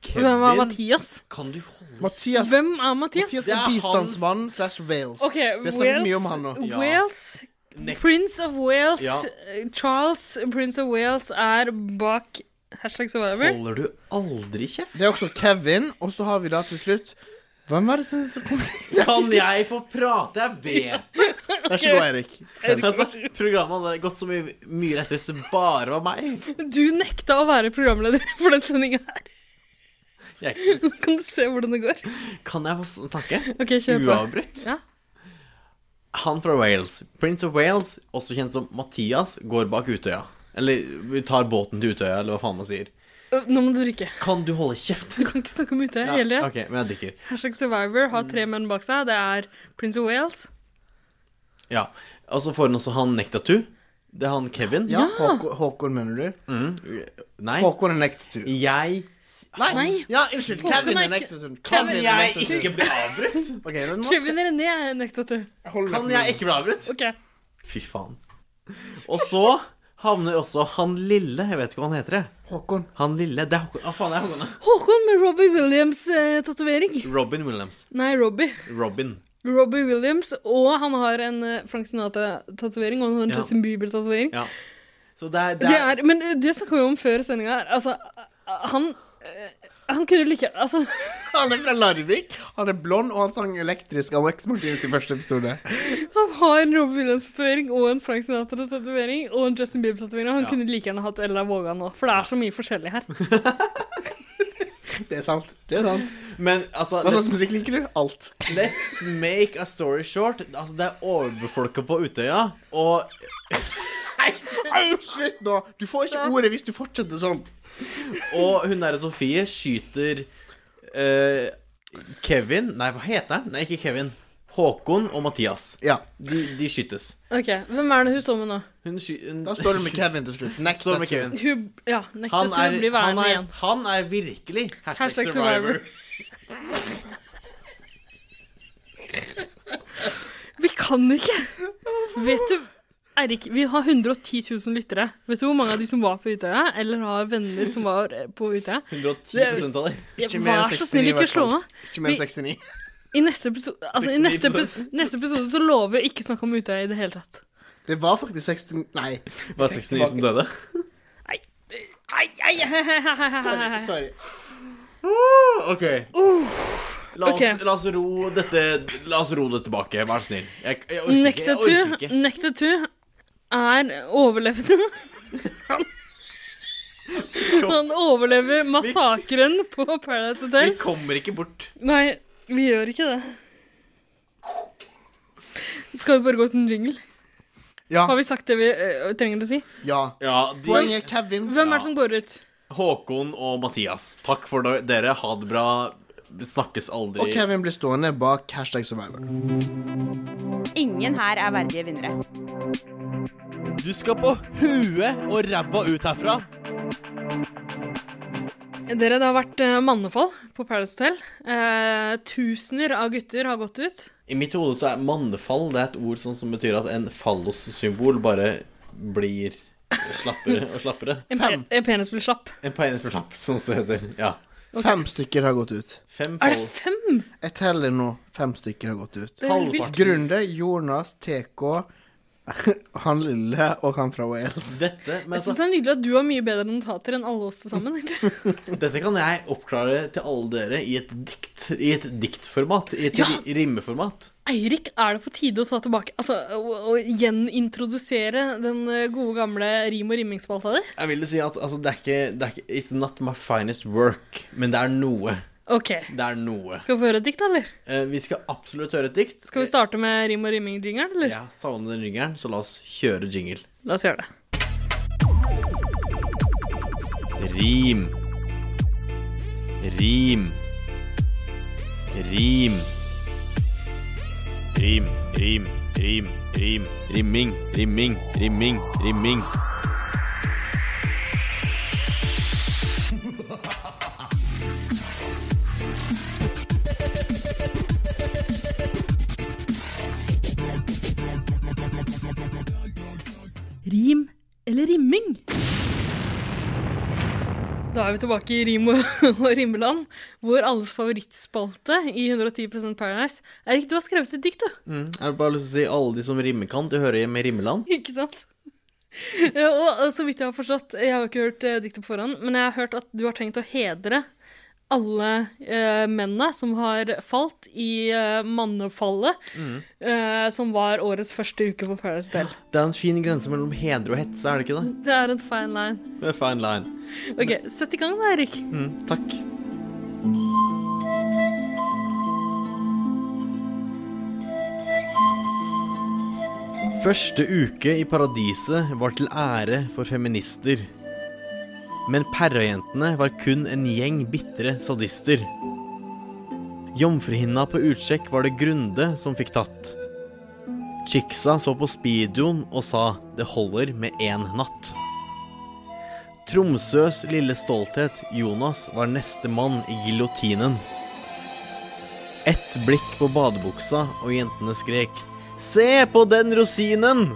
Speaker 1: Hvem er
Speaker 3: Kevin.
Speaker 1: Mathias?
Speaker 3: Kan du
Speaker 1: Hvem er Mathias?
Speaker 2: Mathias er bistandsmann slash Wales.
Speaker 1: Ok,
Speaker 2: Vi har snakket mye om han nå.
Speaker 1: Wales, Wales Prince of Wales
Speaker 2: Ja.
Speaker 1: eh, Charles, Prince of Wales, er bak hashtag survivor.
Speaker 3: Holder du aldri kjeft?
Speaker 2: Det er også Kevin, og så har vi da til slutt Hvem var det som som kom
Speaker 3: Kan jeg få prate? Jeg
Speaker 1: *laughs*
Speaker 3: vet det.
Speaker 2: Vær så god, Erik.
Speaker 3: Altså, programmet hadde gått så mye, mye lettere hvis det bare var meg.
Speaker 1: Du nekta å være programleder *laughs* for den sendinga her.
Speaker 3: Jeg,
Speaker 1: Nå kan du se hvordan det går.
Speaker 3: kan jeg få snakke?
Speaker 1: Ok, kjør på.
Speaker 3: Uavbrutt.
Speaker 1: Ja.
Speaker 3: Han fra Wales, Prince of Wales, også kjent som Mathias, går bak Utøya. Eller vi tar båten til Utøya, eller hva faen man sier.
Speaker 1: Ø, Nå må du drikke.
Speaker 3: Kan du holde kjeft?
Speaker 1: Du kan ikke snakke om Utøya hele tida.
Speaker 3: ok, men jeg drikker.
Speaker 1: Hashtag Survivor har tre menn bak seg. Det er Prince of Wales.
Speaker 3: Ja. Og så får han også han Nektatu. Det er han Kevin.
Speaker 2: Ja, Håkon, Håkon mener du?
Speaker 3: Mm. Nei.
Speaker 2: Håkon er Nektatu.
Speaker 3: Jeg
Speaker 2: Nei.
Speaker 1: Nei.
Speaker 2: Ja, unnskyld.
Speaker 1: Håkon
Speaker 2: Kevin
Speaker 1: er
Speaker 2: er
Speaker 1: ikke-
Speaker 2: Nektatu.
Speaker 1: Kan
Speaker 2: Kevin er
Speaker 3: jeg
Speaker 2: Nektatu.
Speaker 3: ikke bli *laughs* avbrutt?
Speaker 2: Ok, nå skal-
Speaker 1: Kevin René er nekta til.
Speaker 3: Kan jeg ikke bli avbrutt?
Speaker 1: Ok.
Speaker 3: Fy faen. Og så havner også han lille, jeg vet ikke hva han heter. jeg.
Speaker 2: Håkon.
Speaker 3: Han lille, det er Håkon. Hva faen er Håkon? da?
Speaker 1: Håkon med Robbie eh, Williams-tatovering.
Speaker 3: Robin Williams.
Speaker 1: Nei, Robbie.
Speaker 3: Robin.
Speaker 1: Robbie Williams, og han har en eh, Frank Sinatra-tatovering og en
Speaker 3: Ja.
Speaker 1: Justin Bieber-tatovering.
Speaker 3: Ja. Så det er,
Speaker 1: Det er, men eh, det snakka vi om før sendinga her. Altså, eh, han eh, Han kunne like Altså *laughs*
Speaker 2: Han er fra Larvik, han er blond, og han sang elektrisk av Wax Martinus i første episode.
Speaker 1: Han har en Robin Williams-tatovering og en Frank Sinatra-tatovering og en Justin Bieber-tatovering. og Han
Speaker 2: Ja.
Speaker 1: kunne like gjerne hatt Ella Vågan nå, for det er så mye forskjellig her.
Speaker 2: Det er sant. Det er sant.
Speaker 3: Men altså
Speaker 2: Hva slags
Speaker 3: let-
Speaker 2: musikk liker du? Alt.
Speaker 3: Let's make a story short. Altså, det er overbefolka på Utøya, og
Speaker 2: Slutt nå! Du får ikke ordet hvis du fortsetter sånn.
Speaker 3: Og hun derre Sofie skyter eh, Kevin Nei, hva heter han? Nei, ikke Kevin. Håkon og Mathias. De, de skytes.
Speaker 1: *laughs* Ok, Hvem er det hun står med nå?
Speaker 3: Hun sky, hun,
Speaker 2: Da står du
Speaker 1: *laughs*
Speaker 2: med Kevin til slutt. Next
Speaker 3: Står du med
Speaker 2: tattoo.
Speaker 3: Kevin.
Speaker 1: Hun ja,
Speaker 3: Han
Speaker 1: nektet
Speaker 3: er,
Speaker 1: hun å bli
Speaker 3: han,
Speaker 1: værende
Speaker 3: er,
Speaker 1: igjen.
Speaker 3: han er virkelig hashtag,
Speaker 1: Hashtag
Speaker 3: survivor.
Speaker 1: survivor. Vi kan ikke! Vet du Eirik, vi har 110 000 lyttere. Vet du hvor mange av de som var på Utøya, eller har venner som var eh, på Utøya?
Speaker 3: 110% av dem.
Speaker 1: Ja,
Speaker 2: Ikke mer enn
Speaker 1: Vær så snill,
Speaker 2: 69 i hvert
Speaker 1: ikke slå
Speaker 2: fall.
Speaker 1: av.
Speaker 2: Ikke
Speaker 1: Vi-
Speaker 2: mer enn 69.
Speaker 1: I neste episode, altså, i neste episode,
Speaker 2: 69%.
Speaker 1: neste episode så lover jeg ikke å snakke om Utøya i det hele tatt.
Speaker 2: Det var faktisk 69 Nei.
Speaker 3: Det var 69 som døde.
Speaker 1: Ai, ai, hei, hei, hei, hei, hei,
Speaker 2: Sorry.
Speaker 1: hei.
Speaker 2: sorry.
Speaker 3: OK. La oss,
Speaker 1: ok.
Speaker 3: la, oss ro dette, la oss ro det tilbake, vær så snill. Jeg, jeg orker ikke. Jeg orker
Speaker 1: Nektatu,
Speaker 3: ikke.
Speaker 1: Nektatu er overlevende. Han, han overlever massakren på Paradise Hotel.
Speaker 3: Vi kommer ikke bort.
Speaker 1: Nei, vi gjør ikke det. Skal vi bare gå til en jingle?
Speaker 2: Ja.
Speaker 1: Har vi sagt det vi eh, trenger å si?
Speaker 2: Ja.
Speaker 3: de-
Speaker 2: Poenget er Kevin.
Speaker 1: Hvem er det som går ut?
Speaker 3: Håkon og Mathias, takk for da- dere. Ha det bra. Snakkes aldri.
Speaker 2: Og Kevin blir stående bak hashtag survivor.
Speaker 5: Ingen her er verdige vinnere.
Speaker 3: Du skal på huet og ræva ut herfra.
Speaker 1: Dere, det har vært eh, mannefold på Paradise Hotel. Eh, tusener av gutter har gått ut.
Speaker 3: I mitt hode så er mannefall det er et ord sånn som betyr at en fallossymbol bare blir slappere og slappere.
Speaker 1: En, pe en penis blir slapp.
Speaker 3: En penis per tapp, som det heter. Ja.
Speaker 1: Ok.
Speaker 2: Fem stykker har gått ut.
Speaker 1: Er det fem?
Speaker 2: Jeg teller nå. Fem stykker har gått ut.
Speaker 1: Det er helt vilt.
Speaker 2: Grunde, Jonas, TK, *laughs* han lille og han fra Wales.
Speaker 3: Dette, men
Speaker 1: Jeg syns
Speaker 3: altså,
Speaker 1: det er nydelig at du har mye bedre notater enn alle oss til sammen. egentlig.
Speaker 3: dette kan jeg oppklare til alle dere i et dikt. I et diktformat. I et ri- rimeformat.
Speaker 1: *laughs* Eirik, er det på tide å ta tilbake Altså, å, å gjenintrodusere den eh, gode gamle rim- og rimmingsspalta di?
Speaker 3: Jeg vil jo si at altså, det, er ikke, det er ikke It's not my finest work, men det er noe.
Speaker 1: OK.
Speaker 3: Det er noe.
Speaker 1: Skal vi få høre et dikt, da, eller?
Speaker 3: Eh, vi skal absolutt høre et dikt.
Speaker 1: Skal vi starte med rim- og rimming-jingeren, eller?
Speaker 3: Jeg savner den jingeren, så la oss kjøre jingle.
Speaker 1: La oss gjøre det.
Speaker 3: Rim. Rim. Rim. Rim, rim, rim, rim. Rimming, rimming, rimming, rimming.
Speaker 1: Rim eller rimming? Da er vi tilbake i rim og, *laughs* og rimmeland, hvor alles favorittspalte i 110 Paradise Erik, du har skrevet et dikt, du.
Speaker 3: Mm. Jeg har bare lyst til å si alle de som rimmer kan, du hører hjemme i Rimmeland.
Speaker 1: *laughs* Ikke sant? Ja, Og og så vidt jeg har forstått, jeg har jo ikke hørt eh, diktet på forhånd, men jeg har hørt at du har tenkt å hedre alle eh, mennene som har falt i eh, mannefallet,
Speaker 3: Mm.
Speaker 1: eh, som var årets første uke på Paradise Del.
Speaker 3: Det er en fin grense mellom heder og hetse, er det ikke det?
Speaker 1: Det er en fine line.
Speaker 3: Det er fine line.
Speaker 1: OK, sett i gang da, Erik.
Speaker 3: Mm, takk. Første uke i paradiset var til ære for feminister. Men Perra-jentene var kun en gjeng bitre sadister. Jomfruhinna på utsjekk var det Grunde som fikk tatt. Chicksa så på speedoen og sa 'det holder med én natt'. Tromsøs lille stolthet, Jonas, var neste mann i giljotinen. Ett blikk på badebuksa, og jentene skrek 'Se på den rosinen!'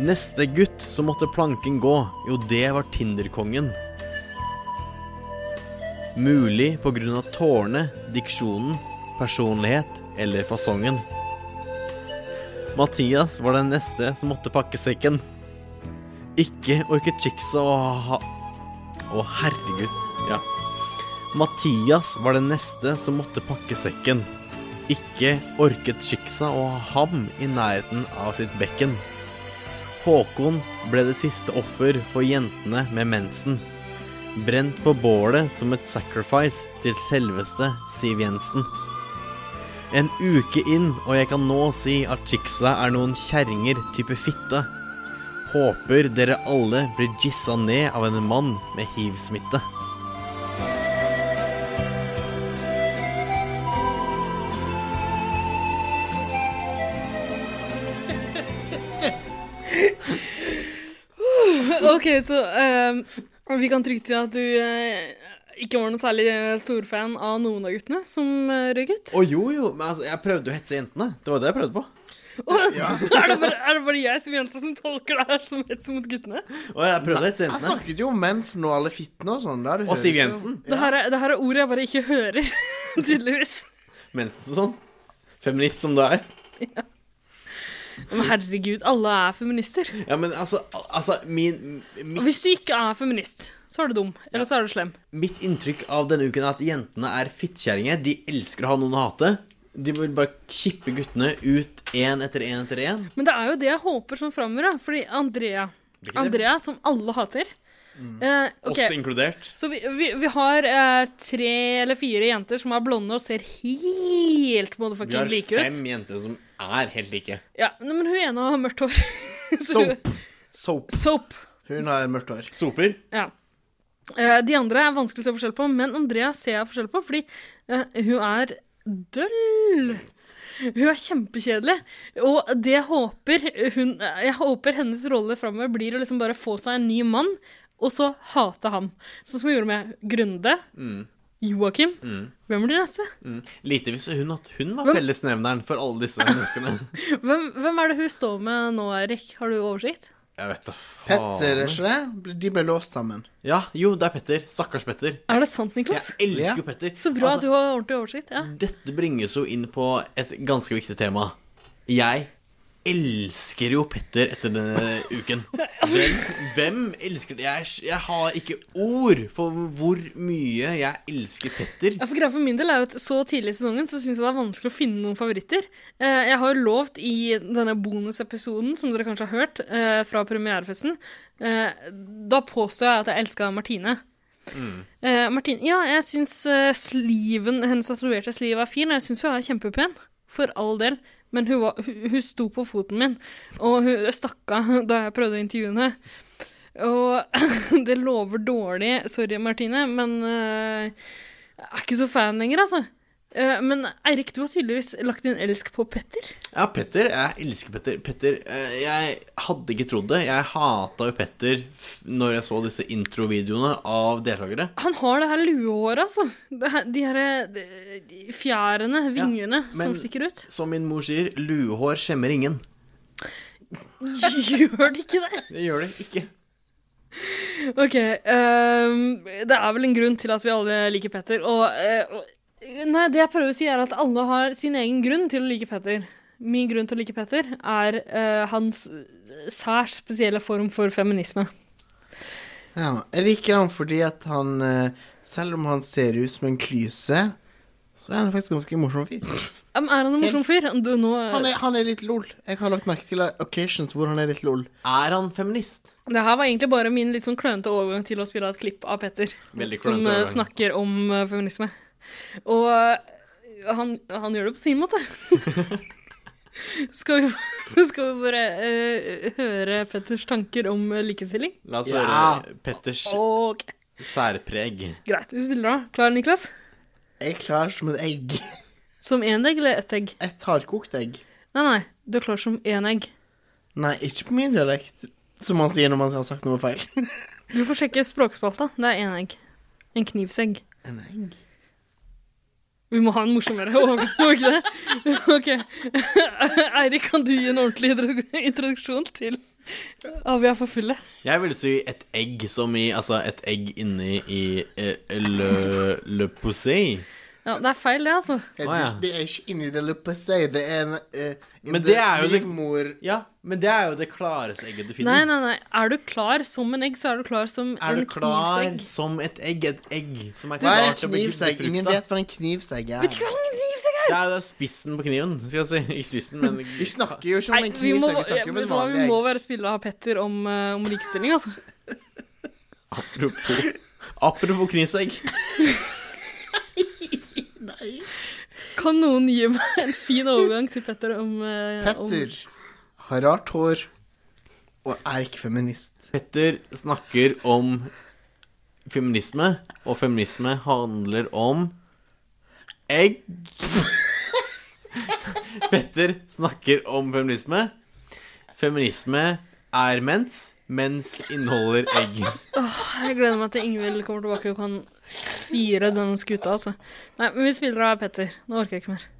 Speaker 3: Neste gutt som måtte planken gå, jo det var Tinderkongen. Mulig på grunn av tårene, diksjonen, personlighet eller fasongen. Mathias var den neste som måtte pakke sekken. Ikke orket chicksa å ha Å, herregud. Ja. Mathias var den neste som måtte pakke sekken. Ikke orket chicksa å ha ham i nærheten av sitt bekken. Håkon ble det siste offer for jentene med mensen. Brent på bålet som et sacrifice til selveste Siv Jensen. En uke inn, og jeg kan nå si at chicksa er noen kjerringer type fitte. Håper dere alle blir jissa ned av en mann med hiv-smitte.
Speaker 1: OK, så ehm, vi kan trygt si at du eh, ikke var noen særlig eh, stor fan av noen av guttene som eh, røk ut.
Speaker 3: Å jo, jo, men altså, jeg prøvde å hetse jentene. Det var det jeg prøvde på.
Speaker 1: er, det bare, er det bare jeg som jente som tolker det her som hets mot guttene?
Speaker 3: Og jeg prøvde å hetse
Speaker 2: Jeg
Speaker 3: jentene.
Speaker 2: snakket jo om mensen og alle fittene og sånn.
Speaker 3: Og Siv Jensen.
Speaker 1: Det her, er, det her er ord jeg bare ikke hører, *laughs* tydeligvis.
Speaker 3: Mensen og sånn. Feminist som du er.
Speaker 1: Men herregud, alle er feminister.
Speaker 3: Ja, men altså, al- altså min,
Speaker 1: Og
Speaker 3: mitt,
Speaker 1: hvis du ikke er feminist, så er du dum. Eller så er du slem.
Speaker 3: mitt inntrykk av denne uken er at jentene er fittkjerringer. De elsker å ha noen å hate. De vil bare kippe guttene ut én etter én etter én.
Speaker 1: Men det er jo det jeg håper sånn framover, da. Fordi Andrea,
Speaker 3: Hvilket er-
Speaker 1: Andrea som alle hater eh, ok.
Speaker 3: Oss inkludert.
Speaker 1: Så vi, vi, vi har eh, tre eller fire jenter som er blonde og ser helt
Speaker 3: Vi har
Speaker 1: motherfucking like ut.
Speaker 3: fem jenter som er helt like.
Speaker 1: Ja, nei, men hun ene har mørkt hår. *laughs* Så-
Speaker 2: Soap. Soap.
Speaker 1: Soap.
Speaker 2: Hun har mørkt hår.
Speaker 3: Soper?
Speaker 1: Ja. Eh, de andre er vanskelig å se forskjell på, men Andrea ser jeg forskjell på, fordi eh, hun er døll. Hun er kjempekjedelig, og det jeg håper hun Jeg håper hennes rolle framover blir å liksom bare få seg en ny mann, og så hate ham. Sånn som hun gjorde med Grunde,
Speaker 3: Mm.
Speaker 1: Joakim
Speaker 3: Mm.
Speaker 1: Hvem blir neste?
Speaker 3: Mm. Lite visste hun at hun var
Speaker 1: Hvem-
Speaker 3: *laughs* fellesnevneren for alle disse menneskene.
Speaker 1: Hvem, hvem er det hun står med nå, Erik? Har du oversikt?
Speaker 3: Jeg vet da faen.
Speaker 2: Petter, er ikke det? Ble- De ble låst sammen.
Speaker 3: Ja, jo, det er Petter. Stakkars Petter.
Speaker 1: Er det sant, Niklas?
Speaker 3: Jeg elsker jo Petter.
Speaker 1: Så bra
Speaker 3: Altså-
Speaker 1: du har ordentlig oversikt. Ja.
Speaker 3: Dette bringes jo inn på et ganske viktig tema. Jeg elsker jo Petter etter denne
Speaker 1: *laughs*
Speaker 3: uken. Hvem, hvem elsker det? Jeg, jeg har ikke ord for hvor mye jeg elsker Petter.
Speaker 1: Ja, for greia for min del er at Så tidlig i sesongen så syns jeg det er vanskelig å finne noen favoritter. Eh, Jeg har jo lovt i denne bonusepisoden, som dere kanskje har hørt, eh, fra premierefesten eh, Da påstår jeg at jeg elska Martine. Eh, Martine, ja, jeg syns sliven, hennes tatoverte sliv er fin, og jeg syns hun er kjempepen. For all del. Men hun, var, hun, hun sto på foten min, og hun stakk av da jeg prøvde å intervjue henne. Og *laughs* det lover dårlig. Sorry, Martine, men eh, jeg er ikke så fan lenger, altså. Eh, men Eirik, du har tydeligvis lagt din elsk på Petter.
Speaker 3: Ja, Petter. Jeg elsker Petter. Petter, eh, Jeg hadde ikke trodd det. Jeg hata jo Petter f- når jeg så disse introvideoene av deltakere.
Speaker 1: Han har det her luehåret, altså. Det her, de her eh, de fjærene, vingene, som
Speaker 3: men-
Speaker 1: stikker ut.
Speaker 3: Som min mor sier, luehår skjemmer ingen.
Speaker 1: Gjør det ikke det?
Speaker 3: Det gjør det ikke.
Speaker 1: Ok, ehm, det er vel en grunn til at vi alle liker Petter, og eh, og- Nei, det jeg prøver å si, er at alle har sin egen grunn til å like Petter. Min grunn til å like Petter er eh, hans særs spesielle form for feminisme.
Speaker 2: Ja, jeg liker han fordi at han eh, Selv om han ser ut som en klyse, så er han faktisk ganske morsom fyr.
Speaker 1: Ja, men Er han en morsom fyr? Du, nå,
Speaker 2: Han er, han er litt lol. Jeg har lagt merke til occasions hvor han er litt lol.
Speaker 3: Er han feminist?
Speaker 1: Det her var egentlig bare min litt sånn klønete overgang til å spille et klipp av Petter.
Speaker 3: Veldig klønete
Speaker 1: Som eh,
Speaker 3: overgang.
Speaker 1: snakker om eh, feminisme. Og eh, han, han gjør det på sin måte.
Speaker 3: *laughs*
Speaker 1: skal, vi, *laughs* skal vi bare eh, høre Petters tanker om eh, likestilling?
Speaker 3: La oss
Speaker 1: Ja.
Speaker 3: høre Petters
Speaker 1: Ok,
Speaker 3: særpreg.
Speaker 1: Greit, vi spiller da. Klar, Niklas?
Speaker 2: Jeg er klar som et egg. *laughs*
Speaker 1: Som én egg eller ett egg?
Speaker 2: Et hardkokt egg.
Speaker 1: Nei, nei, du er klar som én egg.
Speaker 2: Nei, ikke på min dialekt, som han sier når man har sagt noe feil.
Speaker 1: Du får sjekke språkspalta. Det er én egg. En knivsegg.
Speaker 2: En egg?
Speaker 1: Vi må ha en morsommere *laughs* overgang, må vi ikke det? *laughs* Ok. Eirik, kan du gi en ordentlig intro- introduksjon til Ja, vi er for fulle.
Speaker 3: Jeg vil si et egg som i Altså et egg inni i eh, le, le poussé.
Speaker 1: Ja, det er feil, det, altså.
Speaker 2: Det
Speaker 3: Å, ja.
Speaker 2: det er ikke inni det luppet, sier det er en eh, in
Speaker 3: Men
Speaker 2: the
Speaker 3: det er jo det-
Speaker 2: livmor.
Speaker 3: Ja, men det er jo det klareste egget du finner.
Speaker 1: Nei, nei, nei. Er du klar som en egg, så er du klar som
Speaker 3: Er
Speaker 1: en
Speaker 3: du klar
Speaker 1: knivsegg.
Speaker 3: som et egg? Et egg som er
Speaker 2: Hva er en
Speaker 3: klart til å bli
Speaker 2: knivsegg? Ingen
Speaker 3: befrukta?
Speaker 2: vet hva en knivsegg er.
Speaker 1: Vet du hva en knivsegg er?
Speaker 3: Det er jo spissen på kniven, skal jeg si. Ikke spissen, men Vi
Speaker 2: snakker jo ikke
Speaker 1: Nei, vi må, ja, vet du hva, vi må være spilla av Petter om, eh, om likestilling, altså.
Speaker 3: Apropos, apropos knivsegg.
Speaker 1: Kan noen gi meg en fin overgang til Petter om eh, om-
Speaker 2: Petter har rart hår og er ikke feminist.
Speaker 3: Petter snakker om feminisme, og feminisme handler om egg. *laughs* Petter snakker om feminisme. Feminisme er mens, mens inneholder egg.
Speaker 1: Åh, jeg gleder meg til Ingvild kommer tilbake og kan styre denne skuta, altså. Nei, men vi spiller av Petter. Nå orker jeg ikke mer.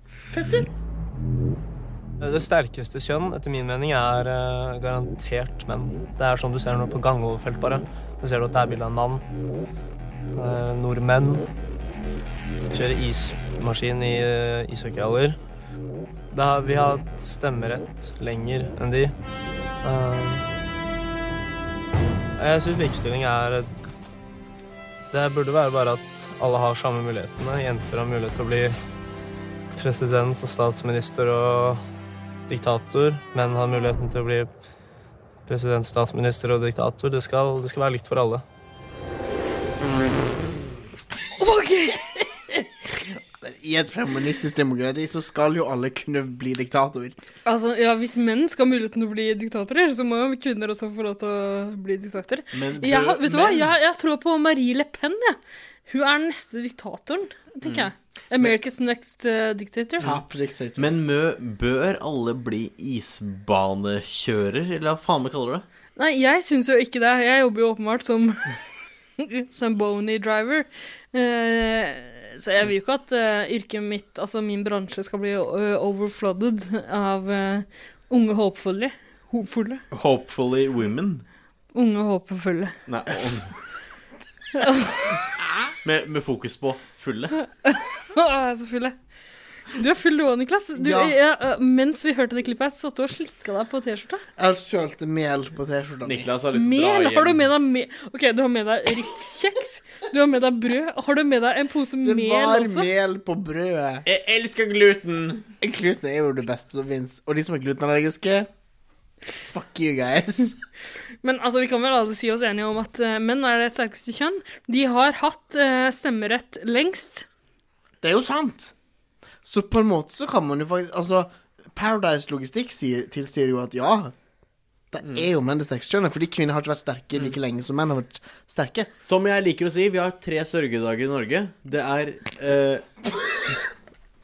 Speaker 13: Det sterkeste kjønn, etter min mening, er eh, garantert menn. Det er som du ser nå på gangoverfelt, bare. Du ser at det er bilde av en mann. Eh, nordmenn. Kjører ismaskin i uh, ishockeyhaller. Det har- Vi har hatt stemmerett lenger enn de. Eh, jeg syns likestilling er Det burde være bare at alle har samme mulighetene. Jenter har mulighet til å bli president og statsminister og diktator. Menn har muligheten til å bli president, statsminister og diktator. Det skal, det skal være likt for alle.
Speaker 1: Ok!
Speaker 2: I et feministisk demokrati så skal jo alle kunne bli diktator.
Speaker 1: Altså, ja, Hvis menn skal ha muligheten til å bli diktatorer, så må jo kvinner også få lov til å bli diktatorer.
Speaker 3: Men
Speaker 1: Jeg, har-
Speaker 3: bø-
Speaker 1: vet du hva?
Speaker 3: men-
Speaker 1: Jeg, jeg tror på Marie Le Pen. Ja. Hun er den neste diktatoren, tenker
Speaker 3: Mm.
Speaker 1: jeg. America's next eh, dictator.
Speaker 3: Men mø, bør alle bli isbanekjører, eller hva faen vi kaller det?
Speaker 1: Nei, jeg syns jo ikke det. Jeg jobber jo åpenbart som *laughs* Zamboni driver. Eh, så jeg vil jo ikke at eh, yrket mitt, altså min bransje, skal bli eh, overflooded av eh, unge håpefulle. Hopfulle.
Speaker 3: Hopefully women.
Speaker 1: Unge og håpefulle. *laughs*
Speaker 3: Nei, om- med, med fokus på fulle.
Speaker 1: Å, jeg er så full, jeg. Du er full du òg, Niklas. Du,
Speaker 2: Ja.
Speaker 1: ja, ø, mens vi hørte det klippet, her, så satt du og slikka deg på T-skjorta.
Speaker 2: Jeg sølte mel på T-skjorta.
Speaker 3: Niklas har
Speaker 1: Mel? Har du med deg mel? Ok, du har med deg Ritz-kjeks. Du har med deg brød. Har du med deg en pose
Speaker 2: Det
Speaker 1: mel
Speaker 2: var
Speaker 1: også?
Speaker 2: mel på brødet.
Speaker 3: Jeg elsker gluten.
Speaker 2: Gluten er jo det beste som fins. Og de som er glutenallergiske, fuck you guys.
Speaker 1: Men altså, vi kan vel alle si oss enige om at eh, menn er det sterkeste kjønn. De har hatt eh, stemmerett lengst.
Speaker 2: Det er jo sant. Så på en måte så kan man jo faktisk Altså, Paradise Logistikk sier, tilsier jo at ja, det er jo menn det sterkeste kjønnet, fordi kvinner har ikke vært sterke like lenge som menn har vært sterke.
Speaker 3: Som jeg liker å si, vi har tre sørgedager i Norge. Det er eh,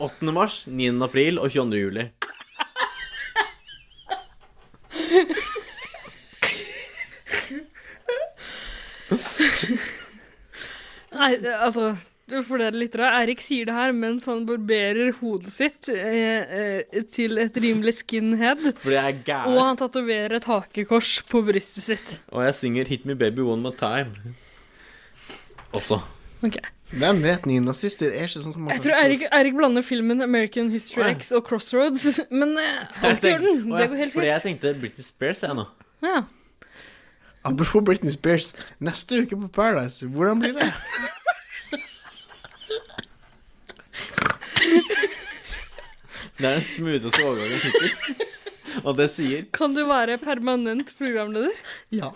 Speaker 3: 8. mars, 9. april og 22. juli.
Speaker 1: Nei, eh, altså for dere lyttere, Eirik sier det her mens han barberer hodet sitt eh, eh, til et rimelig skinhead.
Speaker 3: Fordi jeg er
Speaker 1: Og
Speaker 3: gæren.
Speaker 1: han tatoverer et hakekors på brystet sitt.
Speaker 3: Og jeg synger 'Hit me baby one more time'. Også.
Speaker 1: Ok.
Speaker 2: Hvem vet, nynazister er ikke sånn som man
Speaker 1: Jeg tror Eirik, Eirik blander filmen American History X og Crossroads, *laughs* men eh,
Speaker 3: Jeg
Speaker 1: alt i
Speaker 3: tenkte-
Speaker 1: orden.
Speaker 3: Å,
Speaker 1: Det
Speaker 3: ja,
Speaker 1: går helt
Speaker 3: Fordi jeg
Speaker 1: fint.
Speaker 3: tenkte British Spears, jeg nå.
Speaker 1: Ja.
Speaker 2: Apropos Britney Spears, neste uke på Paradise, hvordan blir det?
Speaker 3: Det er den smootheste overgangen hittil. *laughs* Og det sier
Speaker 1: Kan du være permanent programleder?
Speaker 2: Ja.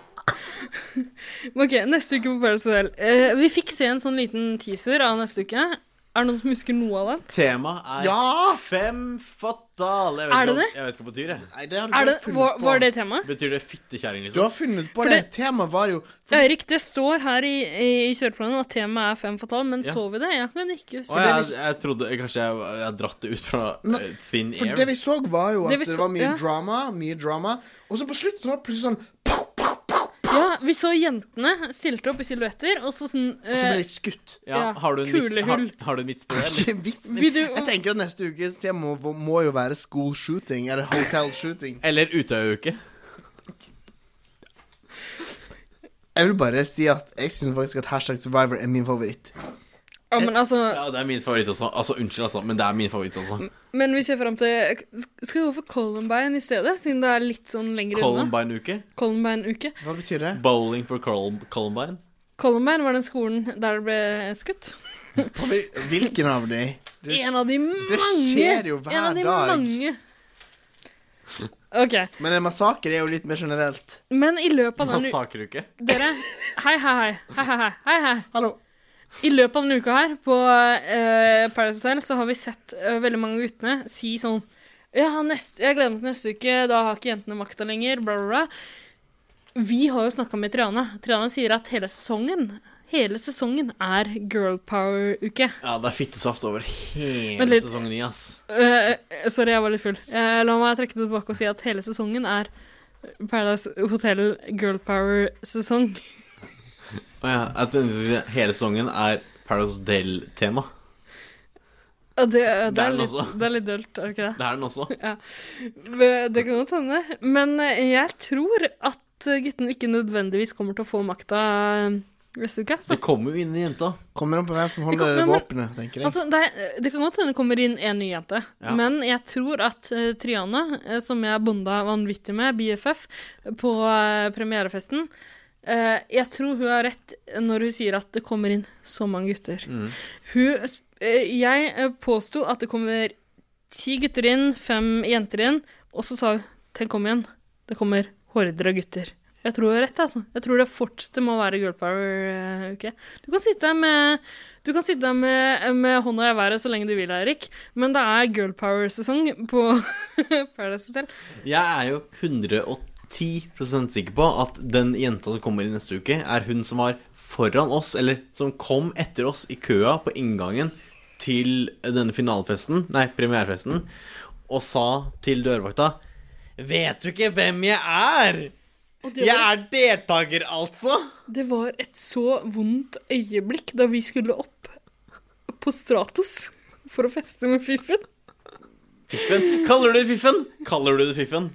Speaker 1: Ok, neste uke på Paradise Hotel. Eh, vi fikk se en sånn liten teaser av neste uke. Er det noen som husker noe av den?
Speaker 3: Temaet er
Speaker 1: Ja!
Speaker 3: fem fatale
Speaker 1: Er det
Speaker 3: ikke om-
Speaker 1: det?
Speaker 3: Jeg vet ikke hva det betyr, jeg.
Speaker 1: Er det, var, var det temaet?
Speaker 3: Betyr det fittekjerring, liksom?
Speaker 2: Du har funnet på
Speaker 1: For
Speaker 2: det.
Speaker 1: det-
Speaker 2: Temaet var jo
Speaker 1: Eirik, det står her i, i, i kjøreplanen at temaet er fem fatale, men
Speaker 3: Ja.
Speaker 1: så vi det? Jeg kan ikke
Speaker 3: Å, altså,
Speaker 1: huske
Speaker 3: jeg,
Speaker 1: det.
Speaker 3: jeg trodde Kanskje jeg, jeg har dratt det ut fra
Speaker 2: Nei,
Speaker 3: eh, thin
Speaker 2: For
Speaker 3: air.
Speaker 2: det vi så, var jo at
Speaker 1: Det
Speaker 2: det,
Speaker 1: vi så-
Speaker 2: var mye
Speaker 1: ja.
Speaker 2: drama, mye drama. Og så på slutt så var det plutselig sånn
Speaker 1: Ja, vi så jentene stilte opp i silhuetter, og så sånn
Speaker 2: Og så
Speaker 1: eh,
Speaker 2: ble de skutt.
Speaker 3: ja, har, du en vits, har,
Speaker 1: Kulehull.
Speaker 3: har du en vits på det?
Speaker 1: *laughs*
Speaker 2: Det er
Speaker 3: eller?
Speaker 2: en vits, men jeg tenker at neste ukes tema må, må jo være school shooting, eller hotel shooting.
Speaker 3: Eller Utøya-uke.
Speaker 2: Jeg vil bare si at jeg syns faktisk at hashtag survivor er min favoritt.
Speaker 1: Ja, men altså
Speaker 3: Ja, det er min favoritt også. Altså, Unnskyld, altså, men det er min favoritt også.
Speaker 1: Men vi ser fram til Skal vi gå for Columbine i stedet, siden det er litt sånn lenger unna?
Speaker 3: Columbine-uke.
Speaker 1: Columbine-uke.
Speaker 2: Hva betyr det?
Speaker 3: Bowling for Colum- Columbine.
Speaker 1: Columbine var den skolen der det ble skutt.
Speaker 2: Hvilken av de? Det-
Speaker 1: En av de mange!
Speaker 2: det skjer jo hver
Speaker 1: En av de
Speaker 2: dag.
Speaker 1: mange. Ok.
Speaker 2: Men en massakre er jo litt mer generelt.
Speaker 1: Men i løpet av den u-
Speaker 3: Massakruke.
Speaker 1: Dere, hei, hei, hei. Hei, hei, hei. hei, hei.
Speaker 2: Hallo.
Speaker 1: I løpet av denne uka her på eh, Paradise Hotel så har vi sett eh, veldig mange av guttene si sånn Ja, neste, jeg gleder meg til neste uke, da har ikke jentene makta lenger, bla, bla, bla. Vi har jo snakka med Triana. Triana sier at hele sesongen Hele sesongen er girl power-uke.
Speaker 3: Ja, det er fittesaft over hele
Speaker 1: Vent litt.
Speaker 3: sesongen i, ass.
Speaker 1: Eh, sorry, jeg var litt full. Eh, la meg trekke det tilbake og si at hele sesongen er Paradise Hotel girl power-sesong.
Speaker 3: Å ja, jeg tenkte du skulle si hele sesongen er Paradise Del-tema.
Speaker 1: Og Det, det,
Speaker 3: Det er
Speaker 1: er
Speaker 3: den
Speaker 1: litt,
Speaker 3: også.
Speaker 1: det er litt dølt, er det ikke det?
Speaker 3: Det er den også.
Speaker 1: Ja. Men eh, Det kan godt hende. Men eh, jeg tror at guttene ikke nødvendigvis kommer til å få makta eh, neste uke. Så.
Speaker 3: Det kommer jo inn i jenta.
Speaker 2: Kommer an på hvem som
Speaker 1: Det kommer-
Speaker 2: holder
Speaker 1: men-
Speaker 2: våpenet, tenker jeg.
Speaker 1: Altså, det, er- det kan godt hende det kommer inn en ny jente.
Speaker 2: Ja.
Speaker 1: Men jeg tror at eh, Triana, eh, som jeg bonda vanvittig med, BFF, på eh, premierefesten eh, Jeg tror hun har rett når hun sier at det kommer inn så mange gutter.
Speaker 2: Mm.
Speaker 1: Hun, eh, jeg eh, påsto at det kommer ti gutter inn, fem jenter inn, og så sa hun tenk om igjen, det kommer horder av gutter. Jeg tror hun har rett, altså. Jeg tror det fortsetter med å være girl power-uke. Du kan sitte her med, du kan sitte her med, med hånda i været så lenge du vil, Eirik, men det er girl power-sesong på *laughs* Paradise Hotel.
Speaker 3: Jeg er jo 110 sikker på at den jenta som kommer i neste uke, er hun som var foran oss, eller som kom etter oss i køa på inngangen til denne finalefesten, nei, premierefesten, og sa til dørvakta Vet du ikke hvem jeg er?
Speaker 1: det
Speaker 3: Jeg
Speaker 1: var-
Speaker 3: er deltaker, altså!
Speaker 1: Det var et så vondt øyeblikk da vi skulle opp på Stratos for å feste med Fiffen.
Speaker 3: Fiffen. Kaller du det fiffen? Kaller du det fiffen?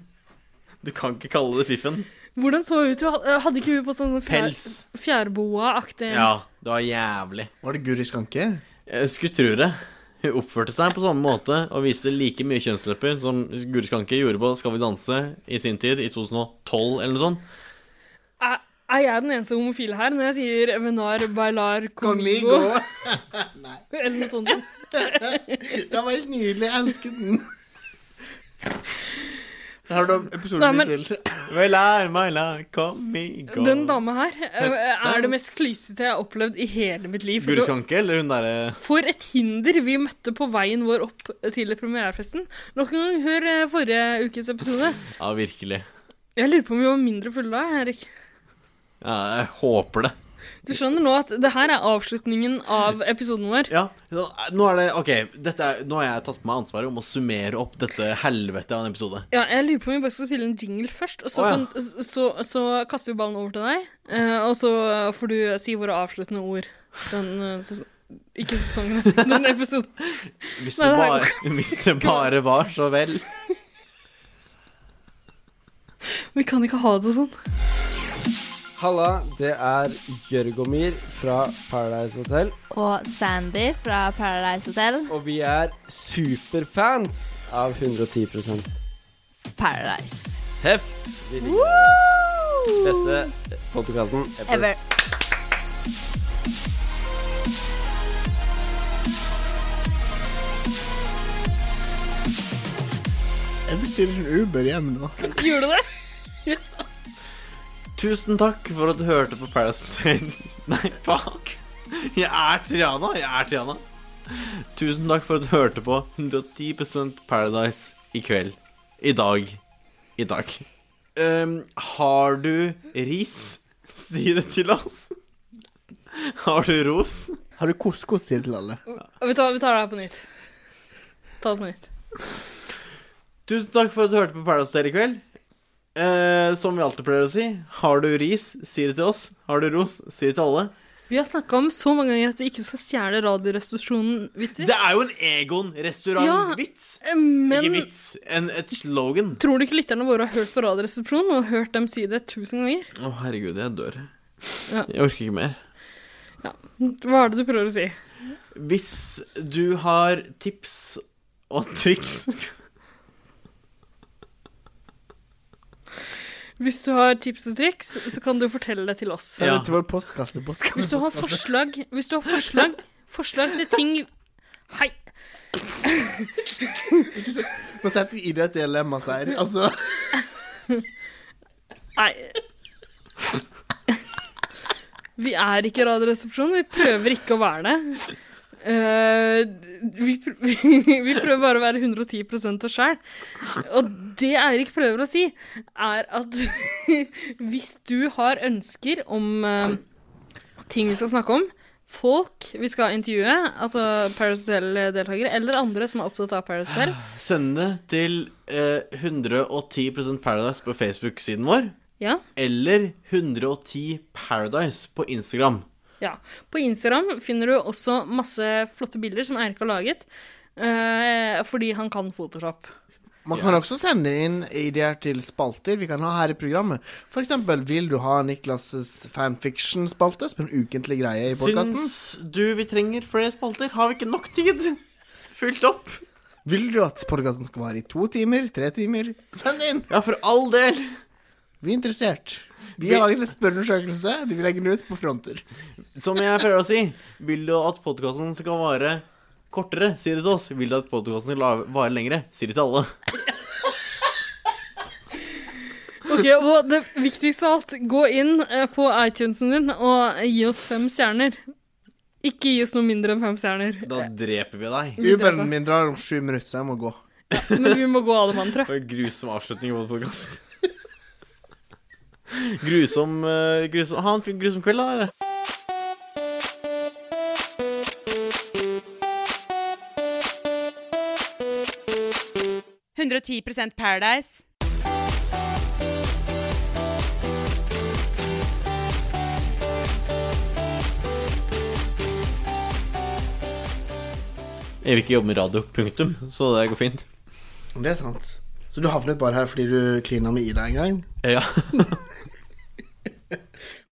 Speaker 3: Du kan ikke kalle det fiffen.
Speaker 1: Hvordan så hun ut? Hun had- Hadde ikke hun på sånn fjær,
Speaker 3: Pels.
Speaker 1: fjærboa-aktig
Speaker 3: Ja, det var jævlig.
Speaker 2: Var det Guri Skanke?
Speaker 3: Jeg skulle tro det. Eh, Hun oppførte seg på samme måte og viste like mye kjønnslepper som Guri Skanke gjorde på Skal vi danse i sin tid, i 2012 eller noe sånt.
Speaker 1: Er, er jeg den eneste homofile her når jeg sier venar bailar conmigo?
Speaker 2: Conmigo.
Speaker 1: *laughs* Eller noe sånt.
Speaker 2: Den var helt nydelig. Jeg elsket den. Her har du episoden
Speaker 1: Nei, men-
Speaker 2: din til.
Speaker 3: Veilar, meilar, kom i gang.
Speaker 1: Den dama her eh, er det mest klysete jeg har opplevd i hele mitt liv.
Speaker 3: Guri Skanke, eller hun derre
Speaker 1: For et hinder vi møtte på veien vår opp til premierefesten. Nok en gang, hør eh, forrige ukes episode.
Speaker 3: Ja, virkelig.
Speaker 1: Jeg lurer på om vi var mindre fulle da, Henrik.
Speaker 3: Ja, jeg håper det.
Speaker 1: Du skjønner nå at det her er avslutningen av episoden vår.
Speaker 3: Ja, eh, Nå er det OK, dette er, nå har jeg tatt på meg ansvaret om å summere opp dette helvetet av en episode.
Speaker 1: jeg lurer på om vi bare skal spille en jingle først, og så,
Speaker 3: Å, ja.
Speaker 1: kan, så, så, så kaster vi ballen over til deg. eh, og så får du si våre avsluttende ord. Den, eh, ses- ikke sesongen, *laughs* den episoden.
Speaker 3: Hvis
Speaker 1: Nei,
Speaker 3: det,
Speaker 1: det her
Speaker 3: bare, *laughs* hvis det bare var så vel.
Speaker 1: Vi kan ikke ha det sånn.
Speaker 14: Halla, det er Jørgomir fra Paradise Hotel.
Speaker 15: Og Sandy fra Paradise Hotel.
Speaker 14: Og vi er superfans av 110
Speaker 15: Paradise.
Speaker 14: Seff! Vi liker
Speaker 15: Woo!
Speaker 14: dere. Beste podkasten ever.
Speaker 15: Ever.
Speaker 2: Jeg bestiller en Uber hjem nå.
Speaker 1: Gjorde du det?
Speaker 3: Tusen takk for at du hørte på Paradise Hotel. *laughs* Nei, fuck. Jeg er Triana. Jeg er Triana. Tusen takk for at du hørte på 110 Paradise i kveld. I dag. I dag. Ehm, har du ris, si det til oss. Har du ros?
Speaker 2: Har du couscous, sier til alle.
Speaker 1: Vi tar, vi tar det her på nytt. Ta det på nytt.
Speaker 3: Tusen takk for at du hørte på Paradise Hotel i kveld. Eh, som vi alltid pleier å si, har du ris, si det til oss. Har du ros, si det til alle.
Speaker 1: Vi har snakka om så mange ganger at vi ikke skal stjele Radioresepsjonen-vitser.
Speaker 3: Det er jo en Egon-restaurant-vits.
Speaker 1: Ja, Eh, men
Speaker 3: Ikke vits, en, et slogan.
Speaker 1: tror du ikke lytterne våre har hørt på Radioresepsjonen og hørt dem si det tusen ganger?
Speaker 3: Å, herregud, jeg dør.
Speaker 1: Ja.
Speaker 3: Jeg orker ikke mer.
Speaker 1: Hva er det du prøver å si?
Speaker 3: Hvis du har tips og triks
Speaker 1: Hvis du har tips og triks, så kan du fortelle det til oss.
Speaker 2: Ja. Dette var postkasse, postkasse,
Speaker 1: Hvis du har
Speaker 2: postkasse.
Speaker 1: forslag, hvis du har forslag, forslag til ting Hei!
Speaker 2: Nå setter vi i det et dilemma her. Altså,
Speaker 1: Nei. Vi er ikke Radioresepsjonen. Vi prøver ikke å være det. Eh, vi, pr *laughs* vi prøver bare å være 110 oss sjæl. Og det Eirik prøver å si, er at *laughs* hvis du har ønsker om eh, ting vi skal snakke om, folk vi skal intervjue, altså Paradise Hotel-deltakere, eller andre som er opptatt av Paradise Hotel
Speaker 3: Send det til eh, 110 Paradise på Facebook-siden vår.
Speaker 1: Ja.
Speaker 3: Eller 110 Paradise på Instagram.
Speaker 1: Ja. På Instagram finner du også masse flotte bilder som Eirik har laget. eh, fordi han kan Photoshop.
Speaker 2: man kan også sende inn ideer til spalter vi kan ha her i programmet. For eksempel, vil du ha Niklas' fanfiction-spalte som en ukentlig greie i podkasten?
Speaker 3: Syns du vi trenger flere spalter? Har vi ikke nok tid? Fylt opp?
Speaker 2: Vil du at podkasten skal vare i to timer? Tre timer? Send inn!
Speaker 3: Ja, for all del.
Speaker 2: Vi er interessert. Vi har laget en spørreundersøkelse. De vil legge den ut på fronter.
Speaker 3: Som jeg pleier å si, vil du at podkasten skal vare kortere, si det til oss. Vil du at podkasten skal la- vare lengre, si det til alle.
Speaker 1: Ok, Og det viktigste av alt, gå inn eh, på iTunesen din og gi oss fem stjerner. Ikke gi oss noe mindre enn fem stjerner.
Speaker 3: Da dreper vi deg.
Speaker 1: Vi dreper.
Speaker 2: Uberen min drar om sju minutter, så jeg må gå.
Speaker 1: Men vi må gå alle mann, tror jeg.
Speaker 3: Det var en grusom avslutning på podkasten. Grusom, eh, grusom Ha en fin grusom kveld, da. dere.
Speaker 16: Paradise.
Speaker 3: Jeg vil ikke jobbe med radio, punktum. Så det går fint.
Speaker 2: Det er sant. Så du havnet bare her fordi du klina med Ida en gang?
Speaker 3: Ja.